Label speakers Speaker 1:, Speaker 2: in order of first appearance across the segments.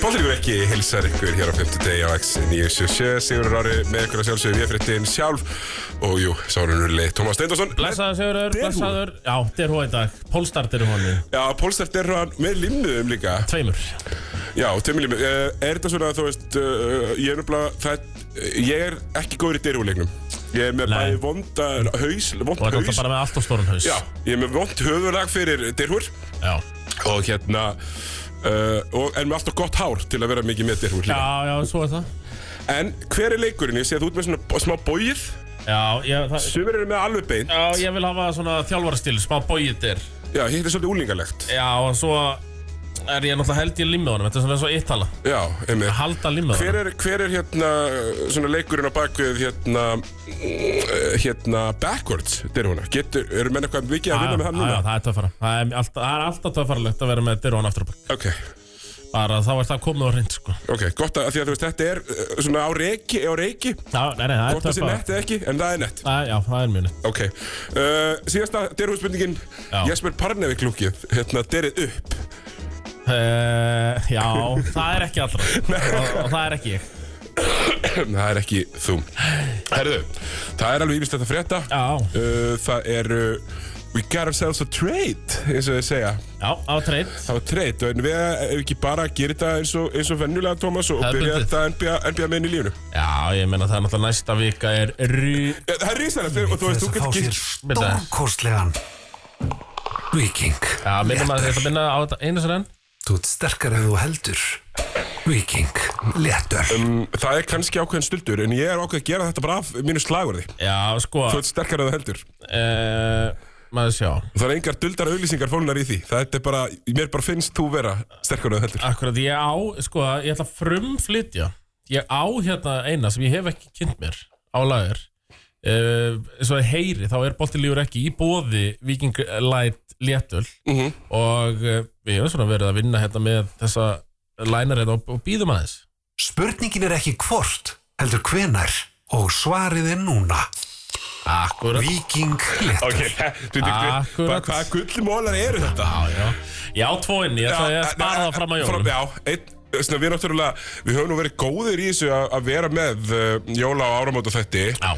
Speaker 1: Bóllíkur ekki hilsar ykkur hér á 50 degi á X977 Sigurður Ári með ykkur að sjálfsögðu við fréttin sjálf og jú, sárunurli Tómas Steindorsson
Speaker 2: Blessaður Sigurður,
Speaker 1: Derhú.
Speaker 2: blessaður Já, derhú í dag, pólstar derhú hann
Speaker 1: Já, Pólstert er hann með limnuðum líka
Speaker 2: Tveimur
Speaker 1: Já, tömmiljum, er þetta svona þú veist, uh, ég er nefnilega það, ég er ekki góður í derhúleiknum Ég er með
Speaker 2: Nei.
Speaker 1: bæði vonda haus, vond
Speaker 2: Og
Speaker 1: haus
Speaker 2: er náttúrulega bara með allt og stórun haus
Speaker 1: Já, ég er með vond höfulag fyrir derhúr
Speaker 2: Já,
Speaker 1: og hérna uh, og, en með alltaf gott hár til að vera mikið með derhúr
Speaker 2: já, já, svo er það
Speaker 1: En hver er leikurinn? Ég sé að þú ert með svona b- smá bóið
Speaker 2: Já, ég, það,
Speaker 1: Sumir eru með alveg bein
Speaker 2: já, ég vil hafa svona þjálfarstil, smá bóið der
Speaker 1: Já, hitt er svolítið úlingalegt
Speaker 2: Já, og svo er ég náttúrulega held í limmið honum Þetta er svona eins og eittala
Speaker 1: Já, emmi
Speaker 2: Halda limmið
Speaker 1: Hver
Speaker 2: honum
Speaker 1: er, hver er hérna, svona leikurinn á bakvið hérna, eh, hérna, backwards, derhúna? Getur, eru menn eitthvað mikið að vinna með hann
Speaker 2: Já, já,
Speaker 1: núna?
Speaker 2: það er töffara Það er alltaf, það er alltaf töffaralegt að vera með derhú hann aftur á bak
Speaker 1: Ok,
Speaker 2: Bara þá er það komið og reynd, sko
Speaker 1: ok, gott að, af því að þú veist, þetta er eh, svona á reiki, á reiki,
Speaker 2: Já, nei, nei, það er
Speaker 1: gott að sé
Speaker 2: töffara
Speaker 1: nett eða ekki, en það er nett.
Speaker 2: Það- Já, það er mjög nýtt
Speaker 1: Ok, uh, síðasta derhúspurningin,
Speaker 2: Já.
Speaker 1: Jesper Parnevik lúkið, hérna, derið upp.
Speaker 2: Uh, já, það er ekki allra og, og það er ekki ég
Speaker 1: það er ekki þú. Herðu, það er alveg ímislegt að frétta.
Speaker 2: Já,
Speaker 1: Uh, það er uh, We got ourselves a trade eins og þið segja
Speaker 2: já, á treynd
Speaker 1: Það var trade og en við hefum ekki bara að gera þetta eins og, eins og vennulega Thomas og
Speaker 2: Það er
Speaker 1: byrja
Speaker 2: bundið.
Speaker 1: þetta NBA, NBA meðin í lífinu
Speaker 2: Já, ég meina það er náttúrulega næsta vika er rú...
Speaker 1: Eh, Það er rísanlegt og þú veist,
Speaker 3: Þess
Speaker 1: þú
Speaker 3: að
Speaker 1: getur
Speaker 3: fá sér
Speaker 1: gitt
Speaker 2: Byrja.
Speaker 3: stórkostlegan Viking
Speaker 2: Já, minnum maður þetta minna á þetta einu sinni enn
Speaker 3: Þú ert sterkar en þú heldur Viking Léttöl
Speaker 1: um, Það er kannski ákveðin stuldur en ég er ákveð að gera þetta bara af mínu slagurði
Speaker 2: Já, sko
Speaker 1: Þú ert sterkar að það heldur
Speaker 2: uh, Maður sjá
Speaker 1: Það er engar duldar auðlýsingar fólnar í því Það er bara, mér bara finnst þú vera sterkar að það heldur
Speaker 2: Akkurat, ég á, sko, ég ætla að frumflytja Ég á hérna eina sem ég hef ekki kynnt mér á lagur uh, Svo ég heyri, þá er bolti lífur ekki í bóði Viking Light Léttul
Speaker 1: Mhm.
Speaker 2: Og uh, við hefum svona verið að vinna hérna með þessa lænar hérna og, og býðum aðeins
Speaker 3: Spurningin er ekki hvort heldur hvenar og svarið er núna
Speaker 2: Akkurat
Speaker 3: Viking Léttöl
Speaker 1: Ok, þú veist,
Speaker 2: Akkurat.
Speaker 1: hvaða gullmólar eru þetta?
Speaker 2: Já, já. Ég á tvo inni, ég ætlaði að
Speaker 1: eh,
Speaker 2: spara það fram að jólum.
Speaker 1: Já, einn, svona, við, náttúrulega, við höfum nú verið góðir í þessu að, að vera með uh, jóla og áramóta þætti
Speaker 2: Já,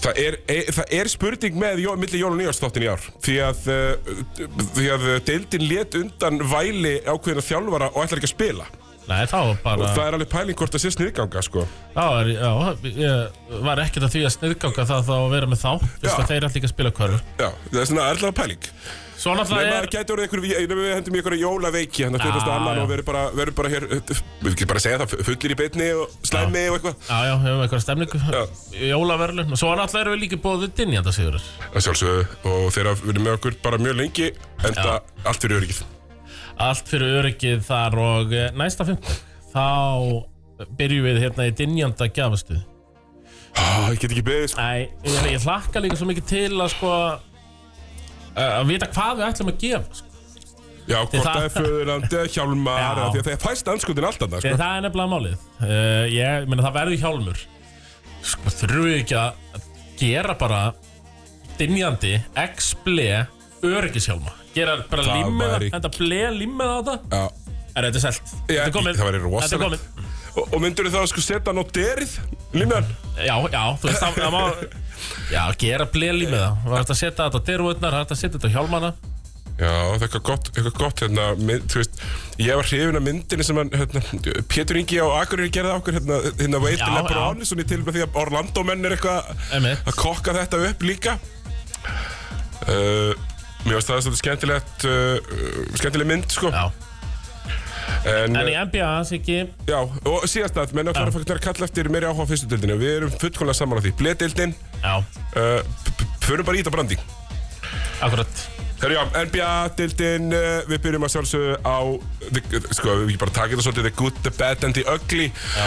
Speaker 1: það er, e, það er spurning með jó, milli jóla og nýjárstáttin í ár því að, uh, því að deildin let undan væli ákveðina þjálfara og ætlar ekki að spila
Speaker 2: nei, þá var bara...
Speaker 1: og það er alveg pæling hvort það sé sniðganga sko.
Speaker 2: Já, er, já, ég var ekkert að því að sniðganga það þá að vera með þá,
Speaker 1: Já.
Speaker 2: fyrst að þeir ætla ekki að spila körfu.
Speaker 1: Já, það er svona allavega pæling
Speaker 2: Svo
Speaker 1: Nei,
Speaker 2: náttúrulega
Speaker 1: maður
Speaker 2: er...
Speaker 1: gæti orðið ykkur, ég- nema við hendum ykkur jólaveiki hann að
Speaker 2: Já,
Speaker 1: 20. annan
Speaker 2: já.
Speaker 1: og verður bara, verður bara hér, við getum bara að segja það, fullir í beinni og slæmi og eitthvað
Speaker 2: Já, já, hefum eitthvað stemningu, jólaverlun. Og svo náttúrulega erum við líka bóðið dinjanda, Sigurður.
Speaker 1: að sjálfsögðu og þeir hafa verið með okkur bara mjög lengi en það allt fyrir öryggið
Speaker 2: Allt fyrir öryggið þar og eh, næsta fimmtag, þá byrjum við hérna í dinjanda gjafastuð.
Speaker 1: ah, Ég get ekki beðið sko.
Speaker 2: Nei, ég, meina, ég hlakka líka svo mikið til að sko... Að að vita hvað við ætlum að gefa, sko.
Speaker 1: Já, hvort
Speaker 2: það-
Speaker 1: það er föðurland eða hjálmar
Speaker 2: Já.
Speaker 1: eða því að það fæst anskutin alltaf
Speaker 2: Nei,
Speaker 1: sko.
Speaker 2: það er nefnilega málið uh, Ég meina það verður hjálmur Sko þurfum við ekki að að gera bara Dinjandi X-ble Öryggishjálma Gera bara
Speaker 1: Það
Speaker 2: límið
Speaker 1: væri-
Speaker 2: Þetta ble límið á þetta
Speaker 1: Já,
Speaker 2: Er þetta er selt?
Speaker 1: Já,
Speaker 2: Þetta er komið
Speaker 1: það væri
Speaker 2: Þetta er
Speaker 1: rosalegt
Speaker 2: komið
Speaker 1: og, og myndur þú þá sko setja hann á derið Limjan
Speaker 2: Já, já, þú veist það, það má Já, gera ble límið það Það er hægt að setja þetta á dervöðnar Það er hægt að setja þetta á hjálmana
Speaker 1: Já, það er eitthvað gott, eitthvað gott hérna, mynd, þú veist, ég var hrifin af myndinni sem hann, hérna, Pétur Ingi á Akureyri gerði okkur, hérna, hérna Wade
Speaker 2: Já,
Speaker 1: Lebron, svona í tilbæð því að Orlando menn er eitthvað
Speaker 2: Einmitt.
Speaker 1: að kokka þetta upp líka. Uh, mér finnst það svolítið skemmtilegt, uh, skemmtileg mynd, sko.
Speaker 2: Já,
Speaker 1: En, uh,
Speaker 2: en í NBA, Siggi
Speaker 1: já, og síðast að, menn ákveður að fækna kalla eftir meiri áhuga á fyrstu dildinu, við erum fullkomlega saman á því, bledeildin,
Speaker 2: Já,
Speaker 1: uh, p- p- förum bara í þetta brandi.
Speaker 2: akkurat
Speaker 1: Herru já, NBA-dildin, uh, við byrjum að sjálfsögðu á, the- sko, við ekki bara taka þetta svolítið, the good, the bad and the ugly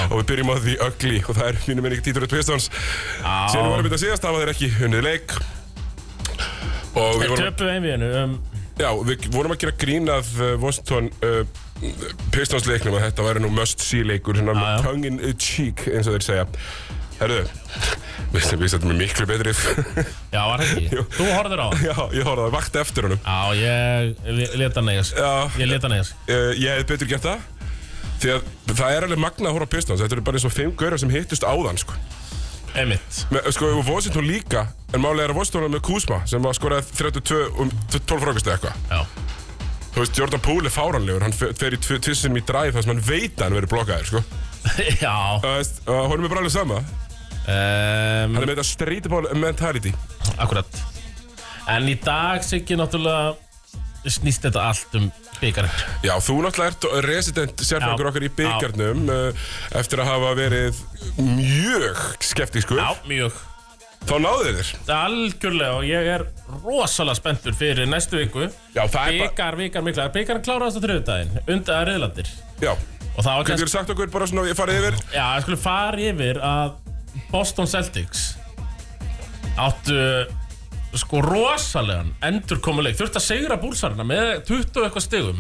Speaker 1: og við byrjum á the ugly og það er mínu minni Títur Tvistons síðan við vorum þetta síðast, það var þeir ekki unnið leik og við vorum,
Speaker 2: Töpu einvíðinu um,
Speaker 1: já, við vorum að gera grín að uh, Washington uh, Pistons leiknum að þetta væri nú must see leikur, hérna, svona
Speaker 2: Já, já.
Speaker 1: tongue in cheek eins og þeir segja Herðu, við sem við setjum miklu betri
Speaker 2: Já, var það ekki? Þú horfður á hann
Speaker 1: Já, ég horfði að vakta eftir honum
Speaker 2: Já, ég leta hann eigas
Speaker 1: Já.
Speaker 2: Ég leta hann eigas
Speaker 1: uh, ég hefði betur gert það því að það er alveg magna að horfa á Pistons þetta eru bara eins og fimm gaurar sem hittust áðan sko,
Speaker 2: Emmitt
Speaker 1: með, sko og Washington líka en málega er að Washington er með Kuzma sem var skorað 32 um 12 frákast eða eitthvað
Speaker 2: Já
Speaker 1: þú veist Jordan Poole er fáranlegur hann fer fer í tvissinum í drive þar sem hann veit að hann verið blokkaður sko
Speaker 2: Já
Speaker 1: Þú veist, uh, honum er bara alveg sama
Speaker 2: um,
Speaker 1: hann er með þetta street ball mentality
Speaker 2: Akkurat En í dag Siggi náttúrulega snýst þetta allt um byggarinn
Speaker 1: Já, þú náttúrulega ert resident sérfræðingur
Speaker 2: Já.
Speaker 1: okkar í byggarnum uh, eftir að hafa verið mjög skeptískur
Speaker 2: Já, mjög
Speaker 1: þá náðu þér
Speaker 2: Algjörlega og ég er rosalega spenntur fyrir næstu viku
Speaker 1: Já, það er bara-
Speaker 2: Byggar, byggar, mikla Byggarinn kláraðast á þriðudaginn Undaða reyðlandir
Speaker 1: Já,
Speaker 2: Og það var
Speaker 1: Getur
Speaker 2: kannski
Speaker 1: sagt okkur bara svona, ég farið yfir
Speaker 2: Já, ég skulle fara yfir að Boston Celtics áttu sko rosalegan endurkomuleik þurfti að segra búlsarna með 20 og eitthvað stigum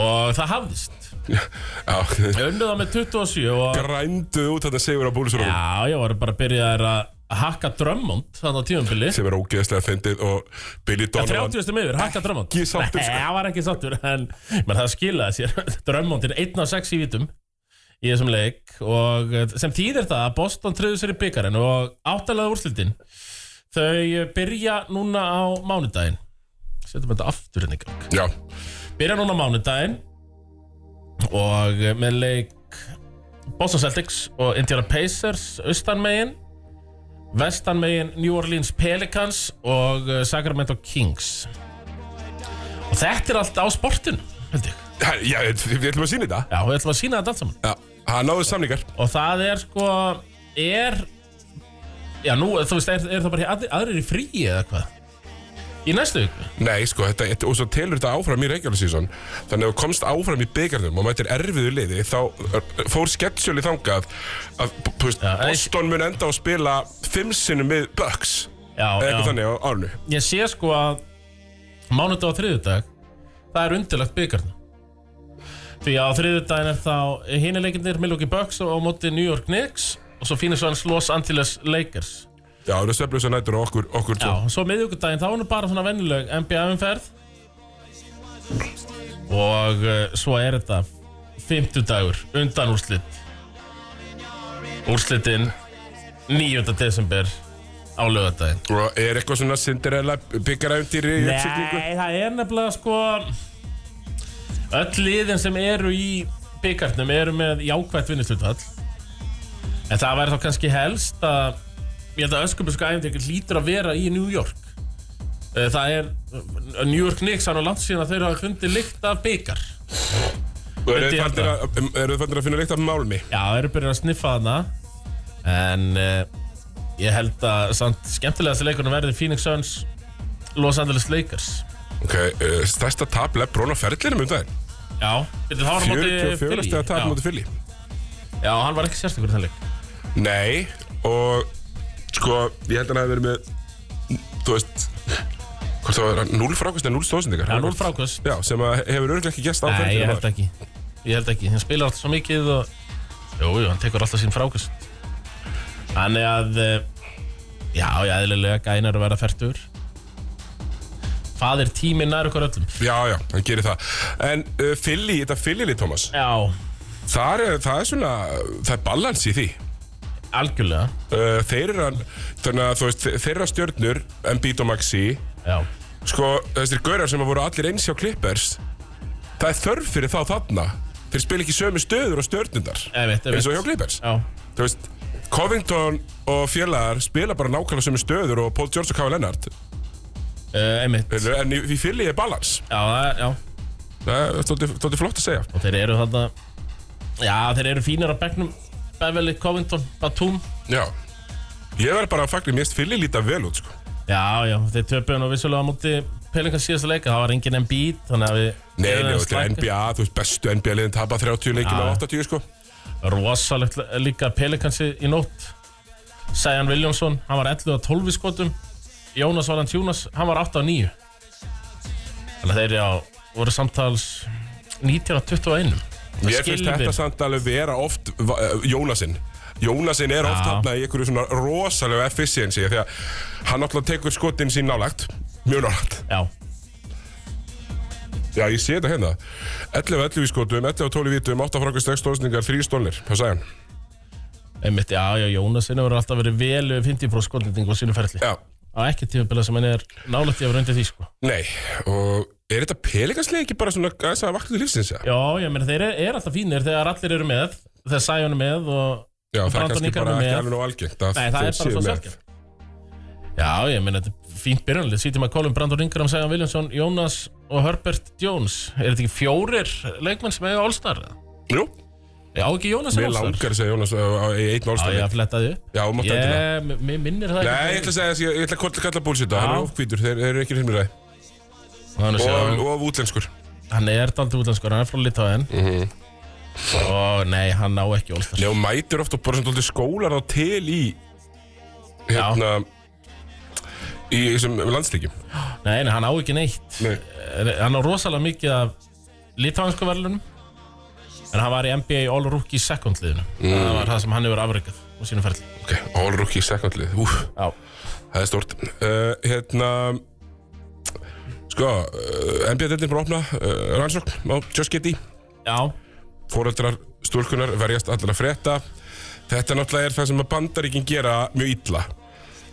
Speaker 2: og það hafðist
Speaker 1: Já,
Speaker 2: ég unnið það með 27 og
Speaker 1: grænduð út þetta Sigur á búlisrúfum
Speaker 2: já, ég var bara að byrja þær að hakka drömmond þannig á tífumbili
Speaker 1: sem er ógeðslega fyndið og Billy Donovan
Speaker 2: 30 stum yfir, hakka drömmond
Speaker 1: Ekki sáttur, sko.
Speaker 2: Nei, það var ekki sáttur en menn það skilaði sér drömmondin 1 af 6 í vítum í þessum leik og eh, sem þýðir það að Boston tröðu sér í byggarinn og áttalega úrslitin þau byrja núna á mánudaginn setjum þetta aftur henni gang
Speaker 1: Já,
Speaker 2: byrja núna á mánudaginn og eh, með leik Boston Celtics og Indiana Pacers austan megin vestan megin New Orleans Pelicans og eh, Sacramento Kings og þetta er allt á sportinu held ég
Speaker 1: Ha, já, við við ætlum að sína þetta
Speaker 2: já, við ætlum að sína þetta allt saman
Speaker 1: Já, hann náðu samningar
Speaker 2: og það er sko er já nú þú veist er, er það bara aðri, aðrir í fríi eða hvað í næstu viku
Speaker 1: Nei, sko, þetta, þetta- og svo telur þetta áfram í regular season Þannig að ef þú komst áfram í byggarnum og mættir erfiðu liði þá er- fór sketsjöli þangað að b- þú veist,
Speaker 2: Já, en-
Speaker 1: Boston mun enda á að spila fimm sinnum við Bucks
Speaker 2: já,
Speaker 1: eða eitthvað
Speaker 2: já.
Speaker 1: þannig á árnu
Speaker 2: ég sé sko að mánudag og þriðudag það er undirlagt byggarna því að á þriðudaginn er þá hinuleikindir Milwaukee Bucks og á móti New York Knicks og svo fínir svo hans Los Angeles Lakers
Speaker 1: Já, það er svefnlösa nætur og okkur, okkur
Speaker 2: já, og svo miðvíkudaginn þá er nú bara svona venjuleg NBA-umferð og uh, svo er þetta 50 dagur undan úrslit úrslitin 9. desember á lögadaginn
Speaker 1: Og er eitthvað svona Cinderella byggaræfndýri í uppsiglingu?
Speaker 2: Nei, það er nefnilega sko Öll liðin sem eru í byggarnum eru með jákvætt vinnuslutall En það væri þá kannski helst að Ég held að öskubilsku æfindir lítur að vera í New York Eh, Það er eh, New York Knicks hann á langt síðan að þeir hafa fundið lykt af byggar
Speaker 1: Og eru
Speaker 2: Myndi
Speaker 1: þið
Speaker 2: ég
Speaker 1: farnir
Speaker 2: halda.
Speaker 1: að- eru þið fannir að finna leikt af málmi?
Speaker 2: Já, það eru byrjað að sniffa þarna En uh, ég held að samt skemmtilegast leikunum verði Phoenix Suns Los Angeles Lakers
Speaker 1: Ok, uh, stærsta tap Lebron á ferðlinum um daginn
Speaker 2: Já, þetta er hára móti
Speaker 1: 44
Speaker 2: Philly.
Speaker 1: stega tap
Speaker 2: Já.
Speaker 1: mútið Fili
Speaker 2: Já, hann var ekki sérstakur í þann leik
Speaker 1: Nei, og sko, ég held að hann hafi verið með Þú veist Hvort það var 0 frákvæmst eða 0 stóðsendingar
Speaker 2: Já, 0 frákvöst
Speaker 1: Já, sem að hefur örgulega ekki gæst á
Speaker 2: Nei, ég
Speaker 1: ferlinum
Speaker 2: held ekki Ég held ekki, hann spilar alltaf svo mikið og Jú, jú, hann tekur alltaf sín frákvöst Þannig að eh, Já, ég eðlilega gæn er að vera færtur Fadir tíminn nær okkur öllum
Speaker 1: Já, já, hann gerir það En uh, Fili, þetta Fili-li, Thomas
Speaker 2: Já,
Speaker 1: það er, það er svona, það er balans í því
Speaker 2: algjörlega
Speaker 1: uh, Þeir eru að, þannig að þú veist, þe- þeirra stjörnur Embiid og Maxi
Speaker 2: Já,
Speaker 1: sko, þessir gaurar sem að voru allir eins hjá Clippers það er þörf fyrir þá þarna þeir spila ekki sömu stöður og stjörnundar
Speaker 2: einmitt, einmitt
Speaker 1: eins og hjá Clippers
Speaker 2: Já,
Speaker 1: þú veist, Covington og félagar spila bara nákvæmlega sömu stöður og Paul George og Kyle Leonard
Speaker 2: uh, einmitt Já,
Speaker 1: en í, í fylli er balans
Speaker 2: það er- já
Speaker 1: það er þótti- þótti flott að segja
Speaker 2: Og þeir eru þarna Já, þeir eru fínir á bekknum Beverly, Covington, Batum
Speaker 1: já ég verð bara að fagna, mér finnst fylli líta vel út sko.
Speaker 2: Já, já, þeir töpuðu nú vissulega á móti Pelinga síðasta leika, það var engin Embiid þannig að við
Speaker 1: nei,
Speaker 2: við
Speaker 1: nei, þetta
Speaker 2: erum
Speaker 1: er
Speaker 2: slakir.
Speaker 1: NBA, þú veist, bestu NBA liðin tapa 30 leikin
Speaker 2: Já.
Speaker 1: á 80 sko.
Speaker 2: Rosalegt le- líka Pelikansi í nótt Sæjan Viljónsson, hann var 11 og 12 í skotum Jónas Valens Jónas, hann var 8 og 9 Þannig að þeir já, voru samtals 19 og 21
Speaker 1: Mér finnst þetta samt alveg vera oft va- eh, Jónasinn Jónasin er oft
Speaker 2: Já.
Speaker 1: hann í einhverju svona rosalega efficiency því að hann náttúrulega tekur skotin sín nálægt mjög nálægt
Speaker 2: Já,
Speaker 1: Já, ég sé þetta hérna 11 11 í skotum, 11 12 í vítum, 8 frákast 6 stóðsningar, 3 stólnir Hvað sagði hann?
Speaker 2: einmitt, já, já, Jónasin hefur alltaf verið vel yfir 50% skotending og sínu ferli
Speaker 1: Já,
Speaker 2: á ekki tímabila sem henni er nálægt í að vera undir því sko.
Speaker 1: nei Og er þetta pelikanslega ekki bara svona aðeins að vakna til lífsins? eða?
Speaker 2: Já, ég meina, þeir eru er alltaf fínir þegar allir eru með þegar Sæjón er með og
Speaker 1: Já, það er
Speaker 2: Brandon
Speaker 1: kannski
Speaker 2: Ingram
Speaker 1: bara
Speaker 2: er
Speaker 1: ekki
Speaker 2: með.
Speaker 1: alveg nóg algengt
Speaker 2: Nei, það er bara svo sjálfgjörn Já, ég meina, þetta er fínt byrjanlið Sýtum að Colin Brandon Ingram, Sæðan Viljánsson, Jónas og Herbert Jones Er þetta ekki fjórir leikmenn sem eiga All-Star? eða?
Speaker 1: Jú,
Speaker 2: Já, ekki Jónas sem
Speaker 1: mér
Speaker 2: All-Star
Speaker 1: langar að segja Jónas uh, uh, í einn
Speaker 2: Já, ég
Speaker 1: álstæði
Speaker 2: flettaði upp
Speaker 1: Já, máttu
Speaker 2: Ég,
Speaker 1: endilega
Speaker 2: m- mér minnir það
Speaker 1: Nei, ég ætla að segja, þessi- ég ætla að kalla- kalla búlsitt á, hann er
Speaker 2: Já.
Speaker 1: ofkvítur, þeir þeir eru ekki hreimir það
Speaker 2: Þannig að
Speaker 1: og,
Speaker 2: segja,
Speaker 1: og útlenskur
Speaker 2: hann er daldi útlenskur, hann er frá Litáin mm Og nei, hann ná ekki All-Star
Speaker 1: Mhm. Já, og mætir ofta bara sem tóldi skólar á til í hérna í þessum landslíkjum
Speaker 2: Nei, nei, hann á ekki neitt
Speaker 1: Nei.
Speaker 2: Eh, Hann á rosalega mikið af litáinsku verðlunum En hann var í NBA All-Rookie second liðinu
Speaker 1: Mm.
Speaker 2: Það var það sem hann hefur afreikað á sínum ferli
Speaker 1: Ok, all rookie second lið, úf,
Speaker 2: Já,
Speaker 1: það er stort uh, Hérna Sko, uh, NBA-deltin bara opna uh, rannsókn á Just Get Í
Speaker 2: já,
Speaker 1: Fóreldrar stúlkunar verjast allar að frétta Þetta náttúrulega er það sem að bandaríkin gera mjög illa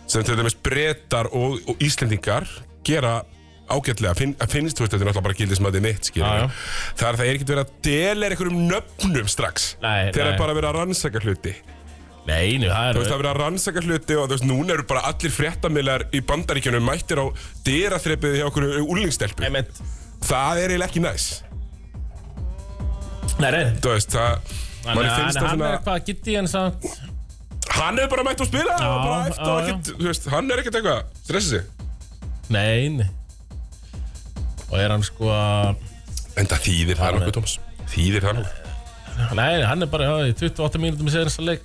Speaker 1: sem til dæmis brettar og, og íslendingar gera ágætlega finn, að finnst, þú veist, þetta er náttúrulega bara gildið sem að þetta er mitt
Speaker 2: Já, já.
Speaker 1: skilur það er það er ekkert verið að dela einhverjum nöfnum strax
Speaker 2: Nei,
Speaker 1: þegar
Speaker 2: nei.
Speaker 1: er bara verið að rannsaka hluti
Speaker 2: nei, nei, það
Speaker 1: þú veist,
Speaker 2: er
Speaker 1: það er verið að rannsaka hluti og þú veist, núna eru bara allir fréttamilar í bandaríkjunum mættir á dyraþrepið hjá okkur úrlingstelpu
Speaker 2: Einmitt.
Speaker 1: það er eiginlega ekki næs
Speaker 2: Nei, nei,
Speaker 1: þú veist, það
Speaker 2: hann
Speaker 1: manni
Speaker 2: er hann
Speaker 1: finnst það
Speaker 2: er
Speaker 1: svona-
Speaker 2: eitthvað að gitti en samt
Speaker 1: Hann hefur bara mætt að spila og bara
Speaker 2: já,
Speaker 1: eftir og
Speaker 2: já.
Speaker 1: ekkert, þú veist, hann er ekkert eitthvað að stressa sig.
Speaker 2: Nei, nei Og er hann sko að
Speaker 1: En það þýðir það nokkuð, Tómas. Þýðir það nokkuð.
Speaker 2: Nei, nei, hann er bara já, í 28 mínútum í segjast að leik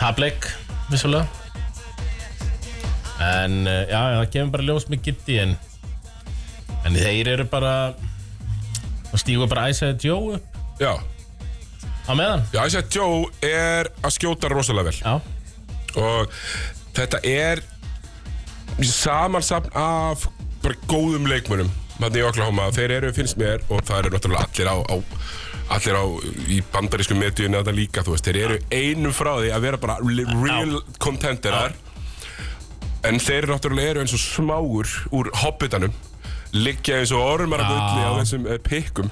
Speaker 2: Tableik, vissulega En eh, já, já, það kemur bara ljós með Gitti en, en þeir eru bara og stígur bara æsaði Joe upp
Speaker 1: Já,
Speaker 2: á meðan
Speaker 1: já, ég segi að Joe er að skjóta rosalega vel
Speaker 2: Já,
Speaker 1: og þetta er samansapn af bara góðum leikmönnum þannig í Oklahoma, þeir eru finnst mér og það eru náttúrulega allir á, á allir á í bandarísku meðduginu þetta líka þú veist, þeir eru einum frá því að vera bara li- real contenderar en þeir náttúrulega eru eins og smáur úr hobbitanum liggja eins og ormar að
Speaker 2: Já.
Speaker 1: á þessum eh, pikkum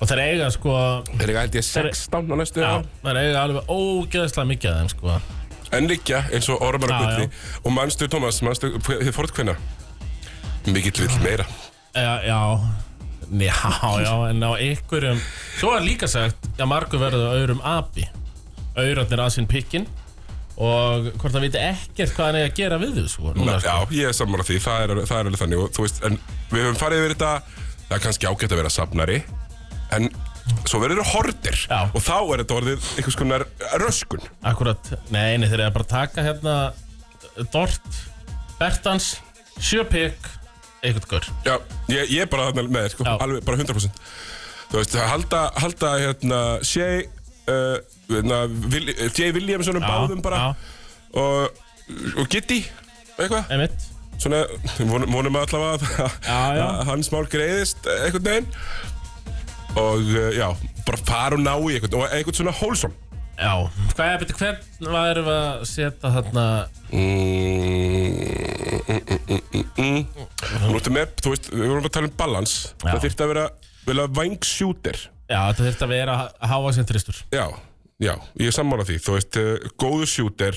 Speaker 2: og þeir eiga sko
Speaker 1: þeir eru held ég 16 á næstu
Speaker 2: Já,
Speaker 1: ári.
Speaker 2: þeir eiga alveg ógeðslega mikið af þeim sko
Speaker 1: En liggja eins og ormar
Speaker 2: Já,
Speaker 1: að gulli Og manstu, Tómas, manstu þið fórtkvenna Mikill vill meira
Speaker 2: Já, já Já, já, en á einhverjum Svo er líka sagt að margur verður auðrum api Auðrarnir að sinn pikkin Og hvort það viti ekkert hvað hann er að gera við þau sko, núna, sko.
Speaker 1: Já, ég er sammála því, það er, það er alveg þannig og, þú veist, En við höfum farið yfir þetta Það er kannski ágætt að vera safnari En svo verður það hordir
Speaker 2: Já.
Speaker 1: Og þá er þetta orðið einhvers konar röskun
Speaker 2: Akkurat, nei, nei, þeir eru bara að taka hérna Dort, Bertans, Sjöpik Eitthvað gaur
Speaker 1: Já, ég, ég er bara þarna með þér, sko,
Speaker 2: Já.
Speaker 1: alveg bara 100% Þú veist, það halda, halda hérna, Shea uh, hérna, Will- Jay Williamsonum báðum bara Og, og Giddy, eitthvað
Speaker 2: einmitt
Speaker 1: svona, von, vonum við allavega að-
Speaker 2: Já, já.
Speaker 1: að hans mál greiðist eh, einhvern veginn og eh, já, bara fara og ná í einhvern og einhvern svona hólsom
Speaker 2: Já, hvað er, betur, hvern var erum við að setja þarna Mm.
Speaker 1: Nú ertu með, þú veist, við vorum að tala um balans
Speaker 2: Já.
Speaker 1: það þyrfti að vera, vilja vangshjúter
Speaker 2: Já, þetta þurfti að vera að háa sem tristur
Speaker 1: já, já, ég er sammála því þú veist, eh, góður shooter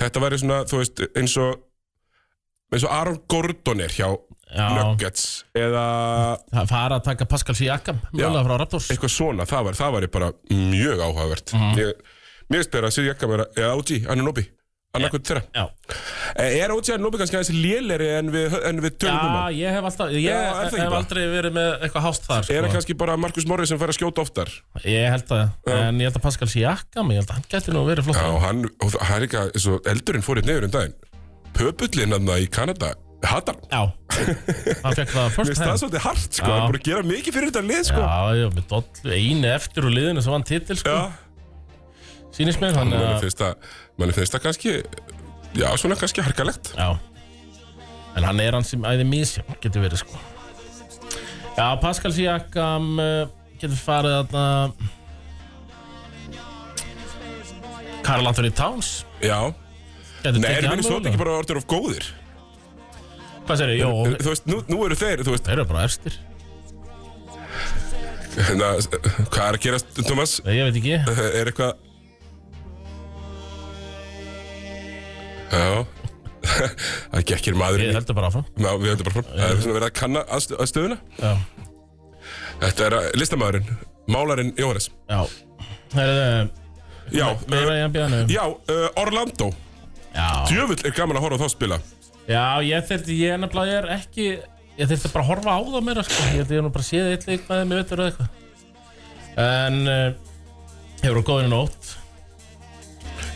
Speaker 1: þetta væri svona, þú veist, eins og eins og Aaron Gordon er hjá
Speaker 2: Já,
Speaker 1: Nuggets eða
Speaker 2: það fara að taka Pascal Siakam Mjögulega frá Raptors
Speaker 1: eitthvað svona, það var, það var bara mjög áhugavert ég, Mér veist bara að Siri Jakka vera, eða OG, Anunobi annarkvæmt þeirra
Speaker 2: Já,
Speaker 1: Eh, Er OG Anunobi kannski aðeins léleri en við, en við tölum um
Speaker 2: já
Speaker 1: hann?
Speaker 2: ég hef alltaf Ég
Speaker 1: Já, er það ekki
Speaker 2: hef
Speaker 1: bara?
Speaker 2: aldrei verið með eitthvað hást þar
Speaker 1: Er það
Speaker 2: sko.
Speaker 1: kannski bara Markus Morris sem fær að skjóta oftar?
Speaker 2: Ég held að En ég held að Pascal Siakam Ég held að hann gæti nú verið flott
Speaker 1: Já, og hann, og það er ekki að svo, eldurinn fór hérna yfir um daginn Pöpullinn hann í Kanada, hattar hann
Speaker 2: Já Hann fekk það
Speaker 1: Mér
Speaker 2: first
Speaker 1: finnst það
Speaker 2: hand
Speaker 1: svolítið hart, sko,
Speaker 2: Já.
Speaker 1: hann er búin að gera mikið fyrir þetta lið, sko
Speaker 2: Já, já, með dollu Einu eftir úr liðinu sem vann titil sko
Speaker 1: Já,
Speaker 2: sýnist mér þannig
Speaker 1: Manni
Speaker 2: að
Speaker 1: finnst það, manni finnst það kannski, já, svona kannski harkalegt.
Speaker 2: Já En hann er hans sem æði mísjá Getur verið sko Já, Pascal Siakam eh, Getur farið þarna Karl Anthony Towns
Speaker 1: Já.
Speaker 2: Getur
Speaker 1: Nei, er
Speaker 2: tekið hann
Speaker 1: minni svona
Speaker 2: mögulega.
Speaker 1: ekki bara orðin of góðir?
Speaker 2: Hvað segir ég? Jó,
Speaker 1: Þú veist, nú, nú eru þeir, þú veist,
Speaker 2: þeir eru bara efstir
Speaker 1: hérna, hvað er að gerast, Thomas?
Speaker 2: Nei, Ég veit ekki
Speaker 1: Er eitthvað... Já. Það gekkir maðurinn
Speaker 2: Ég
Speaker 1: í
Speaker 2: heldur bara áfram
Speaker 1: Já, við höfum bara fram. Það er svona verið að kanna aðst- aðstöðuna.
Speaker 2: Já,
Speaker 1: Þetta er að- listamæðurinn, málarinn Jóhannes.
Speaker 2: já Það er
Speaker 1: Já,
Speaker 2: meira
Speaker 1: uh,
Speaker 2: í NBA-num
Speaker 1: já uh, Orlando.
Speaker 2: Já,
Speaker 1: Djöfull er gaman að horfa á þá spila.
Speaker 2: já ég þurfti, ég er nefnilega, ég er ekki Ég þurfti bara að horfa á það meira sko. Ég held að ég hef nú bara séð eitt leik með þeim í vettur eða eitthvað En uh, Hefur þú góðinu nótt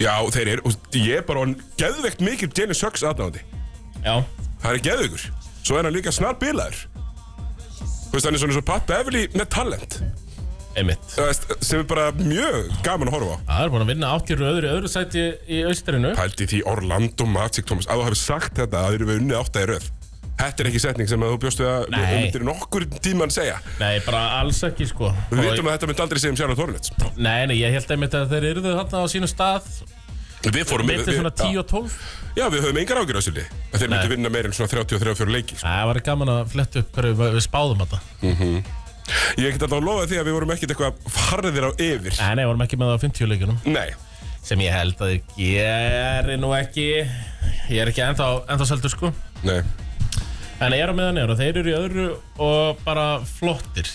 Speaker 1: Já, þeir eru, og ég er bara orðinn geðveikt mikil Jalen Suggs aðnáðandi.
Speaker 2: Já,
Speaker 1: Það er geðveikur. Svo er hann líka snar bilaður. Þú veist, hann er svona svo Pat Beverly með talent.
Speaker 2: einmitt
Speaker 1: Þú veist, sem er bara mjög gaman að horfa á.
Speaker 2: Það er búin að vinna áttir öðru, öðru sæti í austrinu
Speaker 1: Pældi því Orlando Magic, Thomas, að þú hefur sagt þetta að þeir eru við unnið átt að í röð. Þetta er ekki setning sem að þú bjóstu að
Speaker 2: Nei.
Speaker 1: þú myndir nokkur tíman segja.
Speaker 2: Nei, bara alls ekki sko
Speaker 1: Við vitum að þetta myndi aldrei segja um Charlotte Hornets.
Speaker 2: Nei, nei, ég held einmitt að þeir eruðu þarna á sínum stað
Speaker 1: Við fórum
Speaker 2: Mitt er svona 10 og 12
Speaker 1: Já, já, við höfum engar ágjur á þessu lið að Þeir myndu vinna meira en svona 30-34 leiki sko.
Speaker 2: Nei, það var gaman að fletta upp hverju við við spáðum þetta
Speaker 1: Ég get alltaf að lofa því að við vorum ekkert eitthvað farðir á yfir
Speaker 2: Nei, nei, vorum ekki með það á 50 leikunum
Speaker 1: Nei,
Speaker 2: Sem ég held að ég geri nú ekki Ég er ekki ennþá, ennþá seldur sko
Speaker 1: nei
Speaker 2: En ég er á meðan ég er og þeir eru í öðru og bara flottir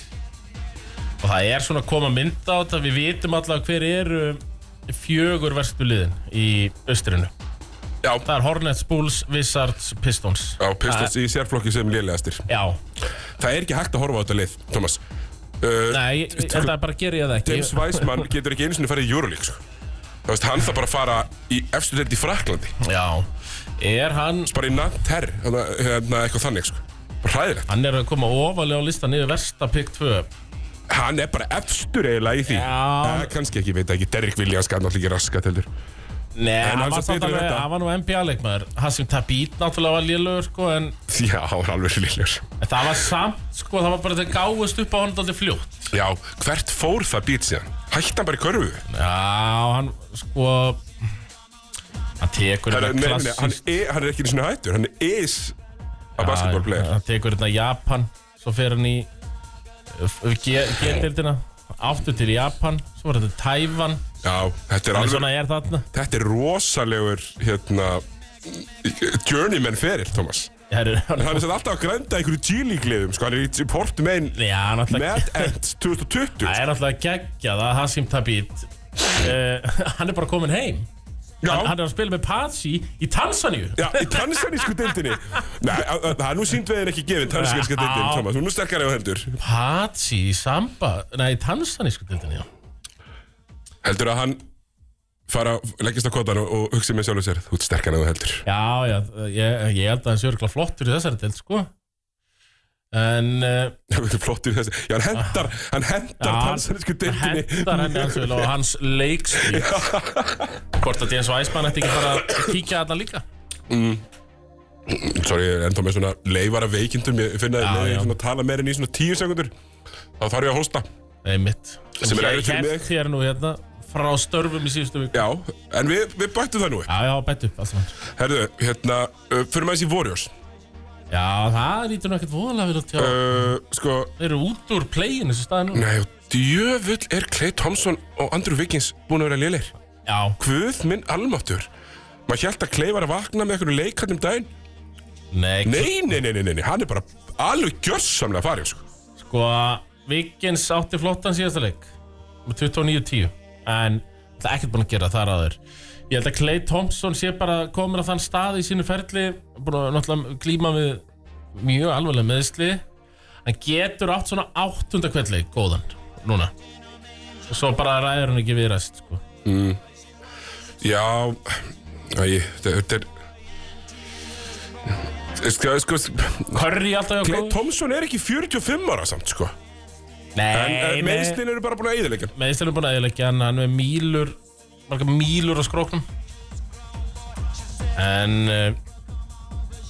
Speaker 2: Og það er svona að koma mynd á þetta Við vitum allavega hver eru fjögur verstu liðin í austrinu
Speaker 1: Já,
Speaker 2: Það er Hornets, Bulls, Wizards, Pistons
Speaker 1: á Pistons í sérflokki sem lélegastir
Speaker 2: Já,
Speaker 1: Það er ekki hægt að horfa á þetta lið, Thomas uh,
Speaker 2: nei, ég- ég held að bara gera ég það ekki
Speaker 1: James Weisman getur ekki einu sinni farið í Euroleague sko. Það veist, hann þarf bara að fara í efstu deild í Fraklandi
Speaker 2: Já, er hann
Speaker 1: Bara í Nanterre, hérna, hérna, eitthvað þannig sko. Ræðilegt
Speaker 2: Hann er að koma ofalega á listan yfir versta pick 2
Speaker 1: Hann er bara efstur eiginlega í því
Speaker 2: Já.
Speaker 1: Eh, Kannski ekki, ég veit það ekki Derrick Williams gæði náttúrulega ekki raskat heldur
Speaker 2: Nei,
Speaker 1: En
Speaker 2: hann,
Speaker 1: hann
Speaker 2: var
Speaker 1: sem
Speaker 2: samt
Speaker 1: betur en
Speaker 2: alveg,
Speaker 1: þetta.
Speaker 2: hann var nú NBA-leikmaður Hassim Tabit náttúrulega var lélugur sko En
Speaker 1: Já, hann var alveg lélegur
Speaker 2: það var samt, sko, það var bara þeir gáðust upp á hann Daldið fljótt
Speaker 1: Já, hvert fór það být síðan? Hætti hann bara í körfu?
Speaker 2: Já, hann sko Hann tekur
Speaker 1: Hann, er-
Speaker 2: hérna
Speaker 1: nei, nei, hann,
Speaker 2: klassist
Speaker 1: er, hann er ekki einu sinni hættur, hann is að basketball player.
Speaker 2: Hann tekur hérna Japan Svo fer hann í uh, G- G-deildina Aftur til Japan Svo var þetta Tævan
Speaker 1: Já, þetta er
Speaker 2: Hann er
Speaker 1: alveg,
Speaker 2: svona er þarna
Speaker 1: þetta er rosalegur, hérna, journeyman ferill, Thomas.
Speaker 2: Heru, hann,
Speaker 1: Hann er satt alltaf að grænda einhverju G-lígliðum, sko, hann er í Port Main
Speaker 2: Já, hann ætla
Speaker 1: Mad Ends 2020.
Speaker 2: Það er alltaf geggjað að Hasim Tabit uh, Hann er bara kominn heim
Speaker 1: Já.
Speaker 2: hann, hann er að spila með Patsy í Tansaníu
Speaker 1: Já, í tansanísku dildinni Nei, að- að- það er nú sínt veðin ekki gefin tansanísku dildin,
Speaker 2: Já.
Speaker 1: Thomas, hún er nú sterkari á hendur
Speaker 2: Patsy í Samba Nei, í Tansanísku dildinni, já
Speaker 1: Heldur að hann fara, leggist á kottan og, og hugsi með sjálfur sér Þú ert sterkari á hendur
Speaker 2: Já, já, ég, ég held að hans jörgla flottur í þessari deild, sko En uh,
Speaker 1: Þetta er flott í þessu Já, hann hendar, hann hendar tansanísku deildinni
Speaker 2: hendar henni hans vel og hans leikstíl Hvort að Jens Weismann ætti ekki bara að kíkja að það líka
Speaker 1: Sorry, ég er ennþá með svona leifara veikindum Ég finna
Speaker 2: Já,
Speaker 1: að
Speaker 2: já.
Speaker 1: ég svona tala meira en í svona tíu sekundur Þá þarf ég að hósta
Speaker 2: Nei, mitt
Speaker 1: Sem er erfitt fyrir mig.
Speaker 2: hér nú hérna frá störfum í síðustu viku
Speaker 1: Já, en við, við bættum það nú upp
Speaker 2: Já, já, bætt upp allt saman
Speaker 1: Herðu, hérna, uh, fyrir maður þessi Warriors
Speaker 2: Já, það lítur nú ekkert voðalega verið að tjá
Speaker 1: uh, Sko,
Speaker 2: Þeir eru út úr playin þessu staði nú
Speaker 1: nei, og djöfull er Clay Thompson og Andrew Wiggins búin að vera lélir
Speaker 2: Já,
Speaker 1: Guð minn almáttur Maður hjælt að Clay var að vakna með einhvern leikarnum daginn
Speaker 2: nei,
Speaker 1: Nei, nei, nei, nei, nei, nei, hann er bara alveg gjörsamlega farið, sko
Speaker 2: Sko, Vikins átti flottan síðasta leik með 29-10 en það er ekkert búin að gera þar aður ég held að Clay Thompson sé bara komin á þann stað í sínu ferli búin að náttúrulega glíma við mjög alvarlega meðsli hann getur átt svona áttunda kveldleik góðan núna og svo bara ræður hann ekki við rest sko.
Speaker 1: Já, æ, þetta þetta er Sko, sko,
Speaker 2: Curry alltaf hjá
Speaker 1: Clay
Speaker 2: góð
Speaker 1: Thompson er ekki 45 ára samt, sko En,
Speaker 2: Nei,
Speaker 1: en
Speaker 2: nei
Speaker 1: meðslinn eru bara búin að eðilegja
Speaker 2: meðsli er búin að eðilegja hann hann er með mýlur margar mílur á skróknum en eh,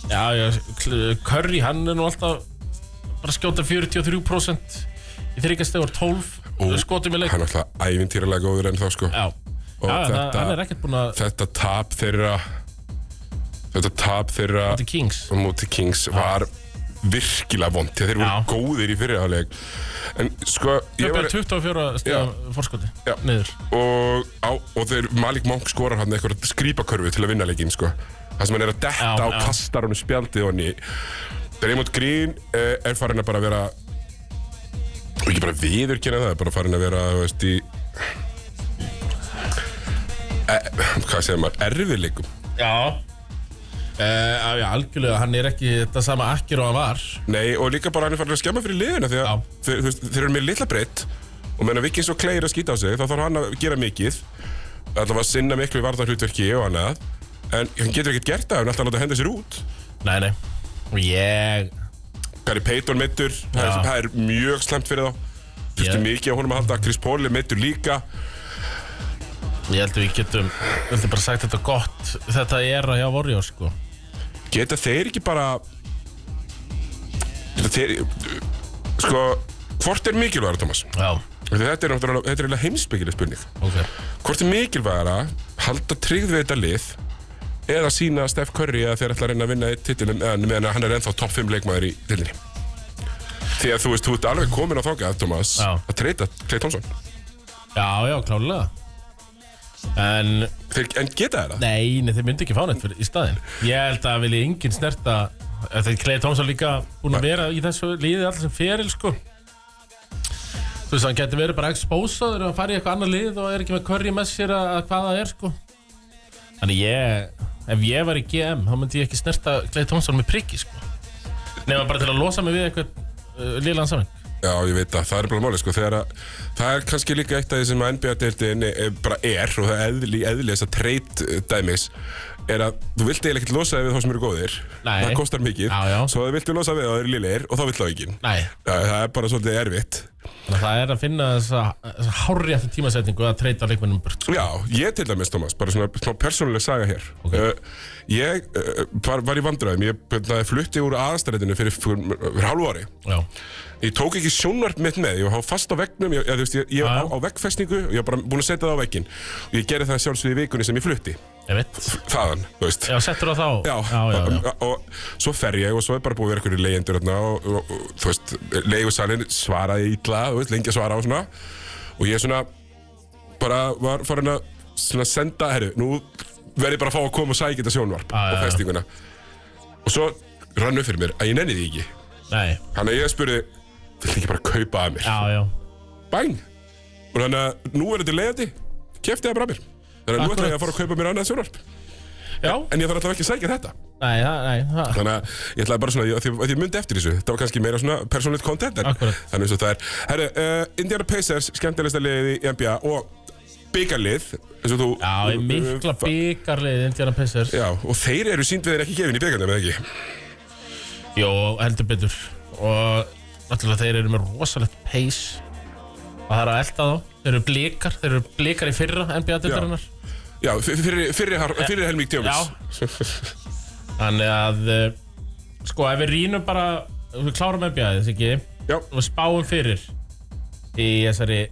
Speaker 2: já, já, Cl- Curry hann er nú alltaf bara að skjóta 43% í þryggastegur 12 skotum í leik
Speaker 1: Hann er alltaf ævintýralega góður en þá sko
Speaker 2: já,
Speaker 1: Og
Speaker 2: já þetta,
Speaker 1: þetta-
Speaker 2: hann er ekkert búinn að
Speaker 1: Þetta tap þeirra Þetta tap þeirra
Speaker 2: þetta er Kings
Speaker 1: á móti Kings var virkilega vond því að þeir voru
Speaker 2: Já.
Speaker 1: góðir í fyrirháleik en sko ég
Speaker 2: Þeir
Speaker 1: var,
Speaker 2: byrja 24 stíða fórskoti
Speaker 1: Já.
Speaker 2: niður
Speaker 1: og, á, og þeir Malik Monk skorar hann eitthvað skrýpakörfu til að vinna leikinn sko það sem hann er að detta
Speaker 2: Já,
Speaker 1: og
Speaker 2: já.
Speaker 1: kastar hann spjaldið hann í Draymond Green eh, er farin að bara vera og ekki bara viðurkenna það er bara farin að vera þú veist í eh, hvað segir maður erfiðleikum
Speaker 2: Já Uh, já, algjörlega, hann er ekki þetta sama akkir og hann var
Speaker 1: Nei, og líka bara hann er farin að skemma fyrir liðina því
Speaker 2: Já.
Speaker 1: að þeir, þeir, þeir eru með litla breytt og meðan Vikings og Clay er að skýta á sig þá þarf hann að gera mikið alltaf að sinna miklu varðarhlutverki og annað en hann getur ekkert gert það, hann er alltaf að láta henda sér út
Speaker 2: Nei, nei Og ég
Speaker 1: Gary Payton meittur, það er-
Speaker 2: Já.
Speaker 1: það er mjög slemt fyrir þá þurftu
Speaker 2: Ég-
Speaker 1: mikið á honum að halda, Chris Paul er meittur líka
Speaker 2: Ég held að við getum, við heldum bara sagt þetta gott Þetta er að hjá Warriors, sko
Speaker 1: geta þeir ekki bara geta þeir sko, hvort er mikilvægur Thomas?
Speaker 2: Já,
Speaker 1: Þetta er náttúrulega þetta er eiginlega heimspekileg spurning
Speaker 2: ok
Speaker 1: Hvort er mikilvægara halda tryggð við þetta lið eða sína Steph Curry að þeir ætla að reyna að vinna titilin eða meðan að hann er ennþá topp 5 leikmaður í tilinni Því að þú veist, þú ert alveg komin á þókað, Thomas,
Speaker 2: Já.
Speaker 1: að treyta Clay Thompson
Speaker 2: Já, já, klálega En,
Speaker 1: þeir, En geta þeir það?
Speaker 2: nei, nei, þeir myndi ekki fá neitt fyrir, í staðinn Ég held að vilji enginn snerta Þetta er Clay Thompson líka búinn að vera í þessu liði allir sem feril, sko Þú veist, hann getur verið bara exposaður og farið í eitthvað annað lið og er ekki með curry með sér að, að hvað það er, sko Þannig ég, ef ég var í GM þá myndi ég ekki snerta Clay Thompson með priggi, sko Nefna bara til að losa mig við eitthvað uh, liðlan saman
Speaker 1: Já, ég veit það, það er bara málið sko, þegar að það er kannski líka eitt af því sem NBA-deildin eh, bara er og það er eðli, eðli þess að treyt eh, dæmis er að þú vilt eiginlega ekkert losa þig við þá sem eru góðir
Speaker 2: Nei.
Speaker 1: það kostar mikið,
Speaker 2: Já, já.
Speaker 1: svo þú viltu losa við þá eru lélegir og þá vill þá ekki
Speaker 2: Nei,
Speaker 1: Það það er bara svolítið erfitt
Speaker 2: Þannig að það er að finna þessa, þessa hárjættu tímasetningu að treyta leikmennum burt.
Speaker 1: Já, ég til dæmis, Thomas, bara svona smá persónuleg saga hér
Speaker 2: Ok.
Speaker 1: uh, Ég uh, var, var í vandræðum, ég hérna, flutti úr aðstæðinu fyrir, fyrir, fyrir hálfu ári
Speaker 2: Já.
Speaker 1: Ég tók ekki sjónvarp mitt með, ég var fast á veggnum, ég, ég, þú veist, ég, ég
Speaker 2: Já.
Speaker 1: var á, á veggfestningu og ég var bara búin að setja það á vegginn Og ég gerði það sjálfsögðu í vikunni sem ég flutti,
Speaker 2: Ég veit.
Speaker 1: þaðan, þú veist
Speaker 2: Já, settur það þá?
Speaker 1: Já,
Speaker 2: Já, já, já.
Speaker 1: Og, og svo fer ég og svo er bara búið að vera einhverju leigjendur þarna og, og, og þú veist, leigusalinn svaraði illa, þú veist, lengi að svara og svona og ég svona bara var farin að svona senda, herru, nú verð ég bara að fá að koma og sækja þetta sjónvarp
Speaker 2: Já, já,
Speaker 1: og
Speaker 2: já.
Speaker 1: festinguna og svo rann upp fyrir mér að ég nenni því ekki
Speaker 2: Nei,
Speaker 1: þannig að ég spurði, vill ekki bara kaupa að mér
Speaker 2: já, já.
Speaker 1: bang, og þannig að nú er þetta leigjandi kefti það bara að mér þannig að nú ætla ég að fara að kaupa mér annað sjónvarp
Speaker 2: Já,
Speaker 1: en ég þarf alltaf ekki að sækja þetta
Speaker 2: nei, það, nei, það.
Speaker 1: Þannig að ég ætlaði bara svona, ég- af því að ég myndi eftir þessu Þetta var kannski meira svona persónlegt content en-
Speaker 2: Akkurat.
Speaker 1: Þannig eins og það er Herru, uh, Indiana Pacers, skemmtilegsta liðið í NBA Og byggarlið eins og þú
Speaker 2: Já, ég mikla
Speaker 1: Fa-
Speaker 2: byggarlið Indiana Pacers.
Speaker 1: Já, og þeir eru sínd við þeir ekki gefin í byggarnum, eða ekki?
Speaker 2: Jó, heldur betur. Og náttúrulega þeir eru með rosalegt pace. Og það er að elda þá. Þeir eru blikar. Þeir eru blikar í fyrra NBA-dildarinnar.
Speaker 1: Já, f- fyrir, fyrir, har-
Speaker 2: Eh,
Speaker 1: fyrir helming tjómis
Speaker 2: Þannig að, eh, sko, ef við rínum bara, við klárum NBA-ið, ekki?
Speaker 1: Já,
Speaker 2: og spáum fyrir í þessari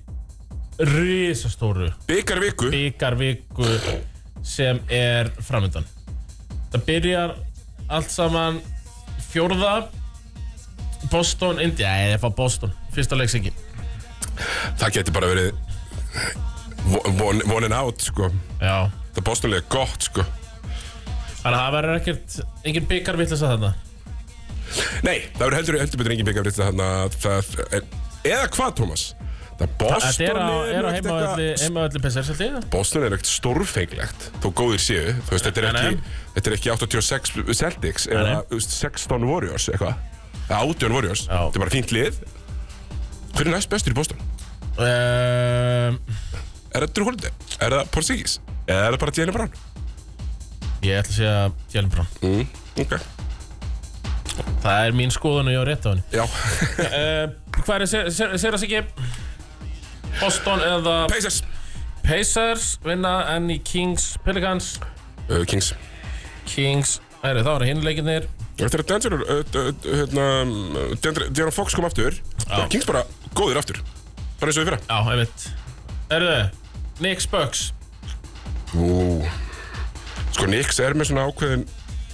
Speaker 2: risastóru
Speaker 1: byggarviku
Speaker 2: byggarviku sem er framöndan. Það byrjar allt saman fjórða Boston, Indi, nei, það fá Boston, fyrsta leiksengi.
Speaker 1: Það getur bara verið vo- von, von and out, sko
Speaker 2: Já.
Speaker 1: Það bóstunlega er gott, sko
Speaker 2: Þannig að það verður ekkert, engin byggarvillis að þetta.
Speaker 1: Nei, það verður heldur, heldur betur engin byggarvill Þannig að það Eða hvað, Thomas? Það
Speaker 2: Þetta
Speaker 1: bóstunlega
Speaker 2: er á, er á heimavalli, heimavalli Pessar, held ég.
Speaker 1: Boston er ekkert stórfenglegt þó góðir séu, þú veist, þetta er
Speaker 2: Nei, nei.
Speaker 1: ekki þetta er ekki 86 Celtics eða
Speaker 2: nei.
Speaker 1: þú veist, 16 Warriors eitthvað eða 18 Warriors,
Speaker 2: Já.
Speaker 1: þetta er bara fínt lið hver er næst bestur í Boston?
Speaker 2: Um,
Speaker 1: Er það Drew Holiday? Er það Porzingis? Eða er það bara Jalen Brown?
Speaker 2: ég ætla að segja Jalen Brown.
Speaker 1: Mm, ok,
Speaker 2: Það er mín skoðun og ég á rétt á henni. Ehm,
Speaker 1: já
Speaker 2: Uh, hvað er Sera Siggi? Boston eða
Speaker 1: Pacers,
Speaker 2: Pacers vinna en í Kings Pelicans
Speaker 1: Uh, Kings.
Speaker 2: Kings, herri, þá eru hinleikinir
Speaker 1: Eftir að Denver, uh, uh, hérna, uh, Denver, Deron Fox kom aftur, bara Kings bara góðir aftur. Bara eins og í fyrra.
Speaker 2: Já, einmitt Herri, Knicks Bucks
Speaker 1: Ú. Sko, Nix er með svona ákveðin,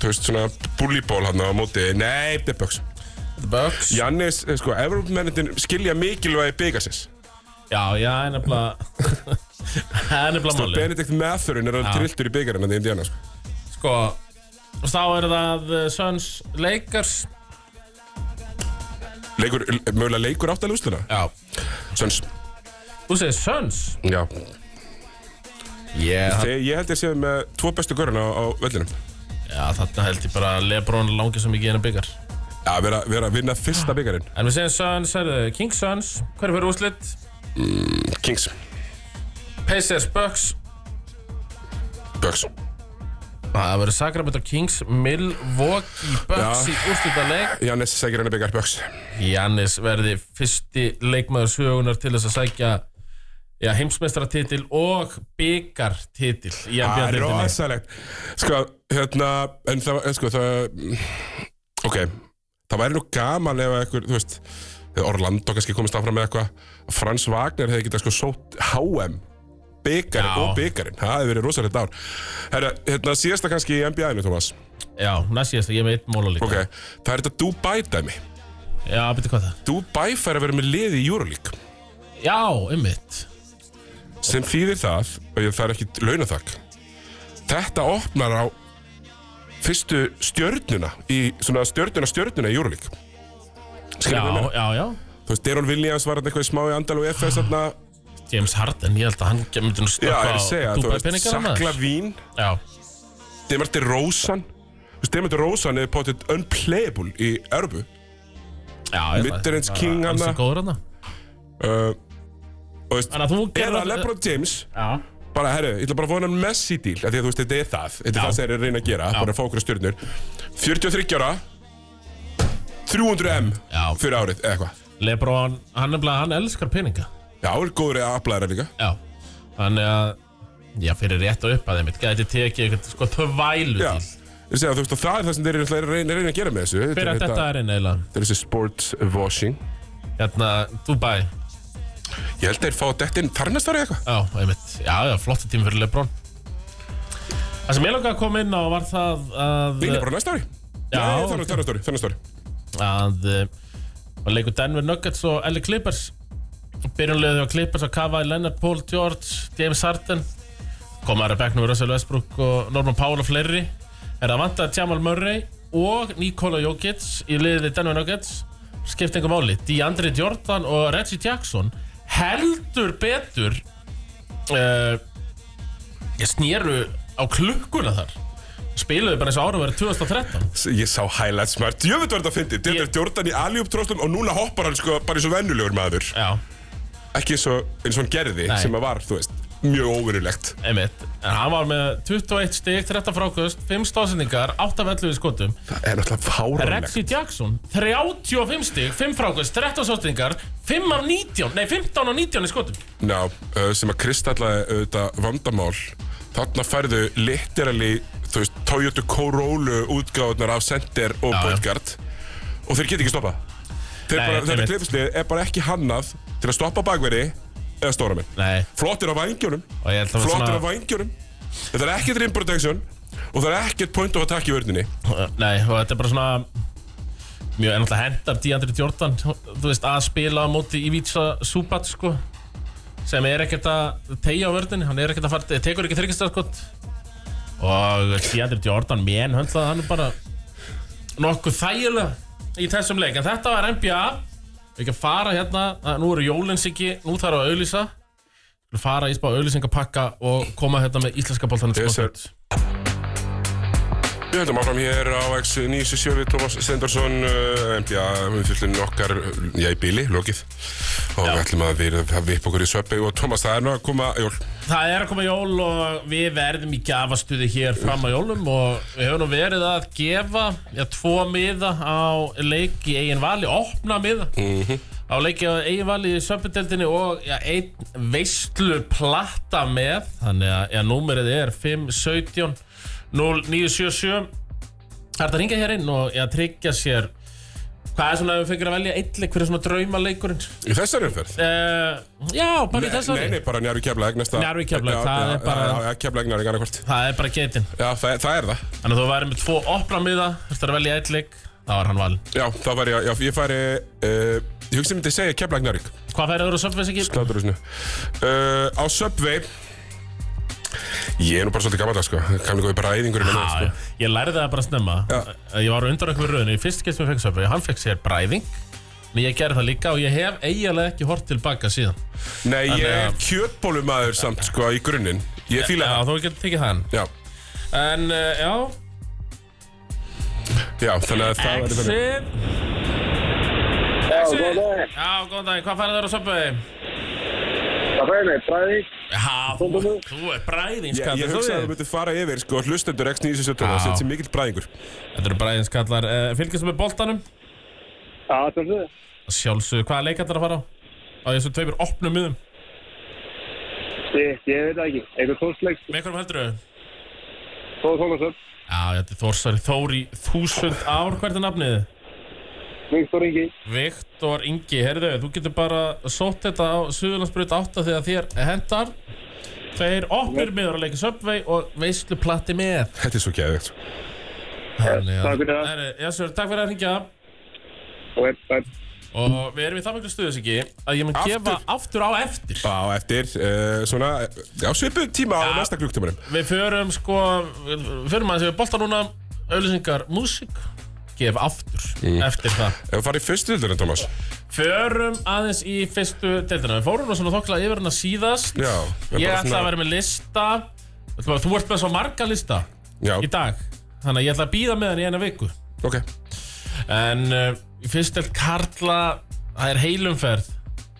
Speaker 1: þú veist, svona bullyball hann á móti. Nei, þetta er Bucks.
Speaker 2: The Bucks
Speaker 1: Jannis, eh, sko, Evropamennin skilja mikilvægi byggasins.
Speaker 2: Já, já, það er nefnilega Það er nefnilega máli
Speaker 1: Benedikt Mathurin er alveg trilltur í byggarinn að Indiana, sko.
Speaker 2: Sko, og þá er það uh, Suns Lakers
Speaker 1: Leikur, mögulega leikur áttalega úsluna.
Speaker 2: Já
Speaker 1: Sönns,
Speaker 2: Þú segir Suns?
Speaker 1: já.
Speaker 2: Yeah.
Speaker 1: Þegar ég held ég séð með tvo bestu göruna á, á vellinum.
Speaker 2: Já, þarna held ég bara að Lebron langið sem ekki hennar byggar
Speaker 1: Já, vera, vera að vinna fyrsta byggarinn.
Speaker 2: En við segjum Suns, herðu, King Suns Hverju fyrir úrslit?
Speaker 1: Kings,
Speaker 2: Pacers, Bucks
Speaker 1: Bucks.
Speaker 2: Það verður Sacramento Kings, Milwaukee Bucks
Speaker 1: Já.
Speaker 2: í úrslitaleik
Speaker 1: Jannis segir henni byggar Bucks.
Speaker 2: Jannis verði fyrsti leikmaður sögunar til þess að sækja já, heimsmeistaratitil og byggartitil í
Speaker 1: Það er
Speaker 2: NBA-titilni
Speaker 1: rosalegt. Sko, hérna, en það, sko, það, ok, það væri nú gaman ef eitthvað, þú veist, þegar Orlando kannski komist áfram með eitthvað, Frans Wagner hefði getað sko sótt HM, byggarinn
Speaker 2: Já.
Speaker 1: og byggarinn, það hefði verið rosalegt ár. Herra, hérna, síðasta kannski í NBA-inu, Thomas,
Speaker 2: Já, næst síðast, ég er með eitt móla líka
Speaker 1: ok, það er þetta Dubai-dæmi.
Speaker 2: Já, betur hvað það
Speaker 1: Dubai fær að vera með liði í Euroleague
Speaker 2: Já, einmitt
Speaker 1: sem þýðir það og ég þarf ekki launathak þetta opnar á fyrstu stjörnuna í svona stjörnuna stjörnuna í Euroleague
Speaker 2: Já,
Speaker 1: Skilur við meina?
Speaker 2: já, já
Speaker 1: Þú veist, Deron Williams var hann eitthvað smá í Andal og FS þarna
Speaker 2: James Harden, ég held að hann myndi nú
Speaker 1: Já,
Speaker 2: stökka
Speaker 1: ég er að segja, þú
Speaker 2: Dubai
Speaker 1: veist,
Speaker 2: peningana
Speaker 1: Sakla
Speaker 2: maður
Speaker 1: Vín
Speaker 2: Já,
Speaker 1: Demarti Rósan Þú veist, Demarti Rósan er potið unplayable í Erbu
Speaker 2: já ég held að-
Speaker 1: Midterrans
Speaker 2: bara
Speaker 1: King
Speaker 2: alls
Speaker 1: hana.
Speaker 2: er góður hana
Speaker 1: uh, og þú veist,
Speaker 2: Þannig að þú gerir
Speaker 1: eða
Speaker 2: að-
Speaker 1: LeBron James
Speaker 2: Já,
Speaker 1: bara, herru, ég ætla bara að vona hann Messi díl af því að þú veist, þetta er það, þetta er
Speaker 2: Já.
Speaker 1: það sem þeir eru að reyna að gera bara að fá okkur stjórnur 43 ára 300 M
Speaker 2: Já.
Speaker 1: fyrir árið, eða eitthvað
Speaker 2: Lebron, hann, nefnilega- hann elskar peninga
Speaker 1: Já, er góður að aflaðra líka
Speaker 2: Já, þannig að Já, fyrir rétt og upp að þeim Gæti tekið eitthvað sko tvælu
Speaker 1: Já,
Speaker 2: til
Speaker 1: ég segja, þú veist, og það er það sem þeir eru að reyna, reyna að gera með þessu hérna-
Speaker 2: Fyrir að þetta er einn eiginlega
Speaker 1: Þetta er þessi sports washing
Speaker 2: Hérna, Dubai
Speaker 1: Ég held að þeir fá þetta inn þarnast árið eitthvað
Speaker 2: Já, einmitt Já, já, flottu tími fyrir Lebron Það sem ég langaði að koma inn á var það að
Speaker 1: Líka bara næsta ári
Speaker 2: Já,
Speaker 1: Nei,
Speaker 2: ok.
Speaker 1: þarnast þarnast ári, þarnast ári
Speaker 2: að uh, að leikur Denver Nuggets og LA Clippers byrjunlega þegar Clippers að kafa í Leonard Paul George, James Harden komaður að bekknum við Russell Westbrook og Norman Powell og fleiri er að vanta Jamal Murray og Nikola Jokic í liðið Denver Nuggets skipt einhver máli, DeAndre Jordan og Reggie Jackson heldur betur uh, ég snýru á klukkuna þar spiluðu bara eins og ára verið 2013
Speaker 1: S- Ég sá highlights maður, djöfitt var þetta að fyndi Þetta er
Speaker 2: Ég-
Speaker 1: Jordan í aljúb tróstum og núna hoppar hann sko bara eins og vennulegur maður
Speaker 2: já
Speaker 1: Ekki eins og, eins og hann gerði
Speaker 2: Nei.
Speaker 1: sem að var, þú veist, mjög óvinnulegt
Speaker 2: Einmitt. En hann var með 21 stig, 13 frákust, 5 stóðsendingar, 8 velluði skotum.
Speaker 1: Það er náttúrulega fáránlegt.
Speaker 2: Rexy Jackson, 35 stig, 5 frákust, 13 stóðsendingar, 5 af 19, nei 15 af 19 í skotum.
Speaker 1: Ná, uh, sem að kristallaði auðvitað vandamál. Þarna færðu literally, þú veist, Toyota Corolla útgáðunar af Center og
Speaker 2: Já, já.
Speaker 1: Bodyguard og þeir geta ekki stoppað. Þeir
Speaker 2: Nei,
Speaker 1: bara, þetta
Speaker 2: einmitt.
Speaker 1: klifislið er bara ekki hannað til að stoppa bakveri eða stóra minn.
Speaker 2: Nei,
Speaker 1: Flottir á vængjunum,
Speaker 2: og ég held að
Speaker 1: flottir
Speaker 2: það
Speaker 1: á
Speaker 2: var
Speaker 1: vængjunum. Þetta er ekkert rim protection og það er ekkert point of attack í vörninni.
Speaker 2: svona, nei, og þetta er bara svona mjög ennáttúrulega hendar DeAndre Jordan, þú veist, að spila á móti Ivica Subat, sko, sem er ekkert að tegja á vördinni, hann er ekkert að fara, eh, tekur ekki þryggastarskot og DeAndre Jordan, menn, höndlaði hann bara nokkuð þægilega í þessum leik, en þetta var NBA við ekki að fara hérna, að nú eru jólins ekki, nú þarf að auðlýsa Við skulum fara í spá auðlýsingapakka og koma hérna með íslenska boltanum
Speaker 1: Yes, sir. Við höldum áfram hér á X977 við Tómas Stendorsson uh, NBA umfyllin okkar uh, já, í bíli, lokið og við ætlum að við að vipa okkur í söpbi og Tómas, það er nú að koma jól
Speaker 2: Það er að koma jól og við verðum í gafastuði hér fram að jólum og við höfum nú verið að
Speaker 1: Mhm.
Speaker 2: gefa já, tvo miða á leik í eigin vali, opna miða á leiki á eiginvali í söpudeldinni og ja, einn veistlu platta með þannig að ja, númerið er 517 0977 Það er þetta að ringa hér inn og ja, tryggja sér hvað er svona að við fengir að velja eitthvað hver er svona draumaleikurinn
Speaker 1: Í þessari umferð?
Speaker 2: uh, Já, bara í þessari
Speaker 1: Nei, nei, bara njárvík keflaðeg næsta
Speaker 2: Njarðvík, Keflavík,
Speaker 1: Já,
Speaker 2: það
Speaker 1: já,
Speaker 2: er bara-
Speaker 1: Já, já, keflaðeg njárvík annarkvort
Speaker 2: Það er bara getin
Speaker 1: Já, það, það er það
Speaker 2: Þannig að þú væri með tvo opna miða Þurftur að velja eitt leik Það var hann valin
Speaker 1: Já, það var ég, já, ég færi uh, Ég hugsa ég myndi segja keflaðeg njárvík
Speaker 2: Hvað færið þú á Subway Siggi?
Speaker 1: Klátur þessu uh, Á Subway Ég er nú bara svolítið gammaldag, sko Kannu góði bara æðingur í minni,
Speaker 2: Já,
Speaker 1: sko
Speaker 2: Ah, já. Ég lærði það bara snemma Ég var á undan okkur rauðinu Í fyrst getur við fengið Subway Hann fekk sér bræðing En ég gerði það líka Og ég hef eiginlega ekki hort tilbaka síðan
Speaker 1: Nei, ég
Speaker 2: Þannig
Speaker 1: er
Speaker 2: að-
Speaker 1: kjötbólumæður samt, sko, í grunninn Ég fíla
Speaker 2: Já,
Speaker 1: það
Speaker 2: þú getur tekið hann
Speaker 1: Já,
Speaker 2: En, uh, já
Speaker 1: já, þannig að það var þetta
Speaker 2: Exit
Speaker 4: Já,
Speaker 2: Exit
Speaker 4: góðan daginn.
Speaker 2: Já, góðan dag Hvað færið þú á Subway?
Speaker 4: Það fæði mig, bræðing.
Speaker 2: Já, þú,
Speaker 4: Komdu nú.
Speaker 2: þú er bræðing
Speaker 1: Ég, ég hugsaði að þú myndir fara yfir, sko, hlustendur X917
Speaker 2: Já.
Speaker 1: Sett sem mikill bræðingur
Speaker 2: Þetta eru bræðinskallar uh, Fylgjast með boltanum
Speaker 4: Já, sjálfsögðu.
Speaker 2: Sjálfsög, hvaða leik ætlar að fara á? Á þessu tveimur opnum miðum
Speaker 4: Ég, ég veit það ekki. Eitthvað tórsleik,
Speaker 2: Með hverjum heldur þau?
Speaker 4: Þóður Þólasson,
Speaker 2: Já, þetta er Þórsari Þór í þúsund ár Hvert er nafnið?
Speaker 4: Viktor Ingi.
Speaker 2: Viktor Ingi, heyrðu, þú getur bara sótt þetta á Suðurlandsbrut 8 þegar þér hendar Tveir opnir miður að leika Subway og veislu platti með
Speaker 1: Þetta er svo geðvegt, sko
Speaker 2: Þannig
Speaker 4: takk fyrir það.
Speaker 2: Herru, Jassur, takk fyrir að hringja
Speaker 4: Og það
Speaker 2: Og við erum í það miklu stuðis ekki að ég mun
Speaker 1: Aftur.
Speaker 2: gefa aftur á eftir
Speaker 1: Já, eftir uh, svona, já, svipuð tíma á næsta klukktumunum.
Speaker 2: Við förum sko við Förum aðeins við bolta núna Öllusingar, músík Gef aftur eftir það
Speaker 1: Ef við farið í fyrstu hildurinn, Thomas.
Speaker 2: Förum aðeins í fyrstu deildina Við fórum nú svona þokla yfir hana síðast
Speaker 1: Já, við
Speaker 2: Ég
Speaker 1: bara
Speaker 2: ætla
Speaker 1: svona-
Speaker 2: að vera með lista Þú þú ert með svo marga lista
Speaker 1: Já,
Speaker 2: í dag Þannig að ég ætla að býða með hann í eina viku
Speaker 1: ok.
Speaker 2: En uh, í fyrst deild Karla Það er heilumferð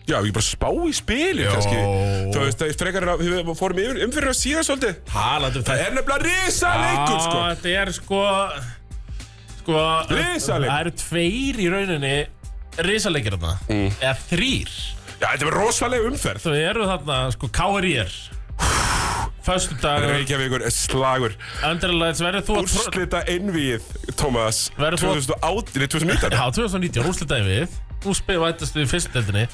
Speaker 1: Já, við bara spá í spili, kannski. Þú veist, það er frekar en að við fórum yfir, umfyrir að síðan svolítið.
Speaker 2: Talandi um
Speaker 1: Það er nefnilega risa leikur, sko.
Speaker 2: Á, Þetta er sko Sko
Speaker 1: Risaleikur.
Speaker 2: Það eru tveir í rauninni Risalegir þarna
Speaker 1: Mm.
Speaker 2: Eða þrýr
Speaker 1: Já, þetta er rosalega umferð.
Speaker 2: Þau eru þarna sko KRIR Föstudagur
Speaker 1: Reykjavíkur er slagur.
Speaker 2: Underlights verður þú að tro-
Speaker 1: Úrslita einvíð, Thomas,
Speaker 2: Verður þú-
Speaker 1: 2008, nei, 2019.
Speaker 2: Já, 2019, úrslitaði við Nú spil vætast við fyrstdeldinni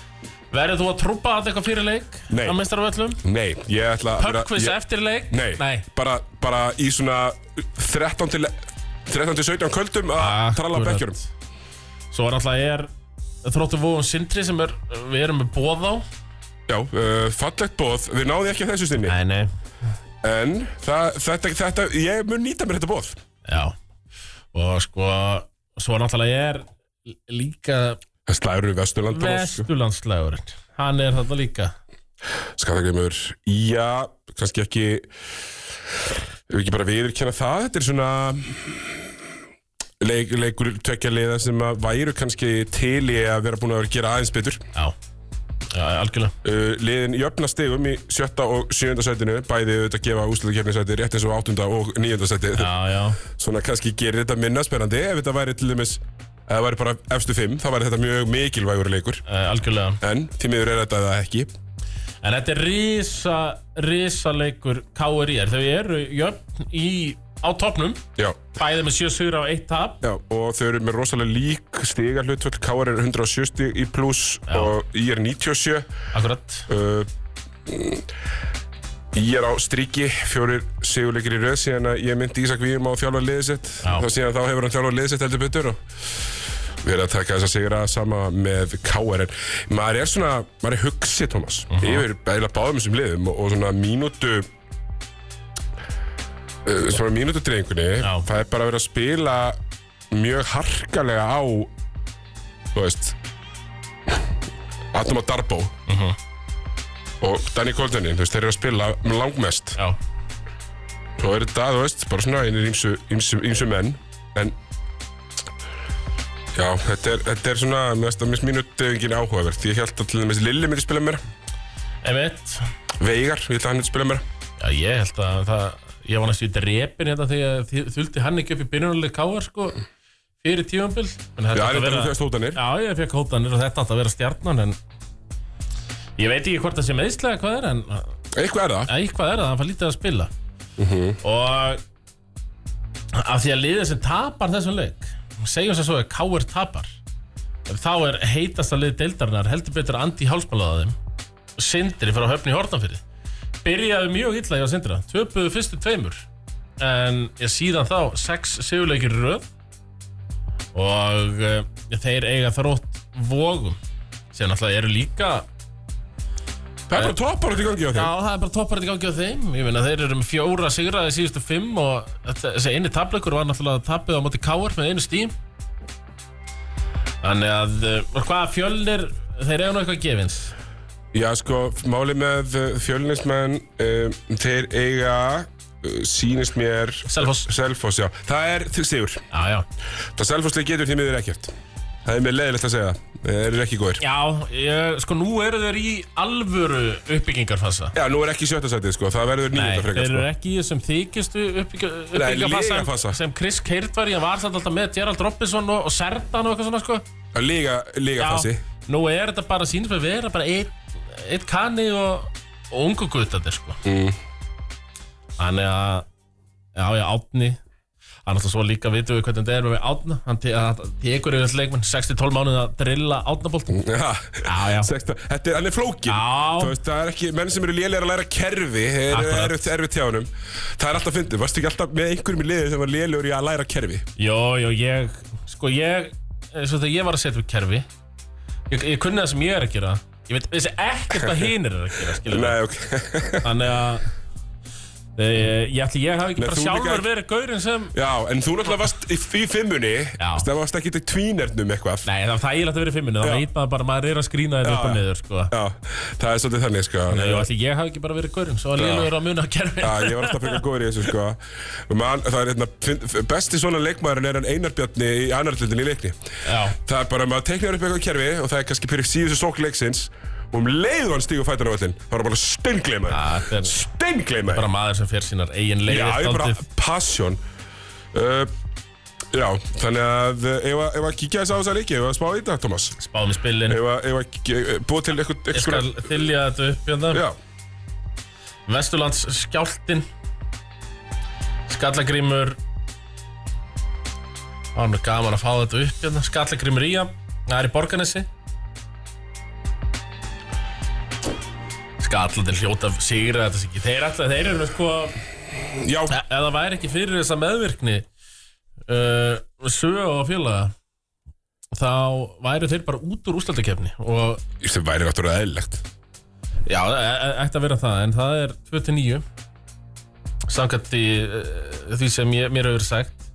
Speaker 2: Verður þú að trúpa að eitthvað fyrir leik?
Speaker 1: Nei.
Speaker 2: Á meistaraföllum?
Speaker 1: Nei, ég ætla að vera...
Speaker 2: Pubquiz
Speaker 1: ég-
Speaker 2: eftir leik?
Speaker 1: Nei, Bara, bara í svona 13 til... 13 til 17 kvöldum að tralla á
Speaker 2: Akkurat.
Speaker 1: bekkjörum.
Speaker 2: Svo er alltaf er Þróttu vóðum sindri sem er, við erum með bóð á
Speaker 1: Já, uh, fallegt bóð, við náðum því ekki að þessu sinni
Speaker 2: Nei, nei
Speaker 1: En það, þetta, þetta, ég mun nýta mér þetta bóð
Speaker 2: Já Og sko, svo náttúrulega er líka
Speaker 1: Það slæður við Vesturland
Speaker 2: Vesturlandslegurinn Hann er þarna líka
Speaker 1: Skatakreimur, já, kannski ekki Ef ekki bara viðurkenna það Þetta er svona leik, Leikur tvekja liða sem að væru kannski til í að vera búin að vera að gera aðeins betur
Speaker 2: Já, Já algjörlega
Speaker 1: uh, Liðin jöfna stigum í sjötta og sjöunda sætinu Bæði auðvitað gefa úslutakefnisæti rétt eins og áttunda og níunda sæti
Speaker 2: Já, já
Speaker 1: svona kannski gerir þetta minna spennandi ef þetta væri til dæmis ef það væri bara efstu fimm, þá væri þetta mjög mikilvægur leikur
Speaker 2: eh, Algjörlega
Speaker 1: en því miður er þetta það ekki
Speaker 2: En þetta er risa, risa leikur KRIR. Þau eru jöfn í, á topnum,
Speaker 1: já,
Speaker 2: bæði með 7 sigur á 1 tap.
Speaker 1: já, og þau eru með rosalega lík stiga hlutföll, KR er 107 stig í pluss og ég er 97
Speaker 2: Akkurat.
Speaker 1: uh, ég er á striki fjórir sigurleikir í röð síðan að ég myndi Ísak Víum á þjálfa liðisitt
Speaker 2: Já.
Speaker 1: þá síðan þá hefur hann þjálfa liðisitt heldur betur og við erum að taka þess að sigra sama með KR en maður er svona, maður er hugsi Thomas
Speaker 2: Mhm.
Speaker 1: yfir eiginlega báðum þessum liðum og, og svona mínútu uh, svona mínútu drengunni
Speaker 2: Já.
Speaker 1: það er bara verið að spila mjög harkalega á þú veist Atom og Darbo
Speaker 2: Mhm.
Speaker 1: og Danny Koldenin, þú veist, þeir eru að spila langmest
Speaker 2: Já.
Speaker 1: og eru þetta, þú veist, bara svona einir ýmsu, ýmsu, ýmsu menn en já, þetta er, þetta er svona mér finnst- mér finnst mínutdefingin áhugavert ég held að til dæmis Lilli myndi spila meira
Speaker 2: Einmitt.
Speaker 1: Veigar, ég held að hann myndi spila meira
Speaker 2: Já, ég held að það, ég var næstu í drepin hérna þegar ég þuldi hann ekki upp í byrjunarlega KR, sko. fyrir tífambil
Speaker 1: Já, það er þetta fyrst hótanir.
Speaker 2: Já, ég fekk hótanir og þetta átt að vera stjarnan en ég veit ekki hvort það sé meðslega hvað er en eh,
Speaker 1: Eitthvað er það.
Speaker 2: eitthvað er það, hann fær lítið að spila og af því að liðið sem tapar þessum leik segjum sem svo að K.R. tapar þá er heitasta lið deildarinnar heldur betur Andi Hálsmálaðaðum og Sindri frá höfni Hortanfyrði byrjaði mjög illa hjá Sindra töpuðu fyrstu tveimur en ég síðan þá sex sigurleikir í röð og uh, þeir eiga þrótt vogum sem náttúrulega eru líka
Speaker 1: Það er bara toppar átt í gangi á þeim.
Speaker 2: Já, það er bara topparinn í gangi á þeim Ég meina, þeir eru með fjóra sigraði síðustu fimm og þetta- þessi eini tapleikur var náttúrulega tapið á móti Káar með einu stím Þannig að uh, hvað fjölnir þeir eiga nú eitthvað gefins
Speaker 1: Já, sko, máli með fjölunismenn, um, þeir eiga, uh, sýnist mér,
Speaker 2: Selfoss
Speaker 1: Selfoss, já. Það er þ- sigur.
Speaker 2: Já, já
Speaker 1: Það Selfossli getur því miður ekkert. Það er mér leiðilegt að segja. Þeir eru ekki góðir.
Speaker 2: Já, ég, sko nú eru þeir í alvöru uppbyggingarfasa
Speaker 1: Já, nú er ekki sjötta sætið, sko. Það verður
Speaker 2: Nei,
Speaker 1: nýjunda
Speaker 2: þeir
Speaker 1: frekar,
Speaker 2: eru
Speaker 1: sko.
Speaker 2: ekki í þessum þykistu
Speaker 1: lygafasa.
Speaker 2: uppbyggingarfasa sem Chris Keirt var í, hann var samt alltaf með Gerald Robinson og, og Serdan og eitthvað svona sko
Speaker 1: Að Líga, líga fasi.
Speaker 2: nú er þetta bara sínum við vera bara eitt, eitt kanni og, og ungu guttatir sko
Speaker 1: Mm.
Speaker 2: Þannig að Já, já, Átni Hann alltaf svo líka vitum við hvernig þetta er með Átna Hann te að- tekur yfir þessu leikmenn 6-12 mánuð að drilla Átnabolt
Speaker 1: Já,
Speaker 2: Já, já.
Speaker 1: Sexta, þetta er, hann er flókin
Speaker 2: Já.
Speaker 1: Þú veist, það er ekki, menn sem eru lélegir að læra kerfi er
Speaker 2: Akkurat.
Speaker 1: erfitt er, er tjánum Það er alltaf fyndið, varstu ekki alltaf með einhverjum í liðið sem var lélegur í að læra kerfi
Speaker 2: Jó, jó, ég Sko, ég Svo þegar ég var að setja upp kerfi Ég, ég kunni það sem ég er að gera Ég veit, vissi ekkert hvað hinir er að gera skilur
Speaker 1: Nei, ok
Speaker 2: Þannig að eh, Ég, ég ætli ég hafi ekki
Speaker 1: Nei,
Speaker 2: bara
Speaker 1: þú líka
Speaker 2: sjálfur
Speaker 1: ekki.
Speaker 2: verið gaurinn sem
Speaker 1: Já, en þú náttúrulega varst í, í fimmunni
Speaker 2: Já.
Speaker 1: Það varst ekki til tvínernum eitthvað
Speaker 2: Nei, það er þægilegt að vera í fimminu, þá
Speaker 1: Já.
Speaker 2: veit maður bara að maður er að skrýna þér
Speaker 1: Já,
Speaker 2: upp og
Speaker 1: já.
Speaker 2: niður, sko.
Speaker 1: Já, það er svolítið þannig, sko
Speaker 2: Nei, ætli ég hafi ekki bara verið gaurinn, svo að Línu er að muna á kerfi.
Speaker 1: Já, ég var alltaf frekar góður í þessu, sko Man, Það er hérna, finn- besti svona leikmaðurinn er hann Einar Bjarni í annarlindin í leikni
Speaker 2: Já,
Speaker 1: Það er bara að maður teiknar upp eitthvað kerfi og það er kannski fyrir síðustu sók leiksins og um leiðu hann stígur fætan á völlin þá er hann bara steingleima
Speaker 2: Ja, þetta er-
Speaker 1: steingleima
Speaker 2: bara maður sem fer sínar eigin
Speaker 1: Já,
Speaker 2: leiðir
Speaker 1: ég er bara
Speaker 2: dálítið.
Speaker 1: passion uh, Já, þannig að uh, ef að- ef að kíkja þess á þess að leiki ef að spá í þetta, Thomas
Speaker 2: Spáðum í spilin,
Speaker 1: ef að, ef að k- eh, búa til eitthvað,
Speaker 2: ég skal
Speaker 1: eitthvað
Speaker 2: þylja þetta upp hérna.
Speaker 1: Já,
Speaker 2: Vesturlands skjáltin, Skallagrímur, það var nú gaman að fá þetta upp hérna. Skallagrímur í hann, það er í Borganesi. Skallandin hljóta sigra þetta sig ekki. Þeir, ætla, þeir eru sko
Speaker 1: já,
Speaker 2: E- Ef það væri ekki fyrir þessa meðvirkni uh, Söga og félaga Þá væru þeir bara út úr úslandakefni Og
Speaker 1: sem væri náttúrulega eðlilegt
Speaker 2: já, e- e- ætti að vera það En það er 29 Samkvæmt því, eh, því sem ég, mér hefur sagt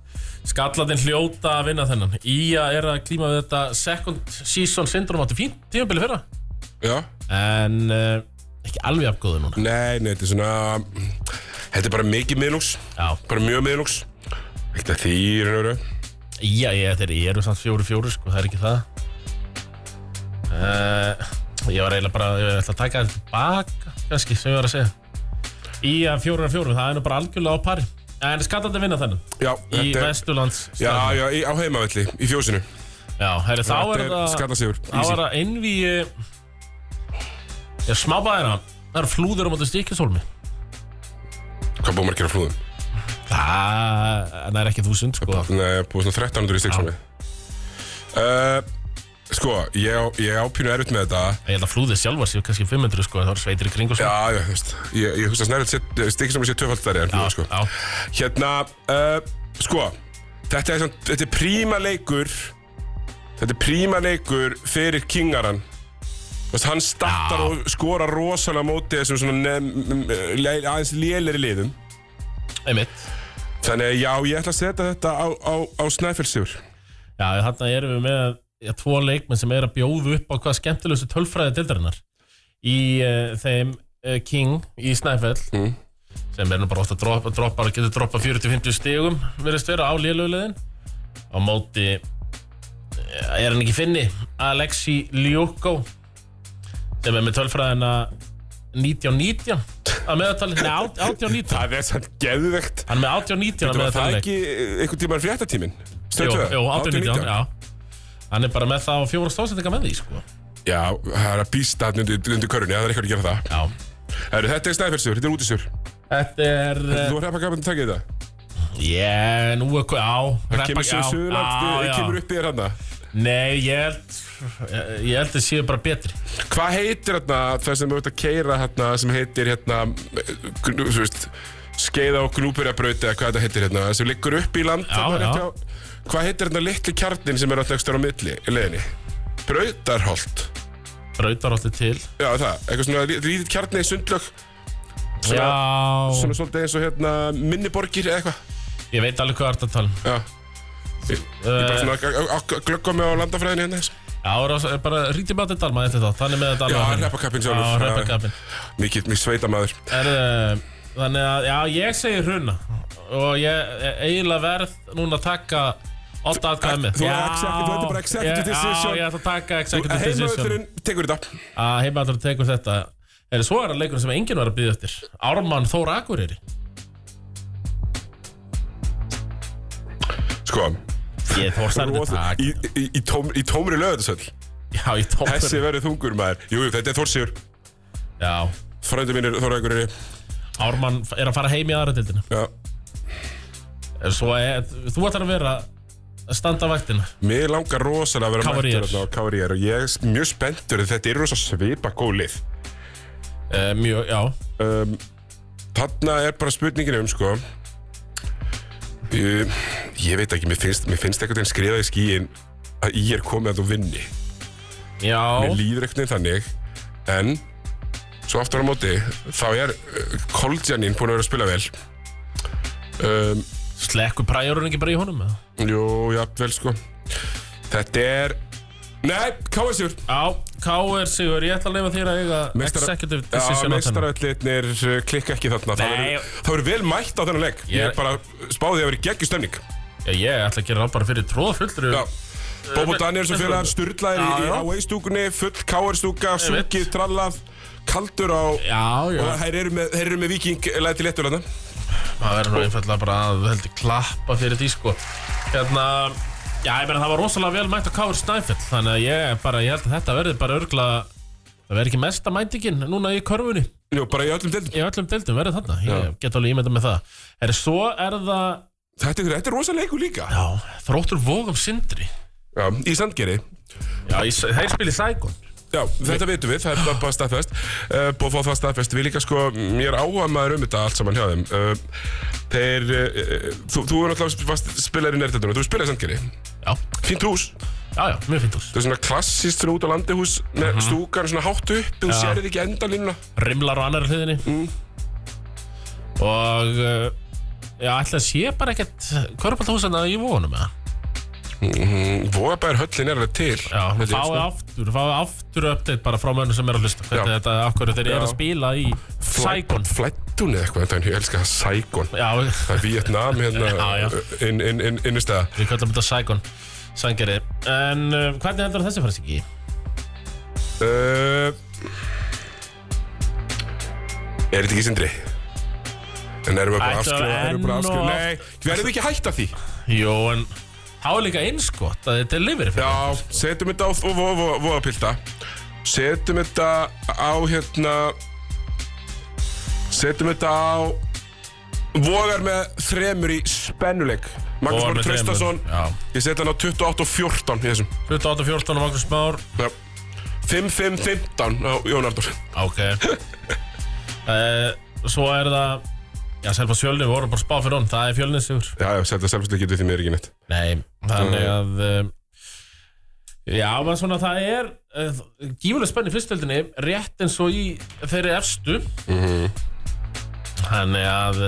Speaker 2: Skalladinn hljóta að vinna þennan Ía er að klíma við þetta Second season syndrom Þetta er fínt tímabili fyrra
Speaker 1: Já,
Speaker 2: En uh, ekki alveg afgóðu núna
Speaker 1: nei, nei, þetta er svona Þetta er bara mikið miðlungs
Speaker 2: Já,
Speaker 1: bara mjög miðlungs Ekkert að því, í raun og veru
Speaker 2: Já, ég, þeir eru samt fjóru fjóru sko, það er ekki það uh, Ég var eiginlega bara, ég ætla að taka þetta tilbaka kannski, sem ég var að segja Í að fjóru fjóru, það er nú bara algjörlega á pari En skattandi vinna þennan
Speaker 1: Já,
Speaker 2: Í
Speaker 1: þetta er-
Speaker 2: Vesturlands
Speaker 1: Já, já, í, á heimavelli, í fjósinu
Speaker 2: já herri, þá er
Speaker 1: Þetta er
Speaker 2: þetta
Speaker 1: skallasigur
Speaker 2: Þá er það einví Já, smábæðina Það eru flúður á móti stíkjusólmi
Speaker 1: Hvað búið margir á flúðum?
Speaker 2: Það það er ekki þúsund sko
Speaker 1: Nei, búið svona 1300 í stikksómi uh, Sko, ég, á- ég ápínu erfitt með þetta
Speaker 2: Ég held að flúðið sjálfar séu kannski 500 sko Það eru sveitir í kring og svo
Speaker 1: Já, já, þú veist Ég, ég hugsa snærið að stikksómi sé tvöfald þar en flúðum, sko
Speaker 2: já,
Speaker 1: Hérna, uh, sko Þetta er, samt- þetta er príma leikur Þetta er príma leikur fyrir kingaran Þú veist, hann startar
Speaker 2: Já.
Speaker 1: og skorar rosalega á móti þessum svona nefn, aðeins léleri liðum
Speaker 2: einmitt
Speaker 1: Þannig að já, ég ætla að setja þetta á, á, á Snæfellsjúr
Speaker 2: Já, þarna erum við með já, tvo leikmenn sem er að bjóða upp á hvað skemmtilegustu tölfræði dildarinnar í uh, þeim uh, King í Snæfell
Speaker 1: Mm.
Speaker 2: sem er nú bara ofta að droppa, droppa getur droppa 40-50 stigum verðist vera á liðlögulegin á móti eh, er hann ekki finni Alexi Ljúko sem er með tölfræðina 19-19 að meðaltali, nei 18-19
Speaker 1: Það er sann geðvegt
Speaker 2: hann er með 18-19 að
Speaker 1: Það var það
Speaker 2: meðaltali
Speaker 1: ekki einhvern tímann fréttatíminn Stöð tvö?
Speaker 2: Jú,
Speaker 1: 18-19.
Speaker 2: 18-19, já Hann er bara með það á fjóra stafsendinga með því, sko
Speaker 1: Já, það er að býsta hann undir, undir körunni, það er eitthvað að gera það.
Speaker 2: Já
Speaker 1: Heru, þetta er stæðfjörnsur, þetta er útisur.
Speaker 2: Þetta er eh,
Speaker 1: Þú er reppakapinn að taka í þetta.
Speaker 2: Ég, nú er hvað, á
Speaker 1: Það kemur svo suðurland, kemur upp í þér hérna. hann
Speaker 2: Nei, ég held Ég ég held að séu bara betri
Speaker 1: Hvað heitir hérna það sem þú ert að keira hérna sem heitir hérna gnú, þú veist, skeiða og gnúburabraut eða hvað þetta heitir hérna sem liggur upp í land
Speaker 2: Já,
Speaker 1: þarna
Speaker 2: já.
Speaker 1: rétt hjá- Hvað heitir hérna litli kjarnin sem er alltaf ekstra á milli í leiðinni? Brautarholt
Speaker 2: Brautar átti til
Speaker 1: Já það, eitthvað svona rítið kjarni í sundlög Svona-
Speaker 2: Já
Speaker 1: svona svolítið eins og hérna minniborgir eða eitthvað
Speaker 2: Ég veit alveg hvað það er að tala um
Speaker 1: Já Ég, ég bara svona að- að- að glöggva mig á landafræðinu hérna þess.
Speaker 2: Já, það er bara rítið bátti dalma eftir þá Þannig með þetta
Speaker 1: Já,
Speaker 2: alveg hérna.
Speaker 1: reppakappin
Speaker 2: Já,
Speaker 1: sjálfur
Speaker 2: reppakappin
Speaker 1: Mikið, mikið sveita maður
Speaker 2: Herðu, Þannig að, já, ég segi hruna Og ég er eiginlega verð núna að taka 8 atkvæði með
Speaker 1: þú er executive- þú ert bara executive
Speaker 2: Ég-
Speaker 1: decision.
Speaker 2: Já, ég ætla að taka executive decision
Speaker 1: Heimauðurinn tekur þetta
Speaker 2: Að heimavöldurinn tekur þetta Er svo er að leikurinn sem enginn var að býða eftir Ármann Þór Akureyri
Speaker 1: Sko,
Speaker 2: Ég Þór særði
Speaker 1: Rosa-
Speaker 2: takk
Speaker 1: í, í, í, tóm, í tómri löðarsöll
Speaker 2: Já, ég tók
Speaker 1: Þessi verður þungur maður Jú, jú, þetta er Þórsigur
Speaker 2: Já,
Speaker 1: Frændu mínir Þóraðurinn
Speaker 2: Ármann er að fara heim í aðra dildina
Speaker 1: Já
Speaker 2: Svo er, þú ætlar að vera að standa vaktina
Speaker 1: Mér langar rosalega að vera
Speaker 2: Cavalier.
Speaker 1: mættur þarna á Cavalier og ég er mjög spenntur þetta er rosa svipa góð lið
Speaker 2: e, Mjög, já
Speaker 1: um, Þarna er bara spurningin um sko ég, ég veit ekki, mér finnst, mér finnst einhvern veginn skriða í skíin að ég er komið að þú vinni
Speaker 2: Já,
Speaker 1: Mér líður einhvern veginn þannig En Svo aftur á móti Þá er uh, Koljanin búin að vera að spila vel um,
Speaker 2: slekku præjórun ekki bara í honum eða?
Speaker 1: Jú, jafnvel sko Þetta er Nei, KSU
Speaker 2: Já, K.R. Sigur, ég ætla að leifa þér að eiga executive decision á þennan
Speaker 1: meistaröllitnir eh, klikka ekki þarna Það
Speaker 2: Nei.
Speaker 1: verður- Það verður vel mætt á þennan leik Ég, er
Speaker 2: Ég-
Speaker 1: bara spáði að vera geggjur stemning
Speaker 2: Já, ég ætla að gera það bara fyrir tróðfullur
Speaker 1: Já Bobo
Speaker 2: men-
Speaker 1: Daniels og félagar sturlaðir
Speaker 2: Já,
Speaker 1: í, í
Speaker 2: já.
Speaker 1: Away-stúkunni Full KR-stúka,
Speaker 2: veit.
Speaker 1: sungið, trallað Kaldur á
Speaker 2: Já, já,
Speaker 1: Og þeir eru með, þeir eru með viking Læti léttur þarna
Speaker 2: það verður nú einfallega bara að heldur klappa fyrir því sko Hérna, já, ég meina það var rosalega vel mætt á K.R. Snæfell Þannig að ég bara, ég held að þetta verður bara örgla Það verður ekki mesta mæntingin núna í körfunni
Speaker 1: Jú, bara í öllum deildum
Speaker 2: Í öllum deildum verður þarna, ég get alveg ímynda með það Er svo er það,
Speaker 1: Þetta er, þetta er rosa leikur líka
Speaker 2: já, þróttur vógum sindri
Speaker 1: Já, í Sandgeri
Speaker 2: Já, ég, þeir spili sækon
Speaker 1: Já, þetta vitum við, það er bara- bara staðfest uh, Búið að fá það staðfest, við líka sko Ég er áhuga maður um þetta allt saman hjá þeim uh, Þeir uh, Þú, þú er náttúrulega varst spilar í nærtættunum Þú spilaði í Sandgeri,
Speaker 2: Já,
Speaker 1: fínt hús
Speaker 2: já, já, mjög fint úr
Speaker 1: Það er svona klassist svona út á landihús Með stúkan svona hátt upp Þú
Speaker 2: Mhm. Já.
Speaker 1: sérið ekki endalínuna
Speaker 2: rimlar á annar hliðinni
Speaker 1: Mm.
Speaker 2: og uh, já, ætla að sé bara ekkert körpaltahúsana í vonum eða
Speaker 1: mm, Vogabæður höllin er alveg til
Speaker 2: já,
Speaker 1: Held ég,
Speaker 2: fáið
Speaker 1: sko.
Speaker 2: aftur, fáið aftur update bara frá mönnum sem er að hlusta hvernig
Speaker 1: Já.
Speaker 2: þetta, af hverju þeir eru að
Speaker 1: Já.
Speaker 2: spíla í Saigon
Speaker 1: Flættun eða eitthvað, þetta er- ég elska það Saigon
Speaker 2: já,
Speaker 1: Það er Vietnam hérna
Speaker 2: Já, já.
Speaker 1: inn- inn- inn- innistæða.
Speaker 2: við kallum þetta Saigon sangeri, en uh, hvernig heldur þessi fara sig í?
Speaker 1: Uh, er þetta ekki sindri? En erum við bara að
Speaker 2: Ættu
Speaker 1: afskrifa, erum við bara að
Speaker 2: enn
Speaker 1: afskrifa,
Speaker 2: og-
Speaker 1: nei, verðum við ekki að hætta því?
Speaker 2: Jó, en þá er líka einskott að þetta er lifir fyrir
Speaker 1: Já, setjum þetta á vóðapilda, setjum þetta á hérna, setjum þetta á vogar með þremur í spennuleik. Magnús
Speaker 2: Vogar
Speaker 1: Már
Speaker 2: með þremur,
Speaker 1: Traustason,
Speaker 2: já.
Speaker 1: ég setja hann á 28 og 14 í þessum.
Speaker 2: 28-14 og Magnús Már
Speaker 1: 5-5-15 á Jón Ardór.
Speaker 2: Ok uh, Svo er það Já, selva fjölni, við vorum bara að spá fyrir hún Það er fjölni sigur
Speaker 1: Já, já, setja sjálfslega getur því mér ekki neitt.
Speaker 2: Nei, þannig að um, Já, maður svona það er uh, Gífuleg spenni fyrstöldinni Rétt eins og í þeirri efstu Mhm. Þannig að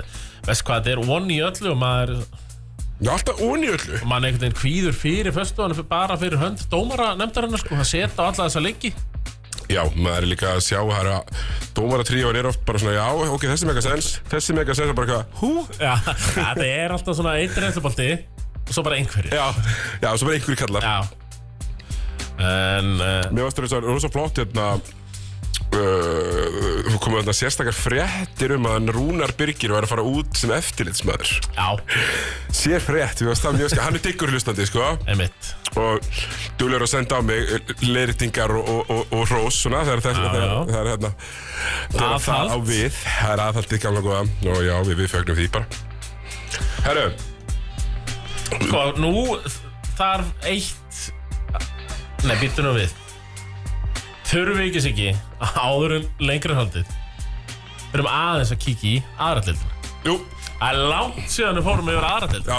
Speaker 2: Veist hvað, þetta er vonni í öllu Og maður,
Speaker 1: Já, alltaf onni öllu.
Speaker 2: maður einhvern veginn kvíður fyrir Föstuðan bara fyrir hönd dómara Nefndarinnar sko, það seta á alla þessa leiki
Speaker 1: Já, maður er líka að sjá það er að dómaratríóin er oft bara svona já, ok, þessi mega sens, þessi mega sens og bara eitthvað, hú?
Speaker 2: Já, þetta er alltaf svona Eitir reynslubolti og svo bara einhverjir
Speaker 1: Já, já, svo bara einhverju kallar.
Speaker 2: Já eh, En uh,
Speaker 1: Mér varst það að það er rosa flott hérna, uh, komið þarna sérstakar fréttir um að hann Rúnar Birgir var að fara út sem eftirlitsmaður.
Speaker 2: Já,
Speaker 1: Sér frétt, við varst það mjög skil, hann er diggur hlustandi, sko.
Speaker 2: einmitt
Speaker 1: Og duglegur að senda á mig leiritingar og, og, og, og rós, svona, þegar það,
Speaker 2: Já,
Speaker 1: það,
Speaker 2: já.
Speaker 1: það er hérna. Þegar það á
Speaker 2: Aðhald.
Speaker 1: við, það er aðhaldið gamla góða. Og já, við, við fögnum því bara. Herru,
Speaker 2: Sko, nú þarf eitt Nei, býttu nú við Þurfum við ekki sikki áður en lengra er haldið Þurfum aðeins að kíkja í aðratlildina
Speaker 1: jú,
Speaker 2: Það er langt síðan við fórum yfir
Speaker 1: já,
Speaker 2: aðratlildina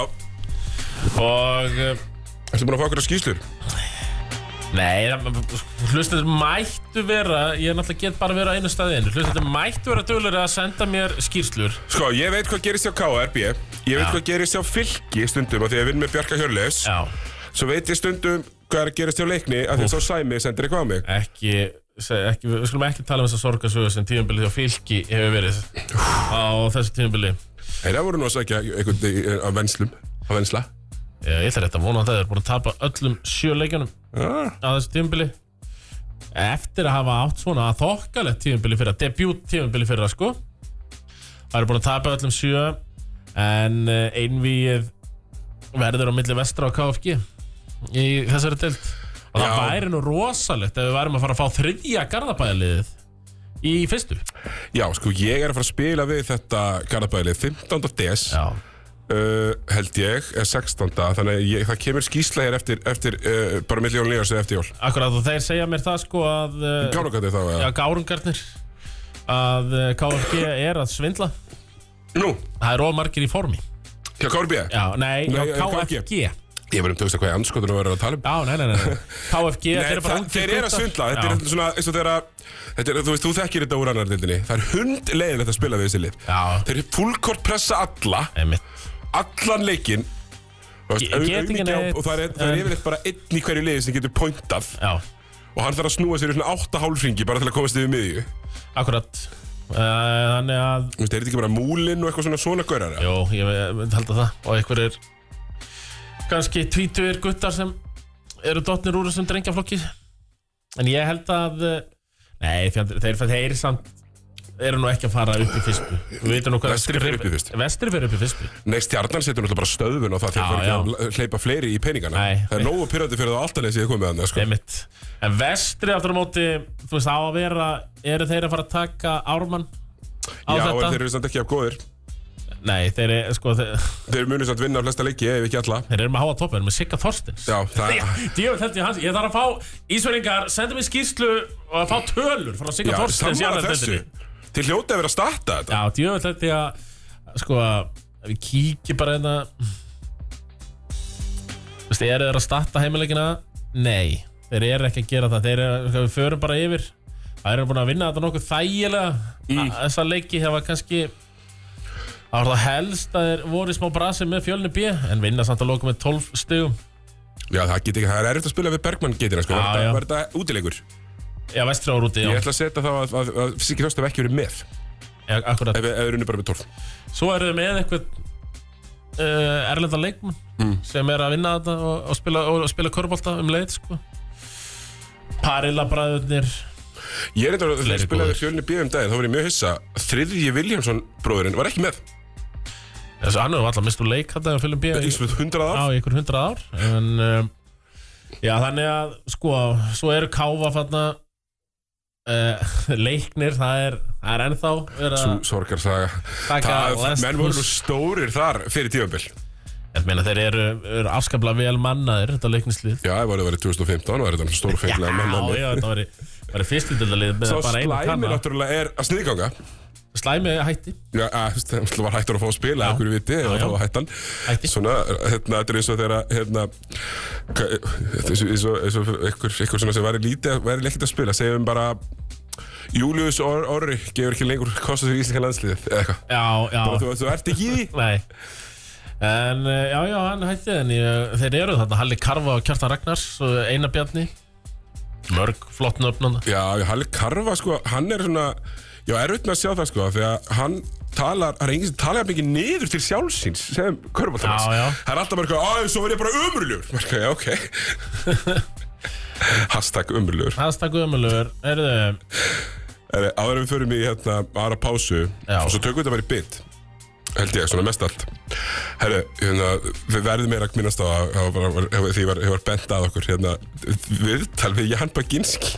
Speaker 2: Og eh,
Speaker 1: ertu búin að fá okkur að skýslur?
Speaker 2: Nei, hlustendur mættu vera Ég er náttúrulega get bara vera á einu staði einu Hlustendur mættu vera dölur að senda mér skýrslur
Speaker 1: Sko, ég veit hvað gerist hjá KRB, ég veit hvað gerist hjá Fylki stundum af því að ég vinn með Bjarka Hjörleifs.
Speaker 2: Já,
Speaker 1: Svo veit ég stundum hvað er að gerast hjá leikni af því að sá Sæmi sendir eitthvað á mig.
Speaker 2: ekki, seg- ekki Við skulum ekki tala um þess að sorgasögu sem tíðanbili og fylki hefur verið á þessu tíðanbili
Speaker 1: Þeir það voru nú að sækja einhvern eh, af venslum, af vensla.
Speaker 2: Ég ætla rétt að vona að það er búin að tapa öllum sjöleikjunum
Speaker 1: Ah.
Speaker 2: á þessu tíðanbili Eftir að hafa átt svona að þokkalegt tíðanbili fyrir að debut tíðanbili fyrir að sko Það eru búin að tapa öllum sjö En eh, einvíið verður á milli vestra á KFG í þessari deild Og það
Speaker 1: Já.
Speaker 2: væri nú rosalegt ef við værum að fara að fá þriðja garðabæðaliðið í fyrstu
Speaker 1: Já, sko, ég er að fara að spila við þetta Garðabælið 15. des,
Speaker 2: Já
Speaker 1: uh, held ég, eða 16. Þannig að ég, það kemur skýsla hér eftir, eftir uh, bara milli jól nýjars eða eftir jól.
Speaker 2: Akkurat og þeir segja mér það sko að eh,
Speaker 1: Gárnokandi þá,
Speaker 2: Já,
Speaker 1: eða?
Speaker 2: gárungarnir að eh, KFG er að svindla
Speaker 1: Nú,
Speaker 2: Það er ómargir í formi
Speaker 1: hjá KRB.
Speaker 2: Já, nei,
Speaker 1: Nei,
Speaker 2: já,
Speaker 1: eh, KFG.
Speaker 2: KFG Já,
Speaker 1: Ég verðum tökst að hvað ég anskotunum verður að tala um.
Speaker 2: nei, nei, nei, nei. KFG,
Speaker 1: Nei,
Speaker 2: þeir eru bara
Speaker 1: það-
Speaker 2: ungir
Speaker 1: þeir eru að
Speaker 2: guttar.
Speaker 1: svindla, þetta
Speaker 2: Já.
Speaker 1: er svona, eins og þeirra, þetta er, þú veist, þú þekkir þetta úr annar dildinni, það er hund leiðilegt að spila við þessi lið.
Speaker 2: Já.
Speaker 1: Þeir fullkort pressa alla,
Speaker 2: Einmitt.
Speaker 1: allan leikinn Þú veist,
Speaker 2: Ég-
Speaker 1: au-
Speaker 2: ég get
Speaker 1: aumingi
Speaker 2: ekki
Speaker 1: á-
Speaker 2: neitt,
Speaker 1: og það er, það er
Speaker 2: en-
Speaker 1: yfirleitt bara einn í hverju liði sem getur pointað
Speaker 2: Já,
Speaker 1: og hann þarf að snúa sér í svona átta hálfringi bara til að komast yfir miðju Þú
Speaker 2: akkurat Eh, Þannig að,
Speaker 1: veist, er þetta ekki bara múlinn og eitthvað svona svona gaurar? eða?
Speaker 2: jú, ég ve- myndi halda það Og einhver er kannski tvítuðir guttar sem eru dottnir úr þessum drengjaflokki En ég held að eh, Nei, fjandir, þeir, þeir, þeir samt eru nú ekki að fara upp í fyrstu Við veitum nú hvað
Speaker 1: Vestri fer upp í fyrstu.
Speaker 2: Vestri fyrir upp í fyrstu
Speaker 1: Nei, stjarnan setur náttúrulega bara stöðun á það þegar
Speaker 2: Já,
Speaker 1: það
Speaker 2: já.
Speaker 1: er ekki að hleypa fleiri í peningana
Speaker 2: Nei.
Speaker 1: Það er nógu pyrrandi fyrir það alltaf leysið að koma með hann sko.
Speaker 2: Einmitt. En vestri aftur á móti, þú veist, á að vera, eru þeir að fara að taka Ármann á
Speaker 1: Já, en
Speaker 2: þetta?
Speaker 1: þeir eru samt ekki af góðir
Speaker 2: Nei, þeir eru, sko, þeir,
Speaker 1: Þeir munu samt vinna flesta leiki, ef ekki alla
Speaker 2: þeir eru með háa topa, þeir eru með Sigga Þorstins.
Speaker 1: Já, það er
Speaker 2: Djöfell held ég hans, ég þarf að fá, Ísveringar, senda mér skýrslu og að fá tölur frá Sigga
Speaker 1: Já,
Speaker 2: Þorstins í
Speaker 1: sammála
Speaker 2: annar
Speaker 1: þessu
Speaker 2: deildinni.
Speaker 1: Til hljóta að vera að starta þetta
Speaker 2: Já, djöfell held ég að, sko, að við kíkjum bara hérna, þú veist, eru þeir að starta heimileikina? Nei, þeir eru ekki að gera það, þeir eru, sko, við förum bara yfir. Það eru búin að vinna þetta nokkuð þægilega, mm. þessa leiki hefa kannski, Það var það helst að þeir voru í smá brasi með fjölni B en vinna samt að loka með 12 stugum.
Speaker 1: Já, það get ekki, það er erfitt að spila við Bergmann getina sko.
Speaker 2: Já,
Speaker 1: Var
Speaker 2: já.
Speaker 1: þetta- Var þetta útilegur?
Speaker 2: Já, vestri ára úti, já.
Speaker 1: Ég ætla að setja þá að, að, að Siggi Þorst hef ekki verið með ef
Speaker 2: já akkurat.
Speaker 1: við erum unni bara með 12
Speaker 2: Svo eru þið með eitthvað uh, erlenda leikmann sem er að vinna þetta og, og spila, og spila körbólta um leið, sko. Parilla bræðurnir.
Speaker 1: Ég er eitthvað að
Speaker 2: Fleiri
Speaker 1: spila
Speaker 2: góðir.
Speaker 1: við fjölni bíðum daginn þá var ég mjög hissa Þriðji Viljámsson bróðurinn var ekki með
Speaker 2: Þessu hann hefur alltaf mistu leik þetta að fylgjum bíða í,
Speaker 1: Ísmið 100
Speaker 2: á
Speaker 1: af
Speaker 2: í ykkur hundrað ár. En, um, já, þannig að, sko, svo eru káfa fanna uh, leiknir, það er, það er ennþá verið að
Speaker 1: Sorgar saga
Speaker 2: taka
Speaker 1: Það,
Speaker 2: lest-
Speaker 1: menn voru nú stórir þar fyrir tífambil
Speaker 2: Ég meina þeir eru, eru afskaplega vel mannaðir þetta leiknislið
Speaker 1: Já, það var það verið 2015 og er þetta stórfenglega mann
Speaker 2: Já, já, þetta var, var fyrstildalið með
Speaker 1: Svo
Speaker 2: bara einu
Speaker 1: slæmi
Speaker 2: kanna
Speaker 1: náttúrulega er að sniðganga
Speaker 2: Slæmi hætti
Speaker 1: Já, að, það var hættur að fá að spila
Speaker 2: Já.
Speaker 1: eða hverju viti,
Speaker 2: Já,
Speaker 1: eða
Speaker 2: já.
Speaker 1: þá var hættan
Speaker 2: Hætti.
Speaker 1: Svona, hérna, þetta er eins og þegar að, hérna, hva- þetta er eins og- eins og- eins og einhver einhver svona sem væri lítið, væri lekkit að spila segjum bara Július Or Orri gefur ekki lengur kosta sér í íslenska landsliðið eða eitthvað
Speaker 2: Já, já,
Speaker 1: Bara þú, þú ert ekki í því
Speaker 2: nei En eh, já, já, hann hætti en ég, þeir eru þarna Halli Karfa og Kjartan Ragnars og Einar Bjarni Mörg flott nöfnana
Speaker 1: Já, já, Halli Karfa sko, hann er svona Já, erfitt með að sjá það sko, því að hann talar, það er enginn sem talar mikið niður til sjálfsins sem körbáltarnas.
Speaker 2: Já, já.
Speaker 1: Það er alltaf bara eitthvað, að svo verð ég bara umrulugur. Marka, já, ok. Hashtag umrulugur.
Speaker 2: Hasta Guðmulur, heyrðu
Speaker 1: Herri, Áður en við förum í hérna aðra pásu
Speaker 2: Já.
Speaker 1: og svo tökum við þetta bara í bytt held ég, svona mest allt Herru, hérna, við verðum meira að minnast á að- að- að- að- því ég var, ég var bent að okkur hérna, viðtal við Jan Baginski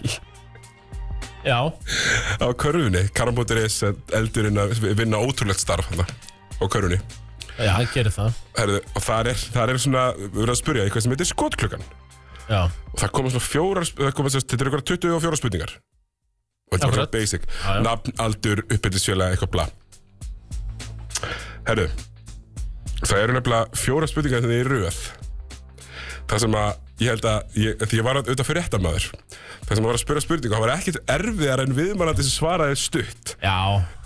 Speaker 2: Já,
Speaker 1: á körfunni, karambótur.is eldurinn að vinna ótrúlegt starf hérna, á körfunni
Speaker 2: já, hann gerir það
Speaker 1: Herru, og þar er, þar er svona, við verðum að spurja eitthvað sem heitir skotklukkan
Speaker 2: Já,
Speaker 1: og það koma svona fjórar sp- það koma, sem sagt- þetta er eitthvað 24 spurningar og þetta er bara
Speaker 2: Akkurat.
Speaker 1: basic
Speaker 2: já.
Speaker 1: nafn, aldur, uppbyrðisfjöla, eitthvað bla herru það eru nefnilega fjórar spurningar þegar þið er röð það sem að ég held að ég, því ég var auðvitað fyrir þetta maður það sem að var að spura spurningu það var ekkert erfiðar en viðmælandi sem svaraði stutt
Speaker 2: já,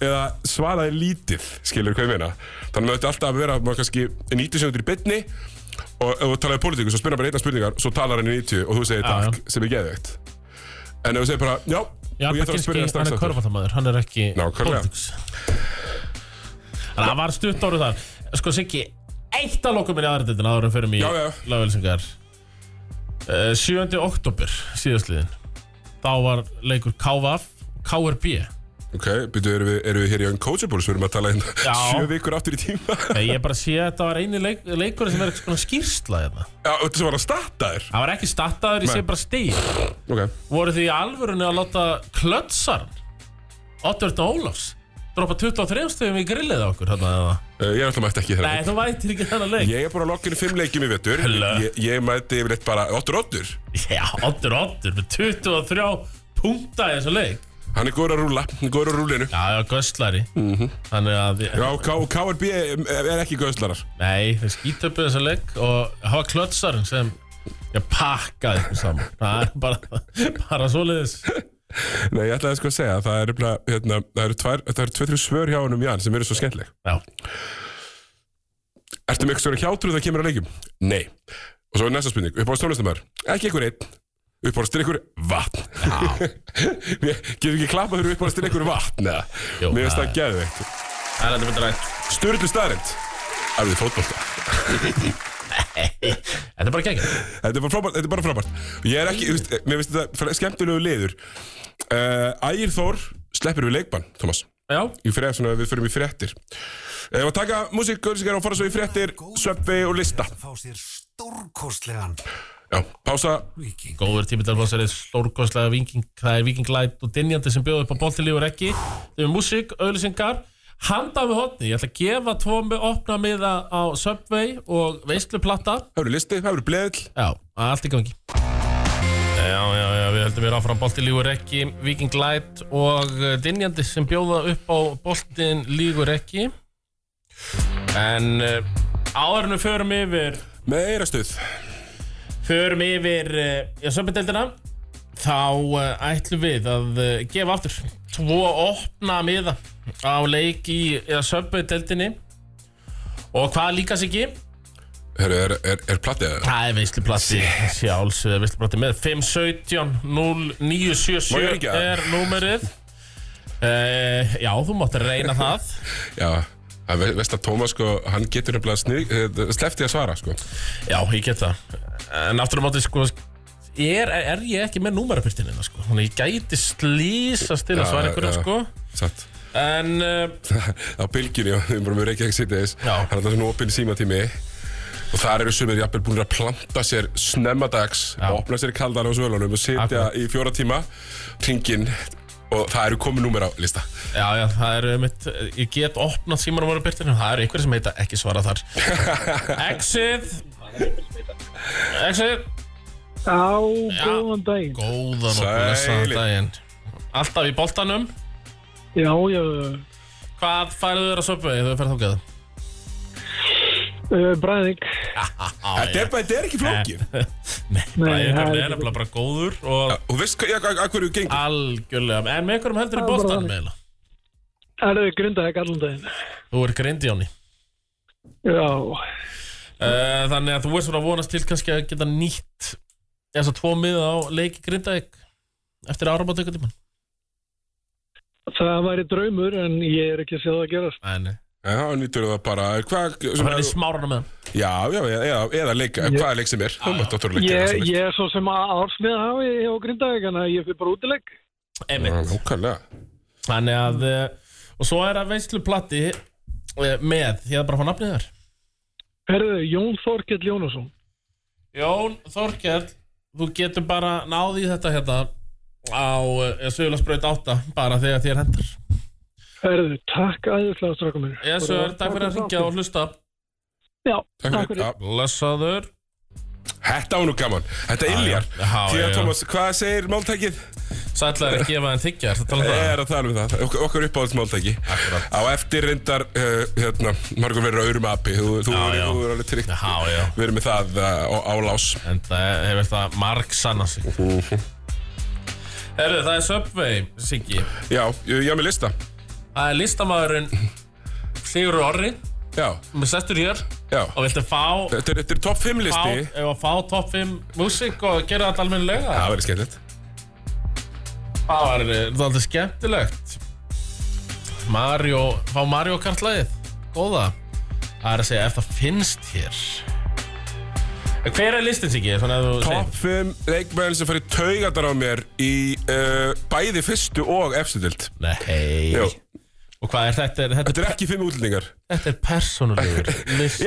Speaker 1: eða svaraði lítið, skilur hvað ég meina þannig að þetta alltaf að vera, maður kannski 90 sekundur í bytni og ef þú talaði pólitíku, svo spyrir hann bara einna spurningar svo talar hann í 90 og þú segir
Speaker 2: Já,
Speaker 1: takk sem er geðveikt en ef þú segir bara, já,
Speaker 2: Já,
Speaker 1: og ég þarf að
Speaker 2: Bakinski,
Speaker 1: spyrja það
Speaker 2: hann
Speaker 1: strax
Speaker 2: er
Speaker 1: aftur.
Speaker 2: körfaldamaður, hann er ekki
Speaker 1: Nákvæmlega.
Speaker 2: politics. Þannig að það var stutt orðið þar Sko Siggi, eitt að lokum minni aðra dildin áður en förum í
Speaker 1: Já, já.
Speaker 2: lagvelsingar uh, 7. oktober síðastliðin Þá var leikur KVF KRB
Speaker 1: ok, byrju, erum við, erum við hér í Uncoachable sem við erum að tala hérna
Speaker 2: Já.
Speaker 1: sjö vikur aftur í tíma já,
Speaker 2: Nei, Ég bara sé að þetta var eini leik, leikur sem er eitthvað svona skýrsla hérna.
Speaker 1: og þetta sem var að starta þér
Speaker 2: Það var ekki stattaður, ég sé
Speaker 1: Nei.
Speaker 2: bara stíð
Speaker 1: ok,
Speaker 2: Voru þið í alvörunni að láta klötsarn Oddvörn Ólafs Droppa 23 stöðum í grillið á okkur hérna eða
Speaker 1: uh, ég er alltaf mætti ekki í
Speaker 2: Nei,
Speaker 1: þennan
Speaker 2: þú vætir ekki þannig leik
Speaker 1: ég er bara að lokkinu fimm leikjum í vettur
Speaker 2: Hello.
Speaker 1: ég, ég mæti yfirleitt bara 8-8
Speaker 2: Já, oddur, oddur, með 23 punkta í þessu leik
Speaker 1: hann er góður að rúla, hann er góður að rúlinu
Speaker 2: Já, já, göstlari Þannig að,
Speaker 1: já, og K- og KRB er er ekki göðslarar
Speaker 2: nei, þeir skítöpuðu þessu leik og hafa klötsarinn sem ég pakkaði ykkur saman Það er bara, bara svoleiðis
Speaker 1: Nei, ég ætlaði sko að segja að það eru bara, hérna, það eru tvær, það eru tvö, þrjú svör hjá honum Jan sem eru svo skemmtileg.
Speaker 2: Já,
Speaker 1: Ertu með eitthvað svona hjátrú þegar kemur að leikjum? Nei. Og svo er næsta spurning, uppáðast tónlistamæður? Ekki einhver einn, uppáðast drikkur vatn. Já. Getur ekki klappað fyrir uppáðast drikkur vatn, eða?
Speaker 2: Jó,
Speaker 1: Mér finnst
Speaker 2: það
Speaker 1: það geðveikt.
Speaker 2: það er þetta betur rætt
Speaker 1: Sturlu staðrind. Er þið fótbolta?
Speaker 2: Þetta er bara gegn
Speaker 1: Þetta er bara frábært, þetta er bara frábært. Ég er ekki, þú veist, mér finnst þetta skemmtilegu liður. Uh, Ægir Þór sleppur við leikbann, Thomas.
Speaker 2: Já,
Speaker 1: í frétt, svona við förum í fréttir Ef að taka músikgörsingar og fara svo í fréttir Sveppi og lista
Speaker 3: Fá sér stórkostlegan
Speaker 1: Já, pása
Speaker 3: viking.
Speaker 2: góður tími til að það er stórkostlega viking Það er vikinglæt og dynjandi sem bjóður upp á boltilífur ekki Þau er músík, auðlýsingar Handað með hotni, ég ætla að gefa tvo með opna miða á Subway og veisluplatta
Speaker 1: Það eru listi, það eru bleðil
Speaker 2: Já, allt í gangi Já, já, já, við höldum við áfram Bolti lígur ekki, Viking Light og eh, Dynjandi sem bjóða upp á Boltin lígur ekki En eh, áður en við förum yfir
Speaker 1: Meira stuð
Speaker 2: förum yfir eh, já, söpindeldina þá uh, ætlum við að uh, gefa aftur tvo opna miða á leik í já, söpindeldinni og hvað líka sig ekki
Speaker 1: Herru, er, er, er platið eða?
Speaker 2: Það er veisluplatti Sjálfsögðu veisluplatti með 517-0977
Speaker 1: Má ég ringja?
Speaker 2: er númerið uh, Já, þú mátt reyna það
Speaker 1: Já Það ve- veist að Tómas sko, hann getur nefnilega snið, eh, sleppt í að svara sko
Speaker 2: Já, ég get það En aftur á móti sko Er, er ég ekki með númerapirtinina sko Þannig ég gæti slísast til að
Speaker 1: Já,
Speaker 2: svara ykkur
Speaker 1: já.
Speaker 2: sko
Speaker 1: Satt
Speaker 2: En uh,
Speaker 1: Á bylginni, og við erum bara með Reykjavík City's
Speaker 2: Já.
Speaker 1: Það er alltaf svona opinn símatími Og þar eru sumir jafnvel búin að planta sér snemmadags
Speaker 2: Já.
Speaker 1: Og opna sér í kaldana á svölunum Og sitja
Speaker 2: Akkurat.
Speaker 1: í fjóra tíma Ringin Og það eru komið númer á lista
Speaker 2: já, já, það er mitt Ég get opnað símanúmerapirtinina Það er ykkur sem heita ekki svara þar Exit Exit
Speaker 5: Já, góðan daginn.
Speaker 2: Góðan og
Speaker 1: Sælir.
Speaker 2: blessaðan daginn Alltaf í boltanum
Speaker 5: Já, já,
Speaker 2: Hvað færðu þér að söpja þegar þú ferð þókað?
Speaker 5: uh, bræðing.
Speaker 1: Þetta er, bara- þetta er ekki flókið
Speaker 2: Nei,
Speaker 5: það er
Speaker 2: Bræðingur er
Speaker 5: ekki.
Speaker 2: nefnilega bara góður og
Speaker 1: Þú veist hvað, að, að hverju
Speaker 2: Ah.
Speaker 1: gengur
Speaker 2: algjörlega En með einhverjum heldur í
Speaker 5: Það er bara
Speaker 2: boltanum
Speaker 5: þannig.
Speaker 2: eiginlega
Speaker 5: Er þau grundaðið allan daginn?
Speaker 2: Þú er grind í áni
Speaker 5: Já,
Speaker 2: Eh, Þannig að þú er svona að vonast til kannski að geta nýtt þess að tvo miða á leiki grindaðeg eftir áramót ykkur tíma
Speaker 5: það væri draumur en ég er ekki að sjá það að gerast.
Speaker 2: Nei, nei
Speaker 1: Já, nýtur það bara hvað,
Speaker 2: Það
Speaker 1: svona,
Speaker 2: er smárana með hann
Speaker 1: Já, já, eða, eða leik,
Speaker 5: Ég-
Speaker 1: hvaða leik sem er Þú mátt náttúrulega gera
Speaker 5: Ég,
Speaker 1: sem
Speaker 5: ég er svo sem að ársmið hafi á grundaðið, þannig að ég fyrir bara útileg.
Speaker 1: er
Speaker 2: Einmitt
Speaker 1: Nákvæmlega
Speaker 2: Þannig að eh, Og svo er að veisluplati eh, Með, ég er bara að fá nafnið þar
Speaker 5: Herðu, Jón Þorkell Jónasson
Speaker 2: Jón Þorkell Þú getur bara náð í þetta hérna Á Söðulasbraut 8 Bara þegar þér hendur
Speaker 5: Herðu, takk æðislega strákum minn
Speaker 2: Ég sögur, takk fyrir að ringja og hlusta
Speaker 5: Já,
Speaker 1: Takk fyrir.
Speaker 5: fyrir
Speaker 1: Já,
Speaker 2: Blessaður
Speaker 1: Þetta var nú gaman. Þetta iljar.
Speaker 2: já. Já,
Speaker 1: Því
Speaker 2: já,
Speaker 1: að
Speaker 2: já.
Speaker 1: Thomas, hvað segir máltækið?
Speaker 2: Sætlaður að gefa en þykja Ertu að tala um
Speaker 1: Ég
Speaker 2: það?
Speaker 1: er að tala um það. Ok- Okkar uppáhaldsmáltæki.
Speaker 2: Akkurat.
Speaker 1: Á eftir reyndar, uh, hérna, margur verður á öðrum api. Þú, þú,
Speaker 2: Já,
Speaker 1: já,
Speaker 2: já.
Speaker 1: þú er alveg tryggt.
Speaker 2: Já, já
Speaker 1: Við erum með það uh, á, á lás.
Speaker 2: En það hefur það marg sanna sig Herðu, það er Subway, Siggi
Speaker 1: Já, ég, ég er með lista.
Speaker 2: Það er listamaðurinn Sigur Orri
Speaker 1: Já,
Speaker 2: Með sestur hér
Speaker 1: já.
Speaker 2: Og viltu fá,
Speaker 1: Þetta er, þetta er topp 5
Speaker 2: fá,
Speaker 1: listi.
Speaker 2: ef að fá top 5 músík og gera þetta almennilega
Speaker 1: Það verður skemmtilegt.
Speaker 2: Það var alltaf skemmtilegt Mario, fá Mario Kart lagið Góða Það er að segja ef það finnst hér En Hver er listin Siggi? Svona ef þú
Speaker 1: Topp
Speaker 2: segir.
Speaker 1: 5 leikmenn sem farið taugatar á mér í uh, bæði fyrstu og efstu dild.
Speaker 2: Nei
Speaker 1: Jú.
Speaker 2: Og hvað er þetta? Er,
Speaker 1: Þetta er ekki 5 útlendingar.
Speaker 2: Þetta er persónulegur listi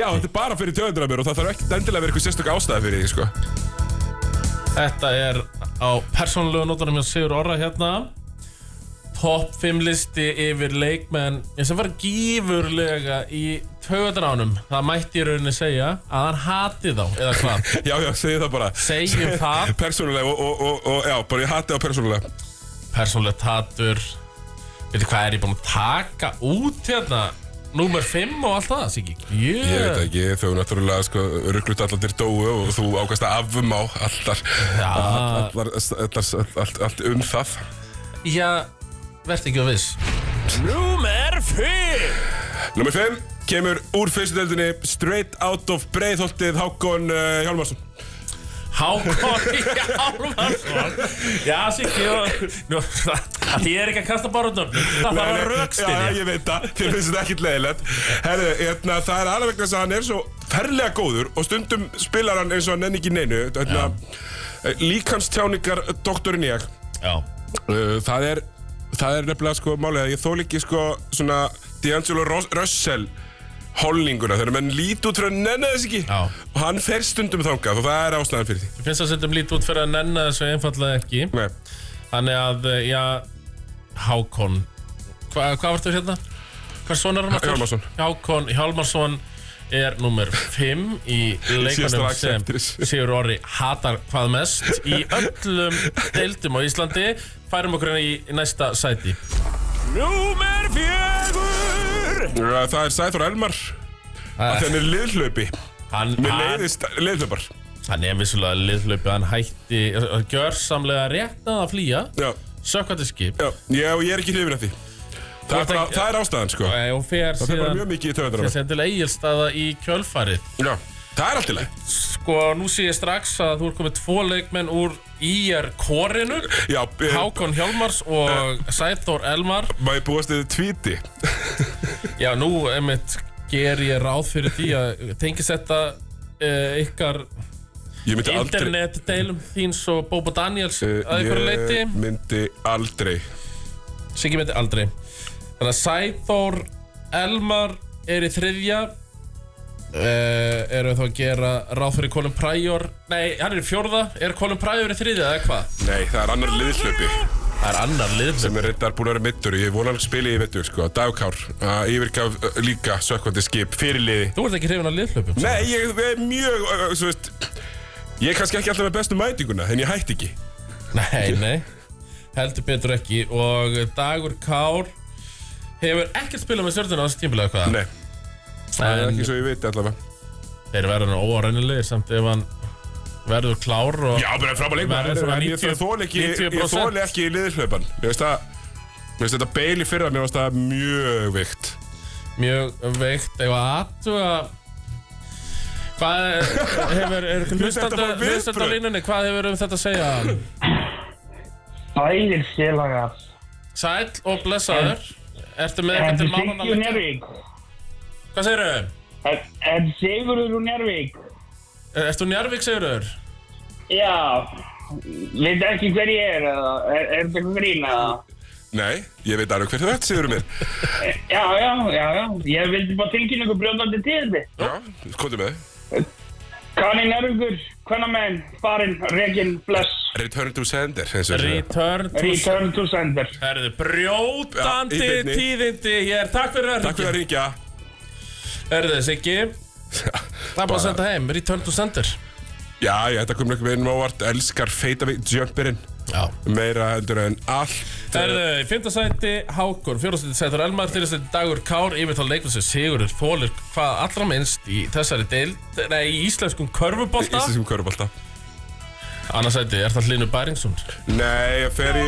Speaker 1: Já, þetta er bara fyrir taugatar á mér og það þarf ekki endilega að vera eitthvað sérstök ástæði fyrir því, sko.
Speaker 2: Þetta er á persónulegu nótunum hjá Sigur Orra hérna Top 5 listi yfir leikmenn sem var gífurlega í töðanánum Það mætti í rauninni segja að hann hati þá eða hvað
Speaker 1: Já, já, segðu það bara.
Speaker 2: Segjum það
Speaker 1: Persónulega og, og, og, og já, bara ég hati á persónulega.
Speaker 2: Persónulegt hatur Veitir hvað er ég búinn að taka út hérna Númer 5 og allt það, Siggi
Speaker 1: Ég veit
Speaker 2: Jö.
Speaker 1: ekki, þau náttúrulega sko, rugglut allar til dóu og þú ákast að afum á allar,
Speaker 2: Já.
Speaker 1: allar, allar, allt, allt um það.
Speaker 2: Já, verð ekki að viss Númer 5
Speaker 1: Númer 5 kemur úr fyrstu deildinni straight out of breiðholtið Hákon uh, Hjálmarsson.
Speaker 2: Hákon Hjálmarsson Já, Siggi og- nú, það- Ég er ekki að kasta bara út nöfnum Það var að
Speaker 1: Já,
Speaker 2: rökstinja
Speaker 1: ég veit það, þér finnst þetta ekkit leiðilegt. Herðu, hérna, það er alveg vegna þess að hann er svo ferlega góður og stundum spilar hann eins og hann enn ekki í neinu. Hérna, líkamstjáningar doktorinn ég.
Speaker 2: Já,
Speaker 1: Uh, það er það er nefnilega sko málið að ég þól ekki sko svona D'Angelo Ros- Russell holninguna þegar menn lít út frá nenni þess ekki
Speaker 2: Já.
Speaker 1: og hann fer stundum þangað og það er ástæðan fyrir því
Speaker 2: ég finnst að setjum lítið út fyrir að nenna þessu einfallega ekki
Speaker 1: Nei.
Speaker 2: Þannig að, eh, já, Hákon Hva, Hvað vartu hérna? Hvað sonar hann? aftur?
Speaker 1: Hjálmarsson.
Speaker 2: Hákon Hjálmarsson er nummer 5 í leikunum
Speaker 1: strax
Speaker 2: sem
Speaker 1: eftir þessu.
Speaker 2: Sigur Orri hatar hvað mest í öllum deildum á Íslandi færum okkur hérna í næsta sæti Númer 4
Speaker 1: Uh, það er Sæþór Elmar að því hann er liðhlaupi
Speaker 2: Hann,
Speaker 1: mér
Speaker 2: hann,
Speaker 1: leiðist liðhlaupar
Speaker 2: hann er vissulega liðlöpi, hann hætti gjörsamlega réttnað að flýja
Speaker 1: já,
Speaker 2: sökkvandi skip
Speaker 1: já, já, og ég er ekki hrifin af því það
Speaker 2: Þú
Speaker 1: er,
Speaker 2: ert
Speaker 1: bara,
Speaker 2: ekki-
Speaker 1: það er ástæðan sko
Speaker 2: Eh, og fer
Speaker 1: það er bara
Speaker 2: síðan
Speaker 1: mjög mikið í töðunar á
Speaker 2: fer síðan til eigilstaða í kjölfarið
Speaker 1: mér já, það er allt í leið
Speaker 2: Sko, nú sé ég strax að þú er komið tvo leikmenn úr IR korinu
Speaker 1: já, eh,
Speaker 2: Hákon Hjálmars og Sæþór Elmar
Speaker 1: má ég búast við tvíti
Speaker 2: Já, nú emitt ger ég ráð fyrir því að tengist þetta uh, ykkar
Speaker 1: ég myndi aldrei
Speaker 2: internetdeilum þíns og Bobo Daniels
Speaker 1: Eh,
Speaker 2: að ykkur leiti
Speaker 1: ég myndi aldrei
Speaker 2: Siggi myndi aldrei Þannig að Sæþór Elmar er í þriðja Uh, erum við þá að gera ráð fyrir Colin Pryor Nei, hann er í fjórða Er Colin Pryor í þriðja eða hvað?
Speaker 1: Nei, það er annar liðslöpi
Speaker 2: Það er annar lið
Speaker 1: sem er reyndar búin að vera mittur Ég vona hann spili í vettur, sko Dagkár, að yfirgaf uh, líka sökkvandi skip fyrir liði
Speaker 2: Þú ert ekki hrifin af liðhlaupum
Speaker 1: Nei, ég ég er mjög, uh, uh, svo veist Ég er kannski ekki alltaf með bestu mætinguna En ég hætti ekki
Speaker 2: Nei, nei Heldur betur ekki Og Dagur Kár Hefur ekkert spilað með stjórnuna á þessu tímulega hvað
Speaker 1: Nei, það er
Speaker 2: En
Speaker 1: ekki svo ég veit allavega
Speaker 2: þeir verður nú óarænilegir Samt ef hann verður klár og...
Speaker 1: Já, bara frábæð
Speaker 2: Maður er
Speaker 1: leikmaður
Speaker 2: svona
Speaker 1: En ég
Speaker 2: 90
Speaker 1: þóli ekki, ég
Speaker 2: 90%.
Speaker 1: þóli ekki liðslöpan Ég veist það Mér finnst þetta beili fyrra, mér finnst það mjög veikt
Speaker 2: Mjög veikt Ef að aðtuga Hvað er- hefur er
Speaker 1: Þetta var viðbrögð.
Speaker 2: Hlustandi á línunni Hvað hefur um þetta að segja
Speaker 6: Sælir félagar.
Speaker 2: Sæll og blessaður Ertu með
Speaker 6: En
Speaker 2: eitthvað til
Speaker 6: Sigurður
Speaker 2: mánana líka?
Speaker 6: Njárvík.
Speaker 2: Hvað segirðu?
Speaker 6: En- En Sigurður Njárvík.
Speaker 2: Er- Ertu Njarvík segirður?
Speaker 6: Já. Veit ekki hver ég er eða? Er, er þetta eitthvað grín eða?
Speaker 1: Nei, ég veit alveg hver þú ert, Sigurður mér
Speaker 6: Já, já, já, já. Ég vildi bara tengja ykkur brjóðandi tíðandi.
Speaker 1: Já, komdu með þau
Speaker 6: Kanin Erfingur, Kvennamenn, Farinn, Reginn, Bless,
Speaker 1: Return to sender eins og þessu.
Speaker 2: Return to
Speaker 6: Return to Sender.
Speaker 2: Herðu,
Speaker 1: Já,
Speaker 2: brjótandi
Speaker 1: í beinni.
Speaker 2: tíðindi hér, takk fyrir að
Speaker 1: Takk fyrir að ringja
Speaker 2: Herðu, Siggi, það er bara að senda heim, return to sender
Speaker 1: Já, já, þetta kom nokkuð með einum ávart Elskar feita við jumperinn
Speaker 2: Já
Speaker 1: Meira heldur en allt eh,
Speaker 2: Herðu, í fymta sæti Hákon, fjórastæti sætur Elmar, þýrastæti Dagur Kár, yfirtal leikvæmstu Sigurður Þólir, hvað allra minnst í þessari deild, nei, í íslenskum körfubolta,
Speaker 1: Íslandsum körubólta
Speaker 2: annarsæti er það Hlynur Bæringsson
Speaker 1: Nei, ég fer í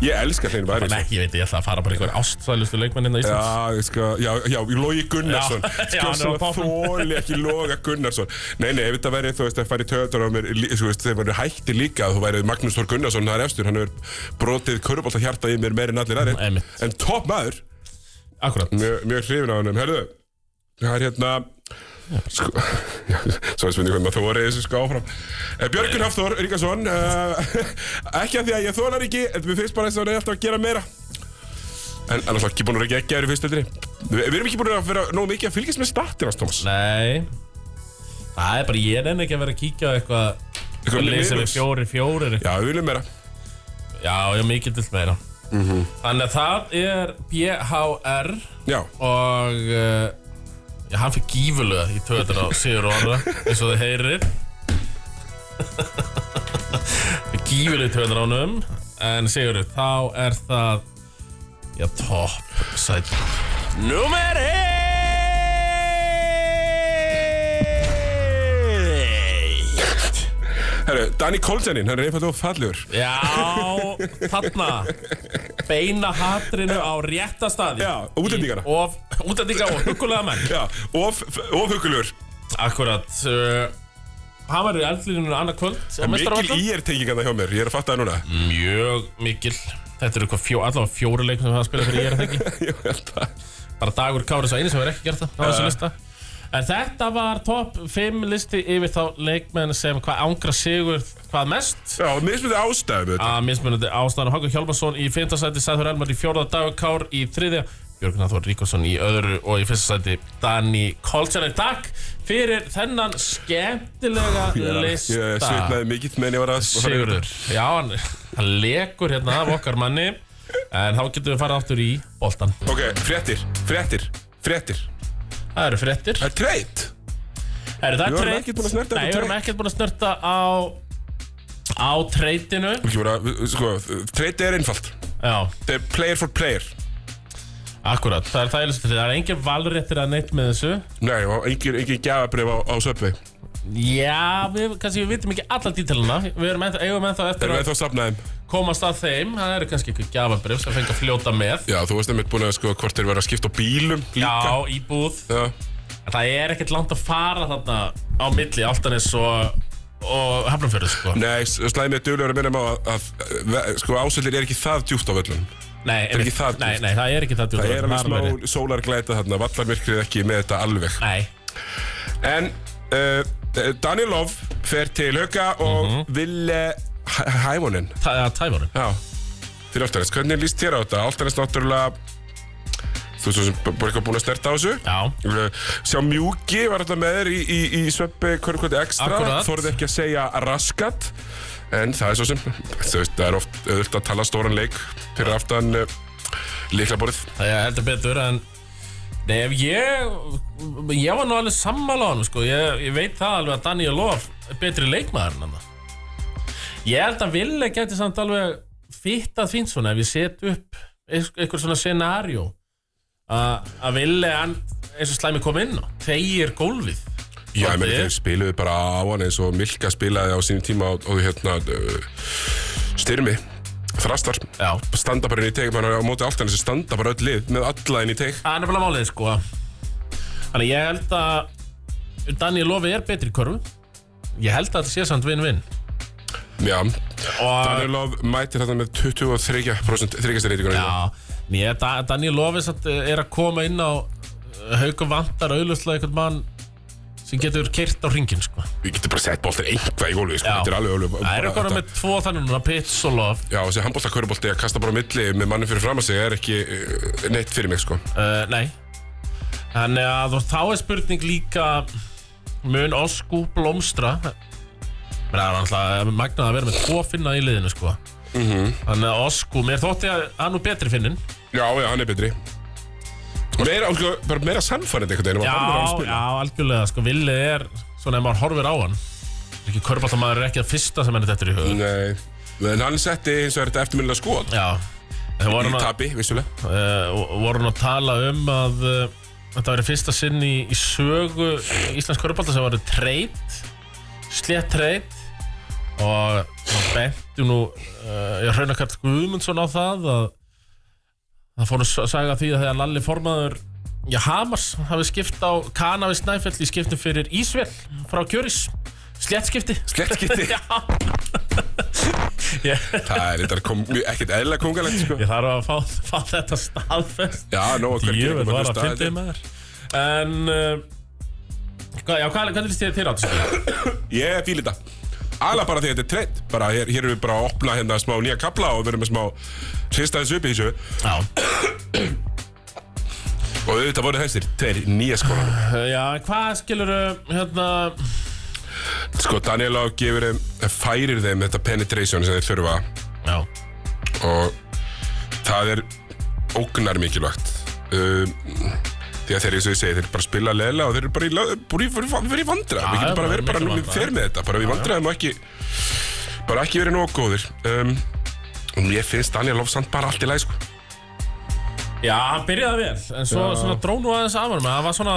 Speaker 1: Ég elska hreinu væri
Speaker 2: Nei, ég veit, ég ætla að fara bara einhver ástsælustu leikmenn hérna innan Íslands
Speaker 1: Já, ég sko, já, já, Lógi Gunnarsson
Speaker 2: Já, já,
Speaker 1: Sko,
Speaker 2: hann er á
Speaker 1: svona
Speaker 2: toppnum.
Speaker 1: þóli ekki Lóga Gunnarsson Nei, nei, ef þetta væri, þú veist, að fara í töðunar á mér lí- Þú veist, þeir væri hætti líka að Þú væri Magnús Þór Gunnarsson, það er efstur Hann hefur brotið körubólta hjartað í mér meir en allir aðrir
Speaker 2: Einmitt.
Speaker 1: En topp maður,
Speaker 2: Akkurat
Speaker 1: mjög, mjög hrifin á honum Herðu, það er hérna Sko, já, svo er spurning hvernig maður þórið þessu sko áfram Eh, Björgun Hafþór Ríkarsson uh, Ekki að því að ég þólar ekki En mér finnst bara þess að hann er alltaf að gera meira En annars ekki búin að vera ekki að vera í fyrstildri Við við erum ekki búin að vera nógu mikið að fylgjast með startið hans, Thomas
Speaker 2: Nei Það er bara, ég nenni ekki að vera að kíkja á eitthvað
Speaker 1: Eitthvað
Speaker 2: Lið sem er
Speaker 1: minus.
Speaker 2: fjóri, fjóri
Speaker 1: Já, við viljum meira
Speaker 2: Já, já, mikið til meira Þannig að það er BHR
Speaker 1: Já,
Speaker 2: og uh, já, hann fyrir gífulega í töður á Sigur Orra eins og þið heyrir Gífulega í töður ánum en Sigur, þá er það já, topp sæt Númer 1
Speaker 1: herru, Danny Koltjanin, hann er einfallega fallegur
Speaker 2: Já, þarna Beina hatrinu á rétta staði
Speaker 1: Já, og útlendingana.
Speaker 2: Og útlendinga og huggulega menn
Speaker 1: Já, of, of hugulegur
Speaker 2: Akkurat uh, Hann verður í eldlínunum annað kvöld á
Speaker 1: Mikil
Speaker 2: meistaravöllum.
Speaker 1: í er tekingan hjá mér, ég er að fatta það núna
Speaker 2: Mjög mikil Þetta eru eitthvað fjó, allavega fjóru leikum sem hann spila fyrir ég er ekki
Speaker 1: Ég held að
Speaker 2: Bara dagur Kári svo eini sem hefur ekki gert það á þessu lista En þetta var topp 5 listi yfir þá leikmenn sem hvað ángra sigur hvað mest
Speaker 1: Já, mismunandi ástæðum þetta
Speaker 2: að mismunandi ástæðan Hákon Hjálmarsson í 5. sæti, Sæður Elmar í 4. dagur Kár í 3. Björgnar Þór Ríkarsson í öðru og í 1. sæti Dani Koltjarni. Takk fyrir þennan skemmtilega lista
Speaker 1: Ég svitnaði mikið meðan ég var að
Speaker 2: Sigurður, já hann, hann lekur hérna af okkar manni en þá getum við farið aftur í boltan.
Speaker 1: Ok, fréttir, fréttir, fréttir Eh,
Speaker 2: Það eru fréttir
Speaker 1: Það er treyt
Speaker 2: Eru það
Speaker 1: Við vorum
Speaker 2: treyt?
Speaker 1: ekkert búin að snerta
Speaker 2: Nei,
Speaker 1: þetta
Speaker 2: við erum
Speaker 1: treyt.
Speaker 2: ekkert búin að snörta á á treytinu
Speaker 1: Ekki bara, sko, treyt er einfalt
Speaker 2: Já,
Speaker 1: Það er player for player
Speaker 2: akkurat, það er þægilegst það er engin valréttir að neitt með þessu
Speaker 1: Nei, og engin, engin gjafabrif á, á söpvi
Speaker 2: Já, við, kannski við vitum ekki alla dítalina Við erum ennþá, eigum ennþá eftir
Speaker 1: Erum við
Speaker 2: að
Speaker 1: þá að safna þeim?
Speaker 2: komast að þeim Það eru kannski eitthvað gjafabrif sem fengi að fljóta með
Speaker 1: Já, þú veist einmitt búin að sko hvort þeir verða að skipta á bílum líka
Speaker 2: Já, íbúð
Speaker 1: Já
Speaker 2: En Það er ekkert langt að fara þarna á milli Altanis og, og Hafnumfjörðu sko
Speaker 1: Nei, s- slæmi er duglegur að minna mig á að, að ve- sko ásöldir er ekki það djúft á völlunum
Speaker 2: Nei,
Speaker 1: er ekki það
Speaker 2: nei,
Speaker 1: djúpt.
Speaker 2: nei, það er ekki það djúpt.
Speaker 1: Það er
Speaker 2: meiri.
Speaker 1: alveg smá sólarglæta þarna, vallarmyrkrið ekki með þetta alveg
Speaker 2: Nei,
Speaker 1: En uh, Danilov fer til Hauka og mm
Speaker 2: Mhm.
Speaker 1: Ville Hæmonin
Speaker 2: það er tæmarum
Speaker 1: Já Fyrir Altanes, hvernig líst þér á þetta? Altanes náttúrulega Þú veist svo sem b- bara eitthvað búin að snerta á þessu
Speaker 2: Já,
Speaker 1: Eh, Sjá Mjúki var þetta með þér í, í, í sveppi Körkvöldi Extra
Speaker 2: Akkurat.
Speaker 1: Þorði ekki að segja raskat En það er svo sem Þú veist, það er oft auðvitað að tala stóran leik Fyrir aftan uh, líklaborðið
Speaker 2: það er heldur betur en Nei, ef ég Ég var nú alveg sammála á hann sko. ég, ég veit það alveg að Daniel Lof er betri leikmaður en hann Ég held að Ville geti samt alveg fýttað fínt svona ef ég set upp einhver svona scenario að Ville hann eins og slæmi kom inn á tegir gólfið
Speaker 1: Já, ég meni
Speaker 2: Svolítið.
Speaker 1: þeir spiluðu bara á hann eins og Milka spilaði á sínum tíma á, á hérna uh, styrmi þrastar
Speaker 2: Já.
Speaker 1: standa bara inn í teik, bara á móti allt hann standa bara öll lið með alla inn í teik
Speaker 2: Það er nefnilega málið sko Þannig ég held að Daniel Lofi er betri í körfu Ég held að þetta sé samt vinn-vinn
Speaker 1: Já,
Speaker 2: Og
Speaker 1: Danilov mætir þetta með 23% þryggjastarreitinguna
Speaker 2: Já, nýja, da, eh, Daniel Lofis er að koma inn á uh, Haukum vantar auðvitað einhvern mann sem getur kert á ringin sko.
Speaker 1: Við getum bara sett boltin eitthvað í gólfi sko.
Speaker 2: Já.
Speaker 1: Þetta er alveg alveg
Speaker 2: Það er okkur
Speaker 1: þetta-
Speaker 2: með tvo þannig núna, Pits og Love
Speaker 1: Já, þessi handbóltakörbolti að kasta bara á milli með manni fyrir fram að sig er ekki eh, neitt fyrir mig sko
Speaker 2: Uh, nei Þannig að og þá er spurning líka Mun Osku blómstra Men það er alltaf magnað að vera með tvo finna í liðinu sko
Speaker 1: Mhm.
Speaker 2: Þannig að Osku, mér þótti að hann er betri finnin
Speaker 1: Já, já, hann er betri Meira, sko, bara meira sannfærandi einhvern veginn
Speaker 2: Já,
Speaker 1: maður horfir á hann spila.
Speaker 2: já, algjörlega sko Villið er, svona ef maður horfir á hann er ekki körbáttamæður er ekki að fyrsta sem henni þetta er í
Speaker 1: Mm.
Speaker 2: huga
Speaker 1: Nei, en hann setti eins og er þetta eftirminnilega skot
Speaker 2: Já, það
Speaker 1: Í
Speaker 2: voru hann að
Speaker 1: tabi, vissulega
Speaker 2: uh, voru nú að tala um að uh, þetta verið fyrsta sinn í, í sögu Íslands Körbálta sem verið treyt slétt treyt og það bentu nú uh, ég hrauna Karl Guðmundsson á það að það fór nú s- saga því að þegar Lalli formaður já, Hamas hafi skipt á Kana við Snæfell í skiptum fyrir Ísvel frá Kjöris slétt skipti
Speaker 1: Sklettskitti
Speaker 2: Já Ég,
Speaker 1: Það er þetta kom mjög- ekkert eðlilega kongalegt sko
Speaker 2: ég þarf að fá, fá þetta staðfest
Speaker 1: Já, nóg að hverju
Speaker 2: Jöfn var að fyndið maður En uh, hvað, Já, hvað, hvað líst þér til átt?
Speaker 1: Ég er fíl í þetta Alla bara því að þetta er treynt Bara hér, hér erum við bara að opna hérna smá nýja kapla og verðum með smá hrista þessu upp í þessu
Speaker 2: Já,
Speaker 1: og auðvitað voru þessir tveir nýja skólanum
Speaker 2: Uh, já hvað skilur hérna
Speaker 1: Sko, Daniel Á gefur þeim, færir þeim þetta penetration sem þeir þurfa
Speaker 2: Já,
Speaker 1: og það er ógnar mikilvægt um, því að þeir, eins og ég segi, þeir bara spila leila og þeir eru bara í, la- bara í, bara í, bara í vandra við
Speaker 2: já,
Speaker 1: getum bara
Speaker 2: bara
Speaker 1: verið bara
Speaker 2: miklu
Speaker 1: núna
Speaker 2: vandræðum.
Speaker 1: fyrir með þetta bara við vandraðum og ekki bara ekki verið nóg góðir um, og mér finnst Daniel Á samt bara allt í læg sko.
Speaker 2: já hann byrjaði vel En svo svona drónu aðeins af honum Það var svona,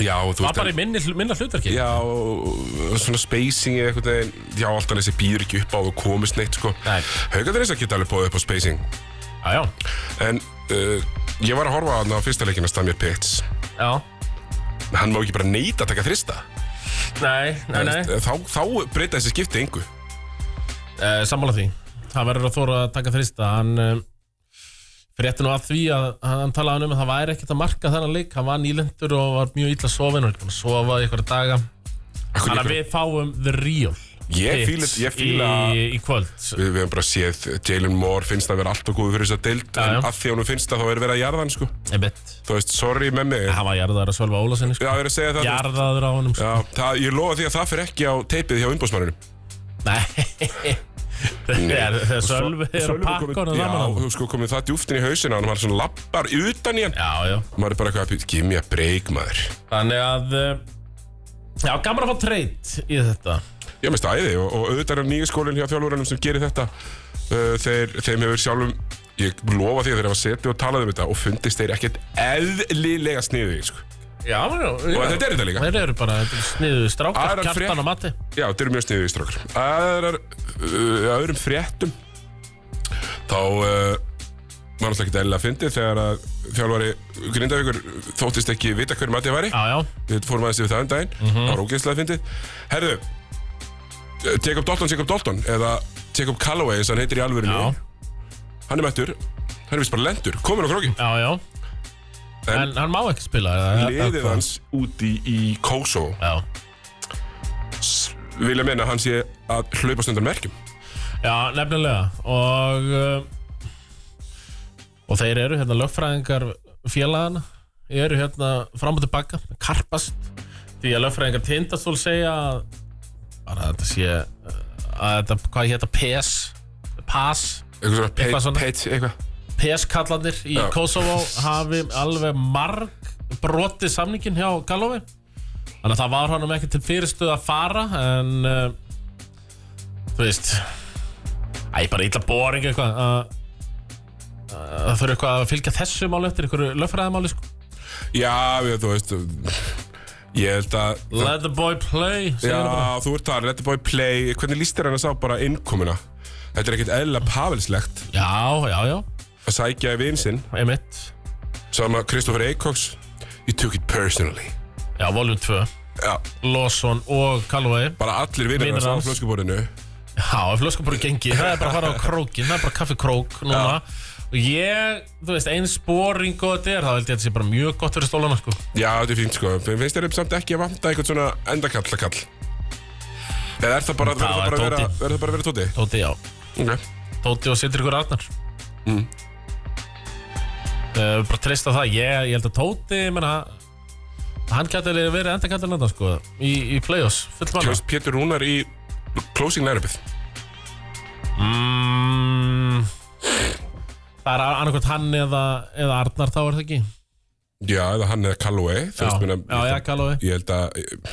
Speaker 1: já, og þú
Speaker 2: var bara í minni, minna hlutverki
Speaker 1: já, og svona spacing eða eitthvað veginn, já, alltaf þessi býður ekki upp á og komist neitt, sko
Speaker 2: Nei.
Speaker 1: haugadur þess að geta alveg bóðið upp á spacing
Speaker 2: já, já,
Speaker 1: en uh, ég var að horfa þarna á fyrsta leikinn að Stamir Pitts
Speaker 2: já.
Speaker 1: hann má ekki bara neita að taka þrista
Speaker 2: Nei, nei, nei
Speaker 1: þá, þá breyta þessi skipti yngu
Speaker 2: uh, Sammála því Það verður að þóra að taka þrista Hann uh, frétti nú að því að hann talaði um að það væri ekkert að marka þennan leik Hann var nýlendur og var mjög illa sofin og er búinn að sofa í einhverja daga Þannig að
Speaker 1: við,
Speaker 2: við fáum The Real
Speaker 1: Ég fíla-
Speaker 2: hits
Speaker 1: ég fíla-
Speaker 2: í, í kvöld
Speaker 1: við höfum bara séð Jalen Moore finnst að vera allt og góð fyrir þess að deild
Speaker 2: Já, já.
Speaker 1: en að því hann finnst það þá er verið að jarða hann sko
Speaker 2: Einmitt.
Speaker 1: þú veist, sorry með mig
Speaker 2: Hann var jarðaður að Sölva Ólasinni sko.
Speaker 1: Já, ég er að segja það, þú veist.
Speaker 2: Jarðaður á honum sko.
Speaker 1: Já, það, ég lofa því að það fyrir ekki á teipið hjá umbósmanninu
Speaker 2: Nei Þegar þegar Sölvi er að pakka honum saman á
Speaker 1: Já, þú sko komið það djúftin í hausina og maður svona lappar utan í hann
Speaker 2: Já, já
Speaker 1: maður er bara eitthvað að give me a break maður
Speaker 2: Þannig að eh, Já, gaman að fá treyt í þetta
Speaker 1: Ég minnst æði og, og auðvitað er nýja skólinn hjá þjálfurunum sem gerir þetta uh, þeir, þeim hefur sjálfum ég lofa því að þeir hafa setið og talað um þetta og fundist þeir ekkert eðlilega sniðu sko.
Speaker 2: Já, já, já.
Speaker 1: og þetta er þetta líka
Speaker 2: Þeir eru bara sniðu strákar,
Speaker 1: Aðrar
Speaker 2: kjartan
Speaker 1: frétt-
Speaker 2: og mati
Speaker 1: Já, þeir eru mjög sniðu í strákar Aðrar, uh, öðrum fréttum þá uh, var náttúrulega ekkert eðlilega fyndið þegar að þjálfari Grindavíkur þóttist ekki vita hver matið væri
Speaker 2: Já, já,
Speaker 1: við fórum aðeins yfir það um daginn
Speaker 2: Mhm.
Speaker 1: það var ógeðslega fyndið Herðu, eh, Jacob Dalton, Jacob Dalton eða Jacob Callaway eins og hann heitir í alvörinu
Speaker 2: Já.
Speaker 1: hann er mættur hann er vist bara lendur, komin á krókin
Speaker 2: já, já En,
Speaker 1: En-
Speaker 2: hann má ekki spila eða-
Speaker 1: liðið
Speaker 2: eða-
Speaker 1: hans úti í Kosovo
Speaker 2: Já,
Speaker 1: vilja meina að hann sé að hlaupast undan merkjum
Speaker 2: Já, nefnilega og uh, og þeir eru hérna lögfræðingar félagana eru hérna fram og tilbaka, karpast því að lögfræðingar tindastól segja að bara þetta sé uh, að þetta, hvað hétta, PS PAS,
Speaker 1: eitthvað svona
Speaker 2: Eitthvað svona.
Speaker 1: peit, peit, eitthvað
Speaker 2: PS kallandir í
Speaker 1: Já.
Speaker 2: Kosovo hafi alveg marg brotið samningin hjá Galovi þannig að það var honum ekki til fyrirstuð að fara en uh, þú veist Æ, bara illa boring eitthvað að að það þurfi eitthvað að fylgja þessu máli eftir einhverju lögfræðamáli sko.
Speaker 1: já, við, þú veist ég held að
Speaker 2: Let the boy play segir hann bara.
Speaker 1: já, þú ert þar, let the boy play hvernig líst þér hann að sá bara innkomuna þetta er ekkert eðlilega pavelslegt
Speaker 2: já, já, já,
Speaker 1: að sækja í vin sinn
Speaker 2: einmitt
Speaker 1: Sama Kristoffer Eikóks You took it personally
Speaker 2: Já, voljum 2
Speaker 1: Já,
Speaker 2: Lawson og Calloway
Speaker 1: bara allir vinnir
Speaker 2: Vinir
Speaker 1: hans á
Speaker 2: hans.
Speaker 1: flöskuborðinu
Speaker 2: Já, ef flöskum bara gengi, það er bara að fara á krókin það er bara kaffi krók núna Og ég, þú veist, eins boring og þetta er, þá held ég að þetta sé bara mjög gott fyrir stólana, sko.
Speaker 1: Já, þetta er fínt sko. Mér finnst þér samt ekki að vanta eitthvað svona endakallakall. Eða er það bara, verður það
Speaker 2: Það
Speaker 1: bara
Speaker 2: er
Speaker 1: að vera,
Speaker 2: Tóti.
Speaker 1: verður það bara að vera tóti?
Speaker 2: Tóti, já.
Speaker 1: Ok.
Speaker 2: Tóti og Sindri ykkur Arnar.
Speaker 1: Mm.
Speaker 2: Uh, bara treysta það. Ég, ég held að Tóti, ég menna, hann gæti alveg verið enda kallar landa, sko, í, í play-offs, full manna.
Speaker 1: Kjóðist Pétur Rúnar í closing line-upið.
Speaker 2: Mm, það er annarkvæmt hann eða, eða Arnar þá er það ekki.
Speaker 1: Já, eða hann eða Callaway. þú veist, meina,
Speaker 2: já, já, Callaway.
Speaker 1: Ég held að,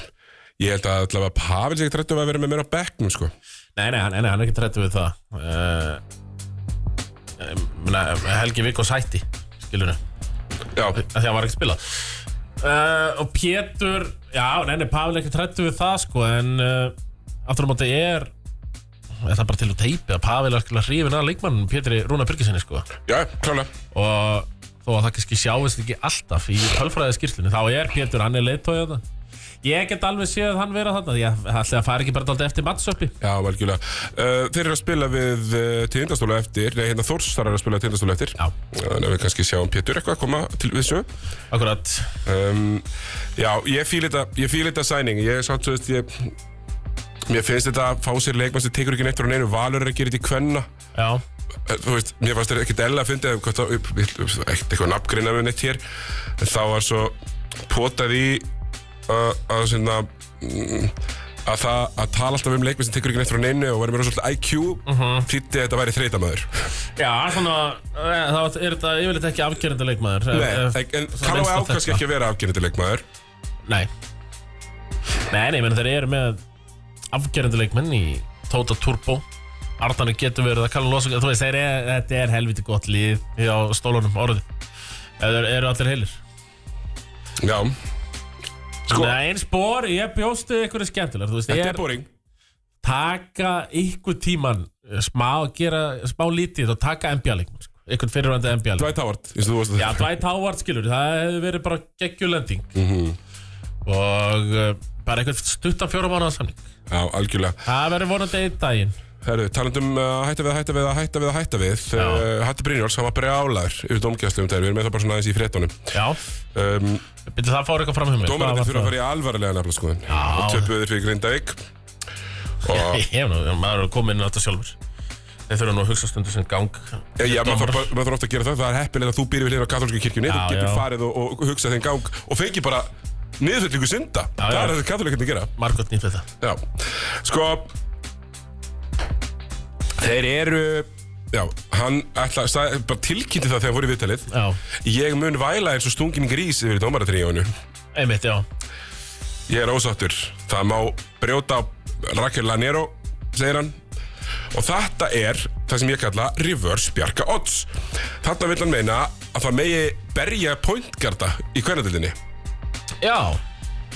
Speaker 1: ég held að allavega Pavel sig trættu að vera með mér á bekknum sko.
Speaker 2: Nei, nei, hann, nei, hann er ekki trættu við það uh, mena, Helgi Vikos hætti skilur við,
Speaker 1: Já,
Speaker 2: af því að hann var ekki að spila uh, og Pétur já, nei, nei, Pavel er ekki trættu við það sko, en uh, aftur á móti er er það bara til að teipi að Pavel er skilur hrifin að leikmann Pétri Rúna Byrgisinni sko
Speaker 1: já, klálega.
Speaker 2: og þó að það kannski sjáist ekki alltaf í tölfræðiskýrslunni þá er Pétur, hann er leiðtóið þetta ég get alveg séð hann vera þarna ég ætla að fara ekki bara alltaf eftir mattsöppi
Speaker 1: Já, velgjúlega. Uh, þeir eru að spila við uh, tindastóla eftir, nei, hérna Þórstar eru að spila tindastóla eftir.
Speaker 2: Já.
Speaker 1: Þannig að við kannski sjáum Pétur eitthvað koma til við sög.
Speaker 2: akkurat
Speaker 1: Um, já, ég fíl þetta, ég fíl þetta sæning. Ég er samt svo, veist, ég, mér finnst þetta að fá sér leikmann sem tekur ekki neitt frá neinu. Valur er að gera þetta í kvenna.
Speaker 2: Já,
Speaker 1: Eh, þú veist, mér fannst þetta ekkert ella að fyndi ekkert eitthvað nafngreina með neitt hér en þá var svo potað í uh, að svona mm, að það að tala alltaf um leikmenn sem tekur ekki neitt frá neinu og verður mér svolítið IQ uh þýtti að þetta væri þreytamöður
Speaker 2: já svona, eh, þá er þetta yfirleitt ekki afgerandi leikmaður eh, eh,
Speaker 1: Nei, en
Speaker 2: svona
Speaker 1: Kalló
Speaker 2: minnst á
Speaker 1: á kannski
Speaker 2: þetta.
Speaker 1: ekki að vera afgerandi leikmaður
Speaker 2: Nei, nei, nei, menn þeir eru með afgerandi leikmenn í Tóta Turbo Arnarni getur verið að kalla losa Þú veist, þeir er, þetta er helviti gott líð á stólunum orðið Ef þeir eru allir heilir
Speaker 1: Já, Sko-
Speaker 2: Nei, eins bor, ég bjóstu ykkur er skemmtilegar Þú veist, ég
Speaker 1: þetta
Speaker 2: er
Speaker 1: er boring
Speaker 2: taka ykkur tíman smá, gera smá lítið og taka NBA-leikmenn sko. Ykkur fyrirvændi NBA-leikmenn
Speaker 1: Dwight Howard, eins og þú varst
Speaker 2: Já,
Speaker 1: að
Speaker 2: Dwight Howard skilur, það hefði verið bara geggjulending
Speaker 1: Mhm.
Speaker 2: og uh, bara einhvern stuttan fjóra mánuða samning
Speaker 1: Já, algjörlega
Speaker 2: Það verður vonandi einn daginn
Speaker 1: Herru, talandum að hætta við að hætta við að hætta við að hætta við uh, Hatti Brynjóls, hann var brjálaður yfir domgjæslu um þeir, við erum með það bara svona aðeins í fréttunum
Speaker 2: Já,
Speaker 1: um,
Speaker 2: byrju það fór eitthvað fram hjá mig
Speaker 1: Dómararnir
Speaker 2: Hvað
Speaker 1: þurfa að
Speaker 2: var
Speaker 1: fara í alvarlega nafnaskoðun og töpuður fyrir Grindavík
Speaker 2: það?
Speaker 1: og
Speaker 2: Ég hef nú, maður er komin inn á þetta sjálfur Þeir þurfa nú að hugsa stundu sem gang
Speaker 1: Eh, Já, maður þarf bara- maður þarf ofta að gera það, það er heppilega að þú býr við hérna á katholsku kirkjunni, þú
Speaker 2: Já,
Speaker 1: getur
Speaker 2: já.
Speaker 1: farið og, og hugsað þinn gang og fengi bara niðurfyllingu synda,
Speaker 2: Já,
Speaker 1: það
Speaker 2: já.
Speaker 1: er þetta katholikandi að gera
Speaker 2: Margot nýtt þetta
Speaker 1: Já, sko Þeir eru, já, hann ætla, sagði- bara tilkynnti það þegar hann fór í viðtalið
Speaker 2: Já,
Speaker 1: Ég mun væla eins og stungin grís yfir dómaratríjónu
Speaker 2: einmitt, já
Speaker 1: Ég er ósáttur. Það má brjóta á Raquel Lanero, segir hann. Og þetta er það sem ég kalla reverse bjarga odds. Þarna vil hann meina að það megi berja pointgarda í kvernadildinni.
Speaker 2: Já,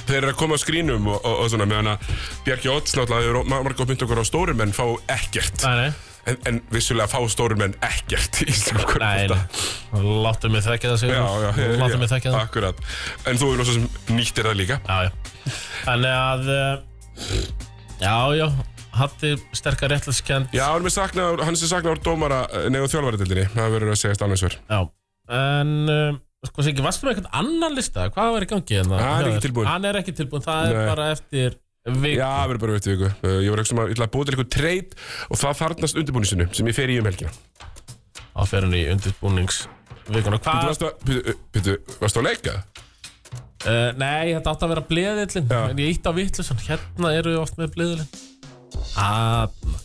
Speaker 1: Þeir eru að koma á skrínum og, og, og svona meðan að bjarga odds náttúrulega hefur mar- margótt mynd okkur á stórum menn fá ekkert.
Speaker 2: nei, nei
Speaker 1: En, en vissulega fá stórum menn ekkert í Ísland
Speaker 2: Nei, nei. láttu mig þekka það sigur
Speaker 1: Já, já, já,
Speaker 2: Láttu mig
Speaker 1: já,
Speaker 2: þekka það
Speaker 1: akkurat En þú er losað sem nýttir það líka
Speaker 2: Já, já. Þannig að eh, Já, já Hatti sterkar réttlætskend
Speaker 1: Já, hann er saknað, hann er saknað úr dómara eh, negu þjálfaritildinni, það verður að segjast annars verð.
Speaker 2: Já, en uh, sko Siggi, varstu með eitthvað annan lista? Hvað var í gangi hérna?
Speaker 1: Hann er ekki tilbúinn.
Speaker 2: Hann er ekki tilbúinn, það
Speaker 1: Nei.
Speaker 2: er bara eftir vik
Speaker 1: Já, það verður bara veitt viku. Uh, Ég var ekki sem að, ég ætla að búa til eitthvað treyt og það þarnast undirbúnisinu sem ég fer í um helgina.
Speaker 2: á ferðinni í undirbúningsvikuna.
Speaker 1: Þú
Speaker 2: Hvað?
Speaker 1: varst að, pítu, pítu, varst að leika?
Speaker 2: Uh, nei, þetta átti að vera bleðillin,
Speaker 1: Já.
Speaker 2: en ég ítti á vittlusan. Hérna eru við oft með bleðillin. Aðna.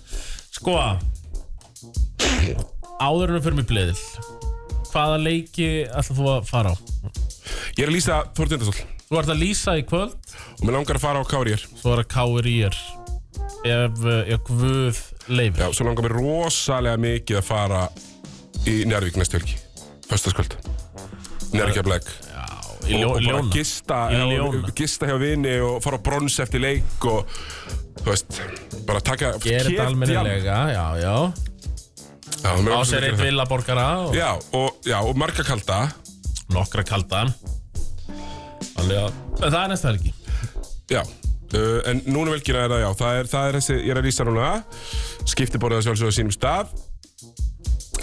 Speaker 2: Sko, áður en við förum í bleðil, hvaða leiki ætlar þú að fara á?
Speaker 1: Ég er að lýsa Þór Tindastól
Speaker 2: Þú ert að lýsa í kvöld,
Speaker 1: og mér langar að fara á Kárir.
Speaker 2: svo er að káir í er ef, eh, ef Guð leifir.
Speaker 1: Já, svo langar mér rosalega mikið að fara í Njárvík næstu helgi. Föstaskvöld. Njárvíkja Black.
Speaker 2: í ljó,
Speaker 1: og, og bara
Speaker 2: ljóna.
Speaker 1: gista,
Speaker 2: Í ljóna.
Speaker 1: gista hjá vini og fara á brons eftir leik og, þú veist, bara taka...
Speaker 2: Gerir
Speaker 1: Kef
Speaker 2: þetta almennilega, já, já
Speaker 1: Já, mér
Speaker 2: Á
Speaker 1: langar svo
Speaker 2: sér
Speaker 1: mikið
Speaker 2: eitt
Speaker 1: að gera það.
Speaker 2: villaborgara og
Speaker 1: Já, og, já, og marga kalda
Speaker 2: nokkra kalda Þannig að En það er næsta helgi
Speaker 1: Já uh, En núna velkina er það, já Það er, það er þessi, ég er að lýsa núna Skiptiborðið að sjálfsögðu á sínum stað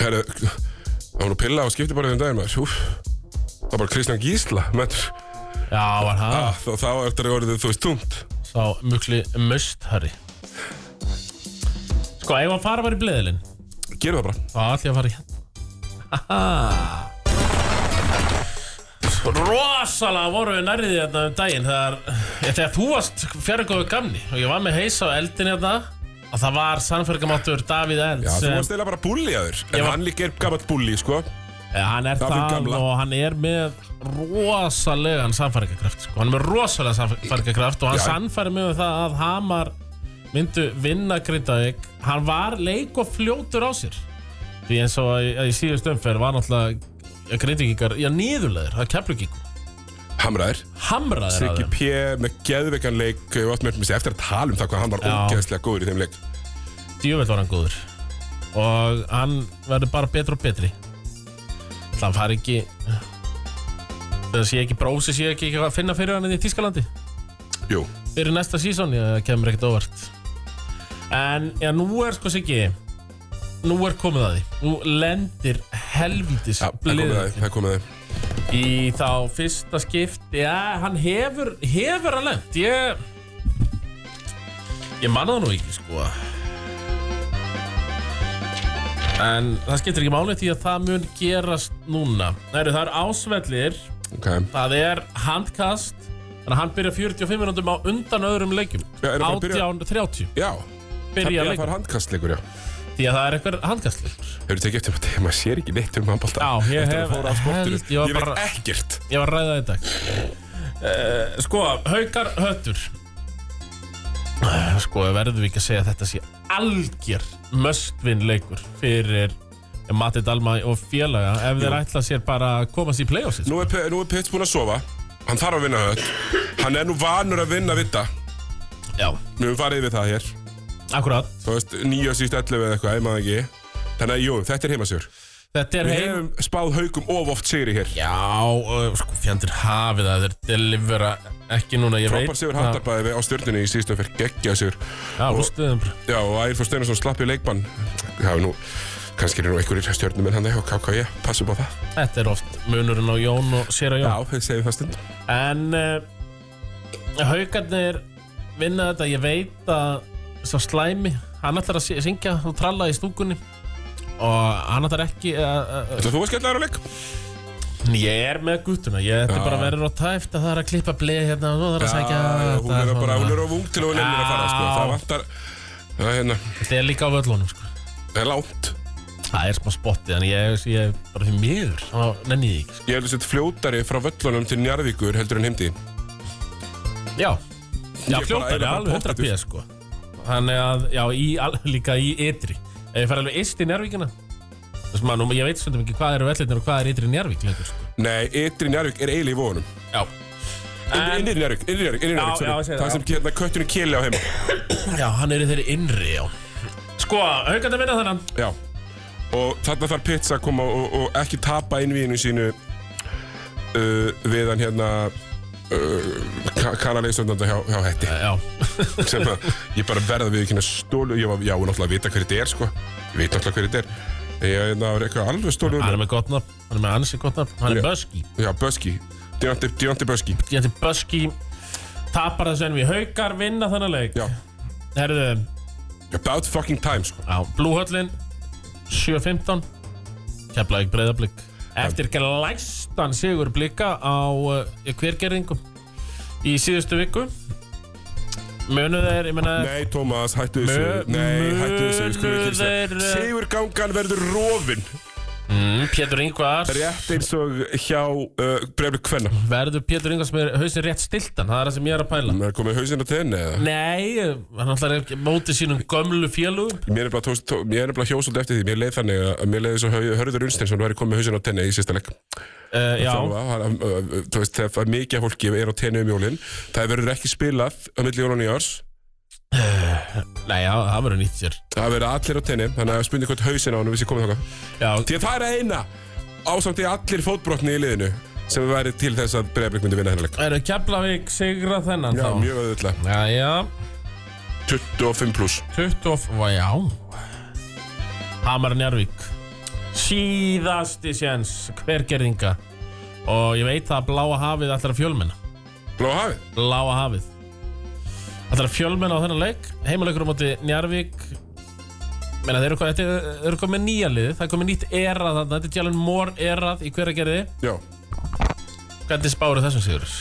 Speaker 1: Herru Það var nú pilla á skipti bara þeim daginn maður Úf. Það var bara Kristján Gísla mentur.
Speaker 2: Já, var það
Speaker 1: Ah, þá, þá er þetta orðið þú veist tungt
Speaker 2: Sá mjögli möstari Sko, ef að fara bara í bleðilinn
Speaker 1: Gerum það bara
Speaker 2: Þá ætlum ég að fara í hérna Rosalega vorum við nærðið hérna um daginn Þegar, ég, þegar þú varst fjarrgóðu gamni Og ég var með heisa á eldin hérna Og það var sannfergamáttur Davíð
Speaker 1: Já,
Speaker 2: Elds
Speaker 1: þú
Speaker 2: sem-
Speaker 1: varst eiginlega bara búlli að þér
Speaker 2: Ég
Speaker 1: En
Speaker 2: var-
Speaker 1: hann líka er gammalt búlli, sko
Speaker 2: Eh, Hann er
Speaker 1: Það fyrir
Speaker 2: það
Speaker 1: gamla.
Speaker 2: og hann er með rosalegan sannfæringarkraft sko. Hann er með rosalega sannfæringarkraft og hann
Speaker 1: Já.
Speaker 2: sannfæri mig um það að Hamar myndu vinna Grindavík Hann var leik og fljótur á sér Því eins og að, að í síðust umferð var náttúrulega Grindavíkingar, já nýðulegur, það kemur ekki
Speaker 1: Hamraðir
Speaker 2: Hamraðir að
Speaker 1: Siggi
Speaker 2: þeim
Speaker 1: P. með geðveikan leik Ég var oft með mér eftir að tala um það hvað hann var
Speaker 2: Já.
Speaker 1: ógeðslega góður í þeim leik
Speaker 2: Djöfell var hann góður Og hann verður bara betri og betri Það fari ekki Það sé ekki brósi, sé ekki eitthvað að finna fyrir hann í Tískalandi
Speaker 1: Jú,
Speaker 2: fyrir næsta sísón ég kemur ekkert óvart en já, nú er sko Siggi nú er komið að því nú lendir helvítis
Speaker 1: ja, það komið að
Speaker 2: blið
Speaker 1: þið, það komið að þið
Speaker 2: í þá fyrsta skipt já, hann hefur, hefur hann lent ég ég manna það nú ekki sko en það skiptir ekki máli því að það mun gerast núna Heru, það er ásvellir
Speaker 1: okay.
Speaker 2: Það er handkast Þannig að hann byrja 45 minútum á undan öðrum leikjum
Speaker 1: Já, er hann bara að byrja-
Speaker 2: 18.30
Speaker 1: Já, það er
Speaker 2: byrja
Speaker 1: að
Speaker 2: leikjum
Speaker 1: fara handkastleikur, já
Speaker 2: Því að það er einhver handkastleikur
Speaker 1: Hefur tekið eftir að maður sér ekki neitt um handbólta
Speaker 2: Já, ég
Speaker 1: Eftir að
Speaker 2: hef-
Speaker 1: fóra af sportinu
Speaker 2: held ég var
Speaker 1: Ég veit
Speaker 2: bara-
Speaker 1: ekkert
Speaker 2: Ég var að ræða þetta uh,
Speaker 1: Eh,
Speaker 2: Sko, haukar höttur Eh, Sko, verðum við ekki að segja að þetta sé algjör möstvinn leikur fyrir Matti Dalma og félaga ef þeir ætla sér bara að komast í playoffsins
Speaker 1: Nú er, P- nú er Pits búinn að sofa Hann þarf að vinna höll Hann er nú vanur að vinna vitta
Speaker 2: Já,
Speaker 1: Við höfum farið yfir það hér
Speaker 2: akkurat
Speaker 1: Þú veist, nýja síst 11 eða eitthvað, ef maður ekki Þannig að jú, þetta er heimasjör
Speaker 2: Þetta er
Speaker 1: Við
Speaker 2: heim
Speaker 1: hefum spáð haukum of oft sigri hér
Speaker 2: Já, uh, sko, fjandir hafið að þeir delivera ekki núna, ég veit
Speaker 1: Frábær sigur handarbæði við á stjörnunni í síðustu fyrir geggja sigur
Speaker 2: Já, um. og stuðum bara
Speaker 1: Já, og Ægir Fór Steinarsson slapp í leikbann Já, nú, kannski eru nú einhverjir stjörnum en hann er hjá KK, E, passa upp á það
Speaker 2: Þetta er oft munurinn á Jón og sér á
Speaker 1: Já,
Speaker 2: Jón
Speaker 1: við segjum það stund
Speaker 2: En uh, haugarnir vinna þetta, ég veit að sá slæmi, hann ætlar að sy- syngja og tralla í stúkunni og hann ætlar ekki að að-
Speaker 1: Þetta þú að skella þér á leik?
Speaker 2: Ég er með guttuna, ég ætti
Speaker 1: Já.
Speaker 2: bara að vera og tæft að það er að klippa bleið hérna og það er að sækja
Speaker 1: Já, hún er
Speaker 2: þetta,
Speaker 1: bara, hún
Speaker 2: svona.
Speaker 1: er á vung til að hún er að fara, sko
Speaker 2: Já.
Speaker 1: Það vantar, það er hérna,
Speaker 2: Þetta er líka á völlunum sko
Speaker 1: það er lágt
Speaker 2: Það er smá spottið, en ég, ég er bara því miður, þá nenni ég ekki. sko.
Speaker 1: Ég held þessi fljótari frá völlunum til Njarðvíkur heldur en heimdi
Speaker 2: sko. Já, já
Speaker 1: bara- ég er
Speaker 2: fljótar er
Speaker 1: bara
Speaker 2: alveg 100
Speaker 1: pottþéttur.
Speaker 2: píða, sko. Þannig að, já, í, al, líka í ytri. Ef ég fer alveg yst í Njárvíkina, þessum að nú, ég veit svolítið ekki hvað eru vellinir og hvað er ytri Njárvík, leikur, sko.
Speaker 1: Nei, ytri Njarðvík er eiginlega í vonum
Speaker 2: Já. En,
Speaker 1: Innir Njarðvík, innir Njarðvík, innir
Speaker 2: Já, já,
Speaker 1: Njarðvík
Speaker 2: ég segi
Speaker 1: sorry. Það
Speaker 2: það,
Speaker 1: sem hérna kötturinn keli á heima
Speaker 2: já, hann er í þeirri innri, já. Sko, haugandi að vinna þennan.
Speaker 1: Já Og þarna þarf pizza að koma og, og ekki tapa innvíinu sínu uh, Við hann hérna uh, Kanalegisöndanda hjá, hjá hætti
Speaker 2: Já,
Speaker 1: Sem að ég bara verða við ekki stólu Ég var, já, og náttúrulega að vita hver þetta er, sko Ég veit náttúrulega hver þetta er Ég er hérna, er eitthvað alveg stólu
Speaker 2: hann er með gott nafn, hann er með ansi gott nafn, hann
Speaker 1: Já.
Speaker 2: er Böski.
Speaker 1: Já, Böski Dionte, Dionte Böski
Speaker 2: Ég ætti Böski, tapar þessu en við haugar vinna þennan leik.
Speaker 1: Já,
Speaker 2: Herðu,
Speaker 1: about fucking time, sko
Speaker 2: Já, Blúhöllin 7.15 Keflavík breyðablík Eftir glæstan sigur blika á uh, hvergerðingum í síðustu viku Munu þeir, ég menna
Speaker 1: Nei, Tómas, hættu þessu
Speaker 2: Mö-
Speaker 1: Nei, hættu þessu, við skulum
Speaker 2: munu
Speaker 1: ekki
Speaker 2: þeir,
Speaker 1: þessu
Speaker 2: eh,
Speaker 1: Sigur gangan verður rofin
Speaker 2: mm, Pétur Ingvars
Speaker 1: Rétt eins og hjá uh, brefli kvenna
Speaker 2: Verður Pétur Ingvars með hausin rétt stiltan Það er það sem ég er að pæla
Speaker 1: Það er komið hausinn á tenni eða?
Speaker 2: Nei, hann alltaf er ekki mótið sínum gömlu fjölugum
Speaker 1: Mér er bara, tókst- tó- mér er bara hjósald eftir því Mér leið þannig að að mér leið þess að Hörður Unstinsson væri komið hausinn á tenni í sérsta leik
Speaker 2: uh, Já,
Speaker 1: Þá var hann- ö, ö, Þú veist, þegar mikið af fólki er á tenni um jólin Það verður ekki spilað á milli jólun í árs
Speaker 2: nei, já, það verður nýtt sér
Speaker 1: Það verður allir á tenni Þannig að spurning hvort hausinn á hann vissi komið þáka
Speaker 2: Já,
Speaker 1: Því að það er að eina Ásamt í allir fótbrotni í liðinu Sem væri til þess að Breiðablik myndi vinna hennar
Speaker 2: er Keflavík sigra þennan
Speaker 1: Já,
Speaker 2: þá?
Speaker 1: mjög auðvitað
Speaker 2: Já, já,
Speaker 1: 25 pluss
Speaker 2: 20 og... Já Hamar Njarvík síðasti séns hvergerðinga og ég veit það að bláa hafið ætlar að fjölmenna
Speaker 1: Blá hafið?
Speaker 2: bláa hafið ætlar að fjölmenna á þennan leik heimaleikur á móti Njarvík Meina, þeir eru kom- þetta eru- eru komið nýja liði, það er komið nýtt erað þarna, þetta er Jalen Moore erað í hverjargerði.
Speaker 1: Já.
Speaker 2: Hvernig spáru þessum sigurus?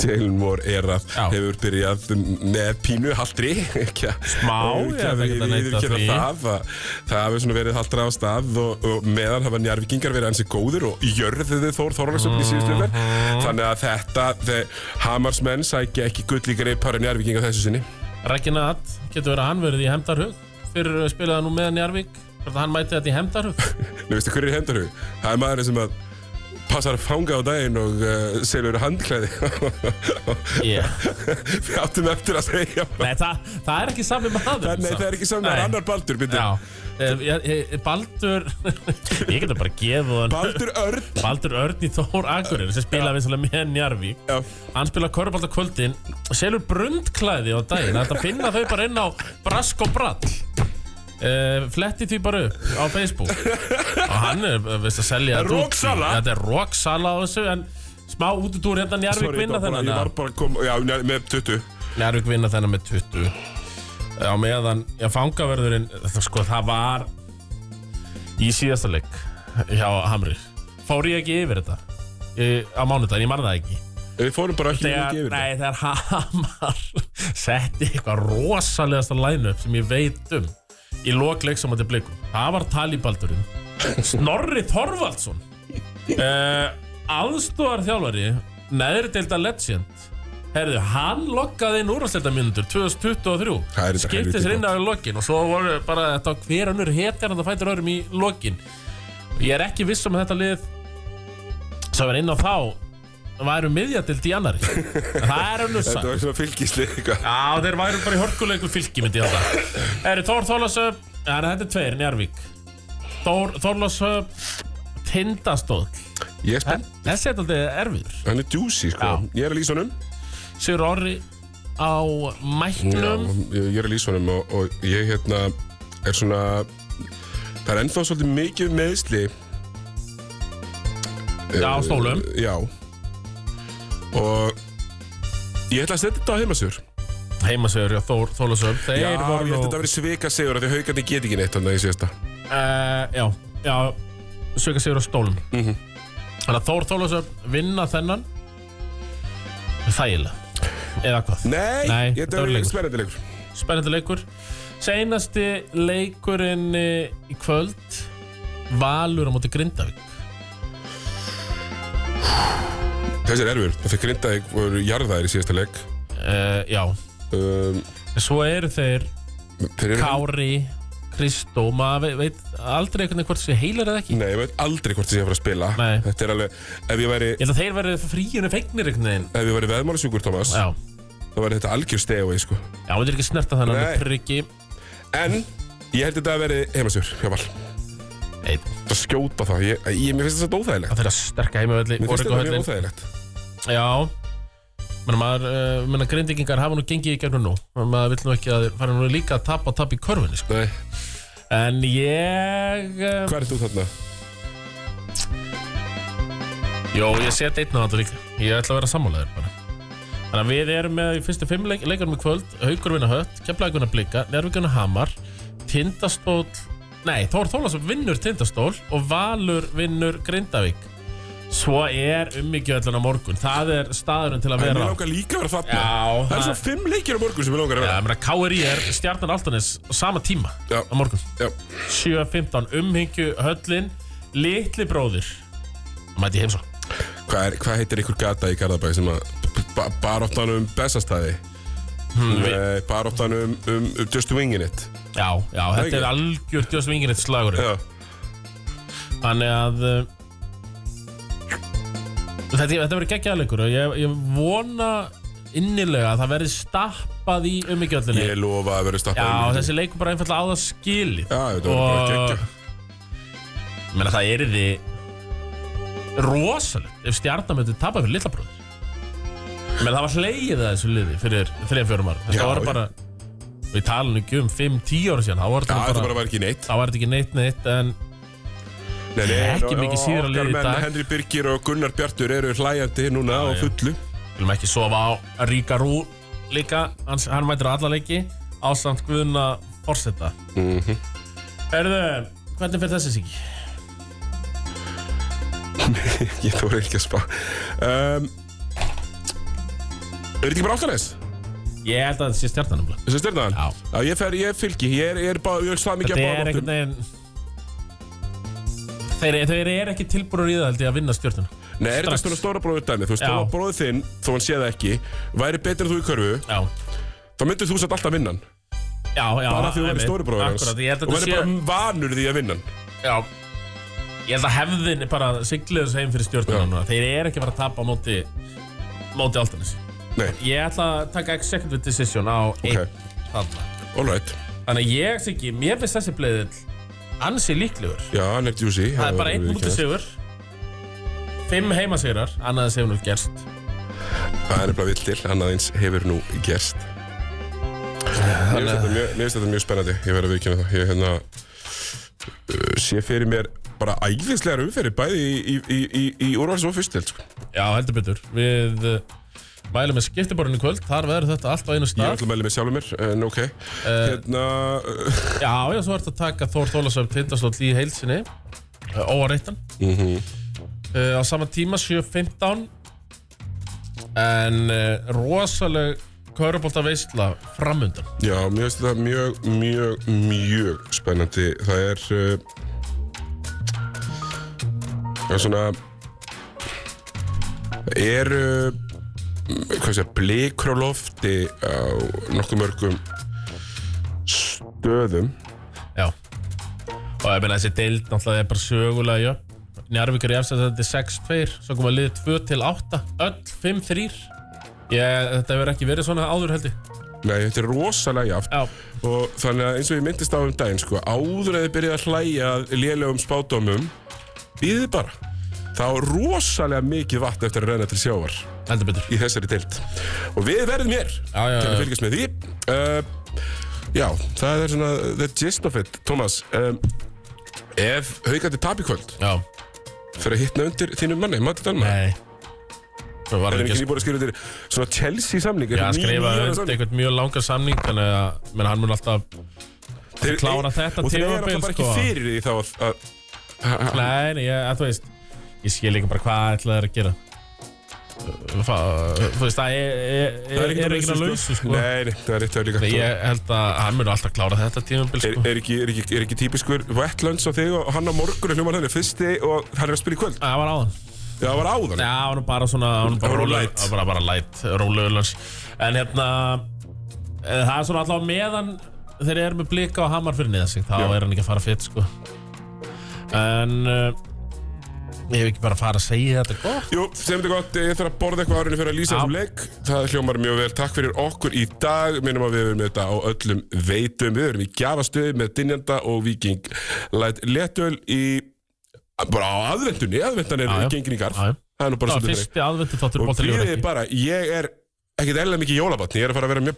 Speaker 1: Tailmore er að
Speaker 2: Já.
Speaker 1: hefur byrjað með pínu haldri ekki að
Speaker 2: Smá, ég
Speaker 1: ekki
Speaker 2: ætla
Speaker 1: að
Speaker 2: ekkert að neita
Speaker 1: viðurkenna
Speaker 2: því.
Speaker 1: það að það hefur svona verið haldra á stað og, og meðan hafa njárvikingar verið hansi góðir og jörðuðu Þór Þorlarsson í síðustu umferð
Speaker 2: Mhm.
Speaker 1: þannig að þetta, þeir, Hamarsmenn sækja ekki gull í greipar en njárvikingar þessu sinni
Speaker 2: Rækina að getur verið að hann verið í hemdarhug fyrir spilaða nú með Njarvík hvort að hann mæti þetta í hemdarhug
Speaker 1: Nú veistu hverju er hendarhug? Það er maðurinn sem að passar að fanga á daginn og uh, selur handklæði
Speaker 2: yeah.
Speaker 1: Við áttum eftir að segja
Speaker 2: Nei, það, það er ekki sami maður
Speaker 1: Nei, það er ekki saman, það
Speaker 2: Nei.
Speaker 1: er annar Baldur, byrju
Speaker 2: Já, Eh, ég- ég- Baldur Ég getur bara að gefa hann
Speaker 1: Baldur Örn
Speaker 2: Baldur Örn í Þór Akurir sem spilaði vinslega með Njarvík
Speaker 1: Já.
Speaker 2: Hann spilaði korfbalt á kvöldin og selur brundklæði á daginn Þetta finna þau bara inn á Brask og Brall uh, Fletti því bara upp á Facebook og hann er eh, veist að selja þetta út.
Speaker 1: Roksala.
Speaker 2: Þetta er roksala á þessu en smá útudúr hérna Njarvík
Speaker 1: Sorry,
Speaker 2: vinna
Speaker 1: það var bara-
Speaker 2: þennan
Speaker 1: Ég var bara að koma, já, njá- með 20
Speaker 2: Njárvík vinna þennan með 20 á meðan já, fangaverðurinn það, sko, það var í síðasta leik hjá Hamri fór ég ekki yfir þetta e, á mánudaginn, ég man það ekki
Speaker 1: Við fórum bara ekki mikið
Speaker 2: þegar,
Speaker 1: yfir
Speaker 2: nei, þegar Hamar setti eitthvað rosalegasta lænu sem ég veit um í lokleik sem þetta blikum það var talibaldurinn Snorri Þorvaldsson uh, aðstofar þjálfari neðri deilda legend Herðu, hann lokkaði inn úrvarsleita 2023
Speaker 1: Það er þetta
Speaker 2: skipti
Speaker 1: helviti
Speaker 2: sér inn á í lokin og svo voru bara þetta á hver önnur hetjar en það fætur öðrum í lokin ég er ekki viss um að þetta lið sem er inn á þá væru miðjadild í annari það er önnur
Speaker 1: Þetta
Speaker 2: sann
Speaker 1: var svona fylgisli eitthvað
Speaker 2: Já, þeir væru bara í hörkuleikur fylki myndi ég þetta Eru Þór Þorlasöf Já, þetta er tveir, Njarvík Þór Þorlasöf Tindastóð
Speaker 1: Ég er spennt,
Speaker 2: Þessi er alltaf erfiður
Speaker 1: hann er juicy sko
Speaker 2: Já.
Speaker 1: Ég er að lýsa honum
Speaker 2: Sigur Orri á
Speaker 1: Já,
Speaker 2: mæknum
Speaker 1: Ég ég er að lýsa honum og, og ég hérna er svona Það er ennþá svolítið mikið meðsli
Speaker 2: Já, á
Speaker 1: Eh,
Speaker 2: stólum.
Speaker 1: Já Og Ég ætla að setja þetta á heimasjör
Speaker 2: Heimasigur, já, Þór Þorlasöf Þeir
Speaker 1: eh, Já, ég
Speaker 2: voru
Speaker 1: ætla
Speaker 2: nú
Speaker 1: að þetta verið svika sigur af Því haugarni get ekki neitt þannig að ég sé þetta
Speaker 2: Eh, já, já Söka sigur á stólum
Speaker 1: Mhm.
Speaker 2: Þannig að Þór Þorlasöf vinna þennan Þægilega Eða hvað
Speaker 1: Nei,
Speaker 2: Nei,
Speaker 1: ég-
Speaker 2: þetta
Speaker 1: þetta
Speaker 2: verður
Speaker 1: verið
Speaker 2: leikur.
Speaker 1: spennandi leikur
Speaker 2: spennandi leikur Seinasti leikurinn eh, í kvöld Valur á móti Grindavík
Speaker 1: Þessi er erfur, það fyrir grindaði voru jarðaðir í síðasta leik
Speaker 2: uh, Já,
Speaker 1: um,
Speaker 2: svo eru þeir
Speaker 1: Þeir eru
Speaker 2: Kári, Kristó maður veit, veit aldrei einhvern veginn hvort þessi heilar eða ekki
Speaker 1: Nei, ég veit aldrei hvort þessi er að fara að spila
Speaker 2: Nei.
Speaker 1: Þetta er alveg, ef ég væri
Speaker 2: Ég held að þeir verið fríinu feignir einhvern veginn
Speaker 1: Ef ég væri veðmálasjúkur, Thomas,
Speaker 2: Já,
Speaker 1: þá væri þetta algjör stegi sko.
Speaker 2: já, þetta er ekki snerta þannig
Speaker 1: Nei.
Speaker 2: með priggi
Speaker 1: En, ég held þetta að veri heimasjúr hjá Val Það
Speaker 2: Nei,
Speaker 1: skjóta það, ég, ég, mér finnst þetta óþægilegt
Speaker 2: það fyrir að sterka heimavelli
Speaker 1: Mér finnst
Speaker 2: Origo
Speaker 1: þetta mjög
Speaker 2: höllin
Speaker 1: óþægilegt
Speaker 2: Já Menna maður, uh, menna grindvíkingar hafa nú gengið í gerðu nú Menna maður vill nú ekki að þeir fara nú líka að tapa og tapa í körfunni sko.
Speaker 1: Nei,
Speaker 2: En ég eh,
Speaker 1: hvað er þú þarna?
Speaker 2: Jó, ég set einn á þetta líka Ég ætla að vera sammálaður bara Þannig að við erum með í fyrstu fimm leik, leikarum í kvöld Haukur vinna hött, keflaðugunna blika Nervikugunna hamar, tindastól Nei, Þór Þólasson vinnur tindastól Og Valur vinnur Grindavík Svo er ummyggjöðlan á morgun Það er staðurinn til að
Speaker 1: Mér
Speaker 2: vera á.
Speaker 1: langar líka að vera þarna
Speaker 2: Já,
Speaker 1: Það
Speaker 2: það-
Speaker 1: er svo fimm leikir á morgun sem ég langar að
Speaker 2: Já,
Speaker 1: vera
Speaker 2: ég meina, KRI er stjarnan Altanes á sama tíma
Speaker 1: Já.
Speaker 2: á morgun
Speaker 1: Já,
Speaker 2: 7.15 umhengju höllin Litli bróðir Mæti heimsó
Speaker 1: Hvað, er, hvað heitir ykkur gata í Garðabæ sem að ba baráttan um bestastæði
Speaker 2: hmm, við-
Speaker 1: Nei, baráttan um, um, um Just Wingin' It
Speaker 2: Já, já, þetta
Speaker 1: ekki?
Speaker 2: er algjört Jósef Ingrid slagur
Speaker 1: Já,
Speaker 2: Þannig að uh, Þetta, þetta verður geggjaðleikur og ég, ég vona innilega að það verði stappað í umíkjöllinni
Speaker 1: ég lofa að vera stappað
Speaker 2: Já,
Speaker 1: um-
Speaker 2: þessi leikur bara einfallega á það skilið
Speaker 1: Já, þetta var bara geggja
Speaker 2: Ég meina það er því rosalegt ef stjarnar myndi tapa fyrir litla bróður Ég meina það var hlegið að þessu liði fyrir 3-4 árum
Speaker 1: Já,
Speaker 2: Þetta var
Speaker 1: já.
Speaker 2: bara Við talum ekki um 5-10 ára síðan Þá var
Speaker 1: Já, þetta
Speaker 2: þetta
Speaker 1: bara
Speaker 2: nú bara
Speaker 1: var ekki neitt
Speaker 2: Þá var þetta ekki neitt neitt En
Speaker 1: Nei, nei,
Speaker 2: Ekki
Speaker 1: og-
Speaker 2: mikið
Speaker 1: og
Speaker 2: síðra liðið í
Speaker 1: okkar menn
Speaker 2: dag.
Speaker 1: Henry Birgir og Gunnar Bjartur eru hlæjandi núna á
Speaker 2: já.
Speaker 1: fullu
Speaker 2: viljum ekki sofa á Ríka Rú líka Hans, Hann mætir á alla leiki Ásamt Guðna Forseta
Speaker 1: Mhm.
Speaker 2: Herðu, hvernig fyrir þessi siki?
Speaker 1: Ég þóra ekki að spá um, Er þetta ekki bara áttanis?
Speaker 2: Ég held að þetta sé stjartanumlega
Speaker 1: Þessi styrnaðan?
Speaker 2: Já.
Speaker 1: Já, ég, fer, ég fylgi, ég er, ég er, bara, ég er svað mikið að
Speaker 2: Þetta er
Speaker 1: báða
Speaker 2: einhvern veginn Þeir, þeir eru ekki tilbúinur í það held ég að vinna stjórnuna
Speaker 1: Nei, er þetta
Speaker 2: strax?
Speaker 1: stóra stóra bróður dæmi? Þú veist,
Speaker 2: Já.
Speaker 1: þá bróður þinn, þó hann sé það ekki væri betur en þú í körfu,
Speaker 2: Já,
Speaker 1: þá myndir þú satt alltaf vinnan
Speaker 2: já, já
Speaker 1: bara því þú væri stóri bróður hans
Speaker 2: Akkurat, ég held
Speaker 1: og
Speaker 2: að þetta
Speaker 1: væri
Speaker 2: sé
Speaker 1: bara vanur því að vinnan
Speaker 2: Já Ég held að hefðin er bara sigluðu þessu heim fyrir stjórnuna núna Þeir eru ekki að fara að tapa á móti móti áltanis
Speaker 1: Nei,
Speaker 2: Ég ætla að taka executive decision á einn þarna
Speaker 1: all right
Speaker 2: Þannig að ég, Siggi, mér finnst þessi bleiðill ansi líklegur
Speaker 1: Já, hann er juicy
Speaker 2: Það er bara einn
Speaker 1: verður viðurkennt.
Speaker 2: útisigur Fimm heimasigrar, annað sem nú gerst
Speaker 1: Það er nefnilega vill til, annað eins hefur nú gerst Mér finnst þetta mjög- mér finnst þetta mjög spennandi, ég verð að viðkynna það Ég hérna, uh, sé fyrir mér bara æðislegar umferði bæði í, í, í, í, í úrvals og fyrstild sko.
Speaker 2: Já, heldur betur Við uh, mælum með skiptiborðinu í kvöld Þar verður þetta allt á einu
Speaker 1: Ég
Speaker 2: stað
Speaker 1: ætla að mæli mig sjálfur mér, en ok Hérna, uh,
Speaker 2: Já, já, svo ertu að taka Þór Þólasöf Tindaslótt í heilsinni uh, Óareittan uh, Á sama tíma 7.15 En uh, rosaleg Körubolta veistla framundan
Speaker 1: já, mér finnst þetta mjög, mjög, mjög spennandi Það er, uh, það er svona, er, uh, hvað sé, blikur á lofti á nokkuð mörgum stöðum
Speaker 2: Já Og ég meina þessi deild náttúrulega er bara sögulega já. Njarvíkur í afstæðandi 6-2 Svo kom að liðið 2-8 Öll 5-3 Ég, þetta hefur ekki verið svona áður heldur
Speaker 1: Nei, þetta er rosalega jaft
Speaker 2: Já,
Speaker 1: og þannig að eins og ég myndist á um daginn sko, áður að þið byrjið að hlæja að lélegum spádómum býðið bara þá er rosalega mikið vatn eftir að reyna til sjávar
Speaker 2: heldur betur
Speaker 1: í þessari deild og við verðum hér
Speaker 2: Já, já,
Speaker 1: kannu
Speaker 2: já.
Speaker 1: fylgjast með því uh, já, það er svona the gist of it, Thomas um, ef haugandi tap í kvöld
Speaker 2: Já,
Speaker 1: fyrir að hitna undir þínum manni, Matti Dalma
Speaker 2: nei Svo var
Speaker 1: er
Speaker 2: ekki
Speaker 1: ekki nýbúin að skrifa undir svona Chelsea samning
Speaker 2: Já,
Speaker 1: einhvern ný-
Speaker 2: skrifaði
Speaker 1: nýjan
Speaker 2: undir
Speaker 1: samning.
Speaker 2: einhvern mjög langan samning Þannig að menn, hann mun alltaf
Speaker 1: Þeir-
Speaker 2: klára þetta
Speaker 1: og þeir eru
Speaker 2: tímabil,
Speaker 1: alltaf bara ekki
Speaker 2: sko.
Speaker 1: fyrir því þá að, að
Speaker 2: Nei, nei, ég, að þú veist Ég skil líka bara hvað ætlaði að gera Fá, Þú veist, það er, er, er, er, er ekki að lausu sko.
Speaker 1: Nei, nei, það er rétt að líka
Speaker 2: Nei, Ég held að hann mun alltaf klára þetta tímabil
Speaker 1: Er,
Speaker 2: sko.
Speaker 1: er, ekki, er, ekki, er ekki típiskur Wetlands á þig og hann á morgun er hljóman henni fyrsti og hann er að spila í kvöld
Speaker 2: Það var áðan
Speaker 1: Já, það var áðan
Speaker 2: Já, það var nú bara svona það var nú bara
Speaker 1: Það var
Speaker 2: rólegur-
Speaker 1: light.
Speaker 2: það var bara, bara light, rólegur lans En hérna eh, Það er svona allavega meðan Þeir eru með blika og hamar fyrir niðan sig Þá
Speaker 1: Já.
Speaker 2: er hann ekki að fara fett sko En uh, Ég hef ekki bara að fara að segja þetta gott
Speaker 1: Jú, sem þetta er gott, ég þarf að borða eitthvað árunni fyrir að lýsa
Speaker 2: Já.
Speaker 1: þessum leik Það hljómar mjög vel, takk fyrir okkur í dag Minnum að við erum með þetta á öllum veitum Við erum í gjafastöðu með Dynjanda og Viking Læt letöl í bara á aðvendunni, aðvendan er
Speaker 2: Já, já.
Speaker 1: gengin í garð
Speaker 2: Já, já.
Speaker 1: Það er nú
Speaker 2: Það
Speaker 1: bara
Speaker 2: var
Speaker 1: svolítið þannig.
Speaker 2: fyrsti aðvendu þáttur
Speaker 1: og
Speaker 2: bóttilegur
Speaker 1: býðið
Speaker 2: ekki
Speaker 1: bara, ég er ekkert eðla mikið jólabatni, ég er að fara að vera mjög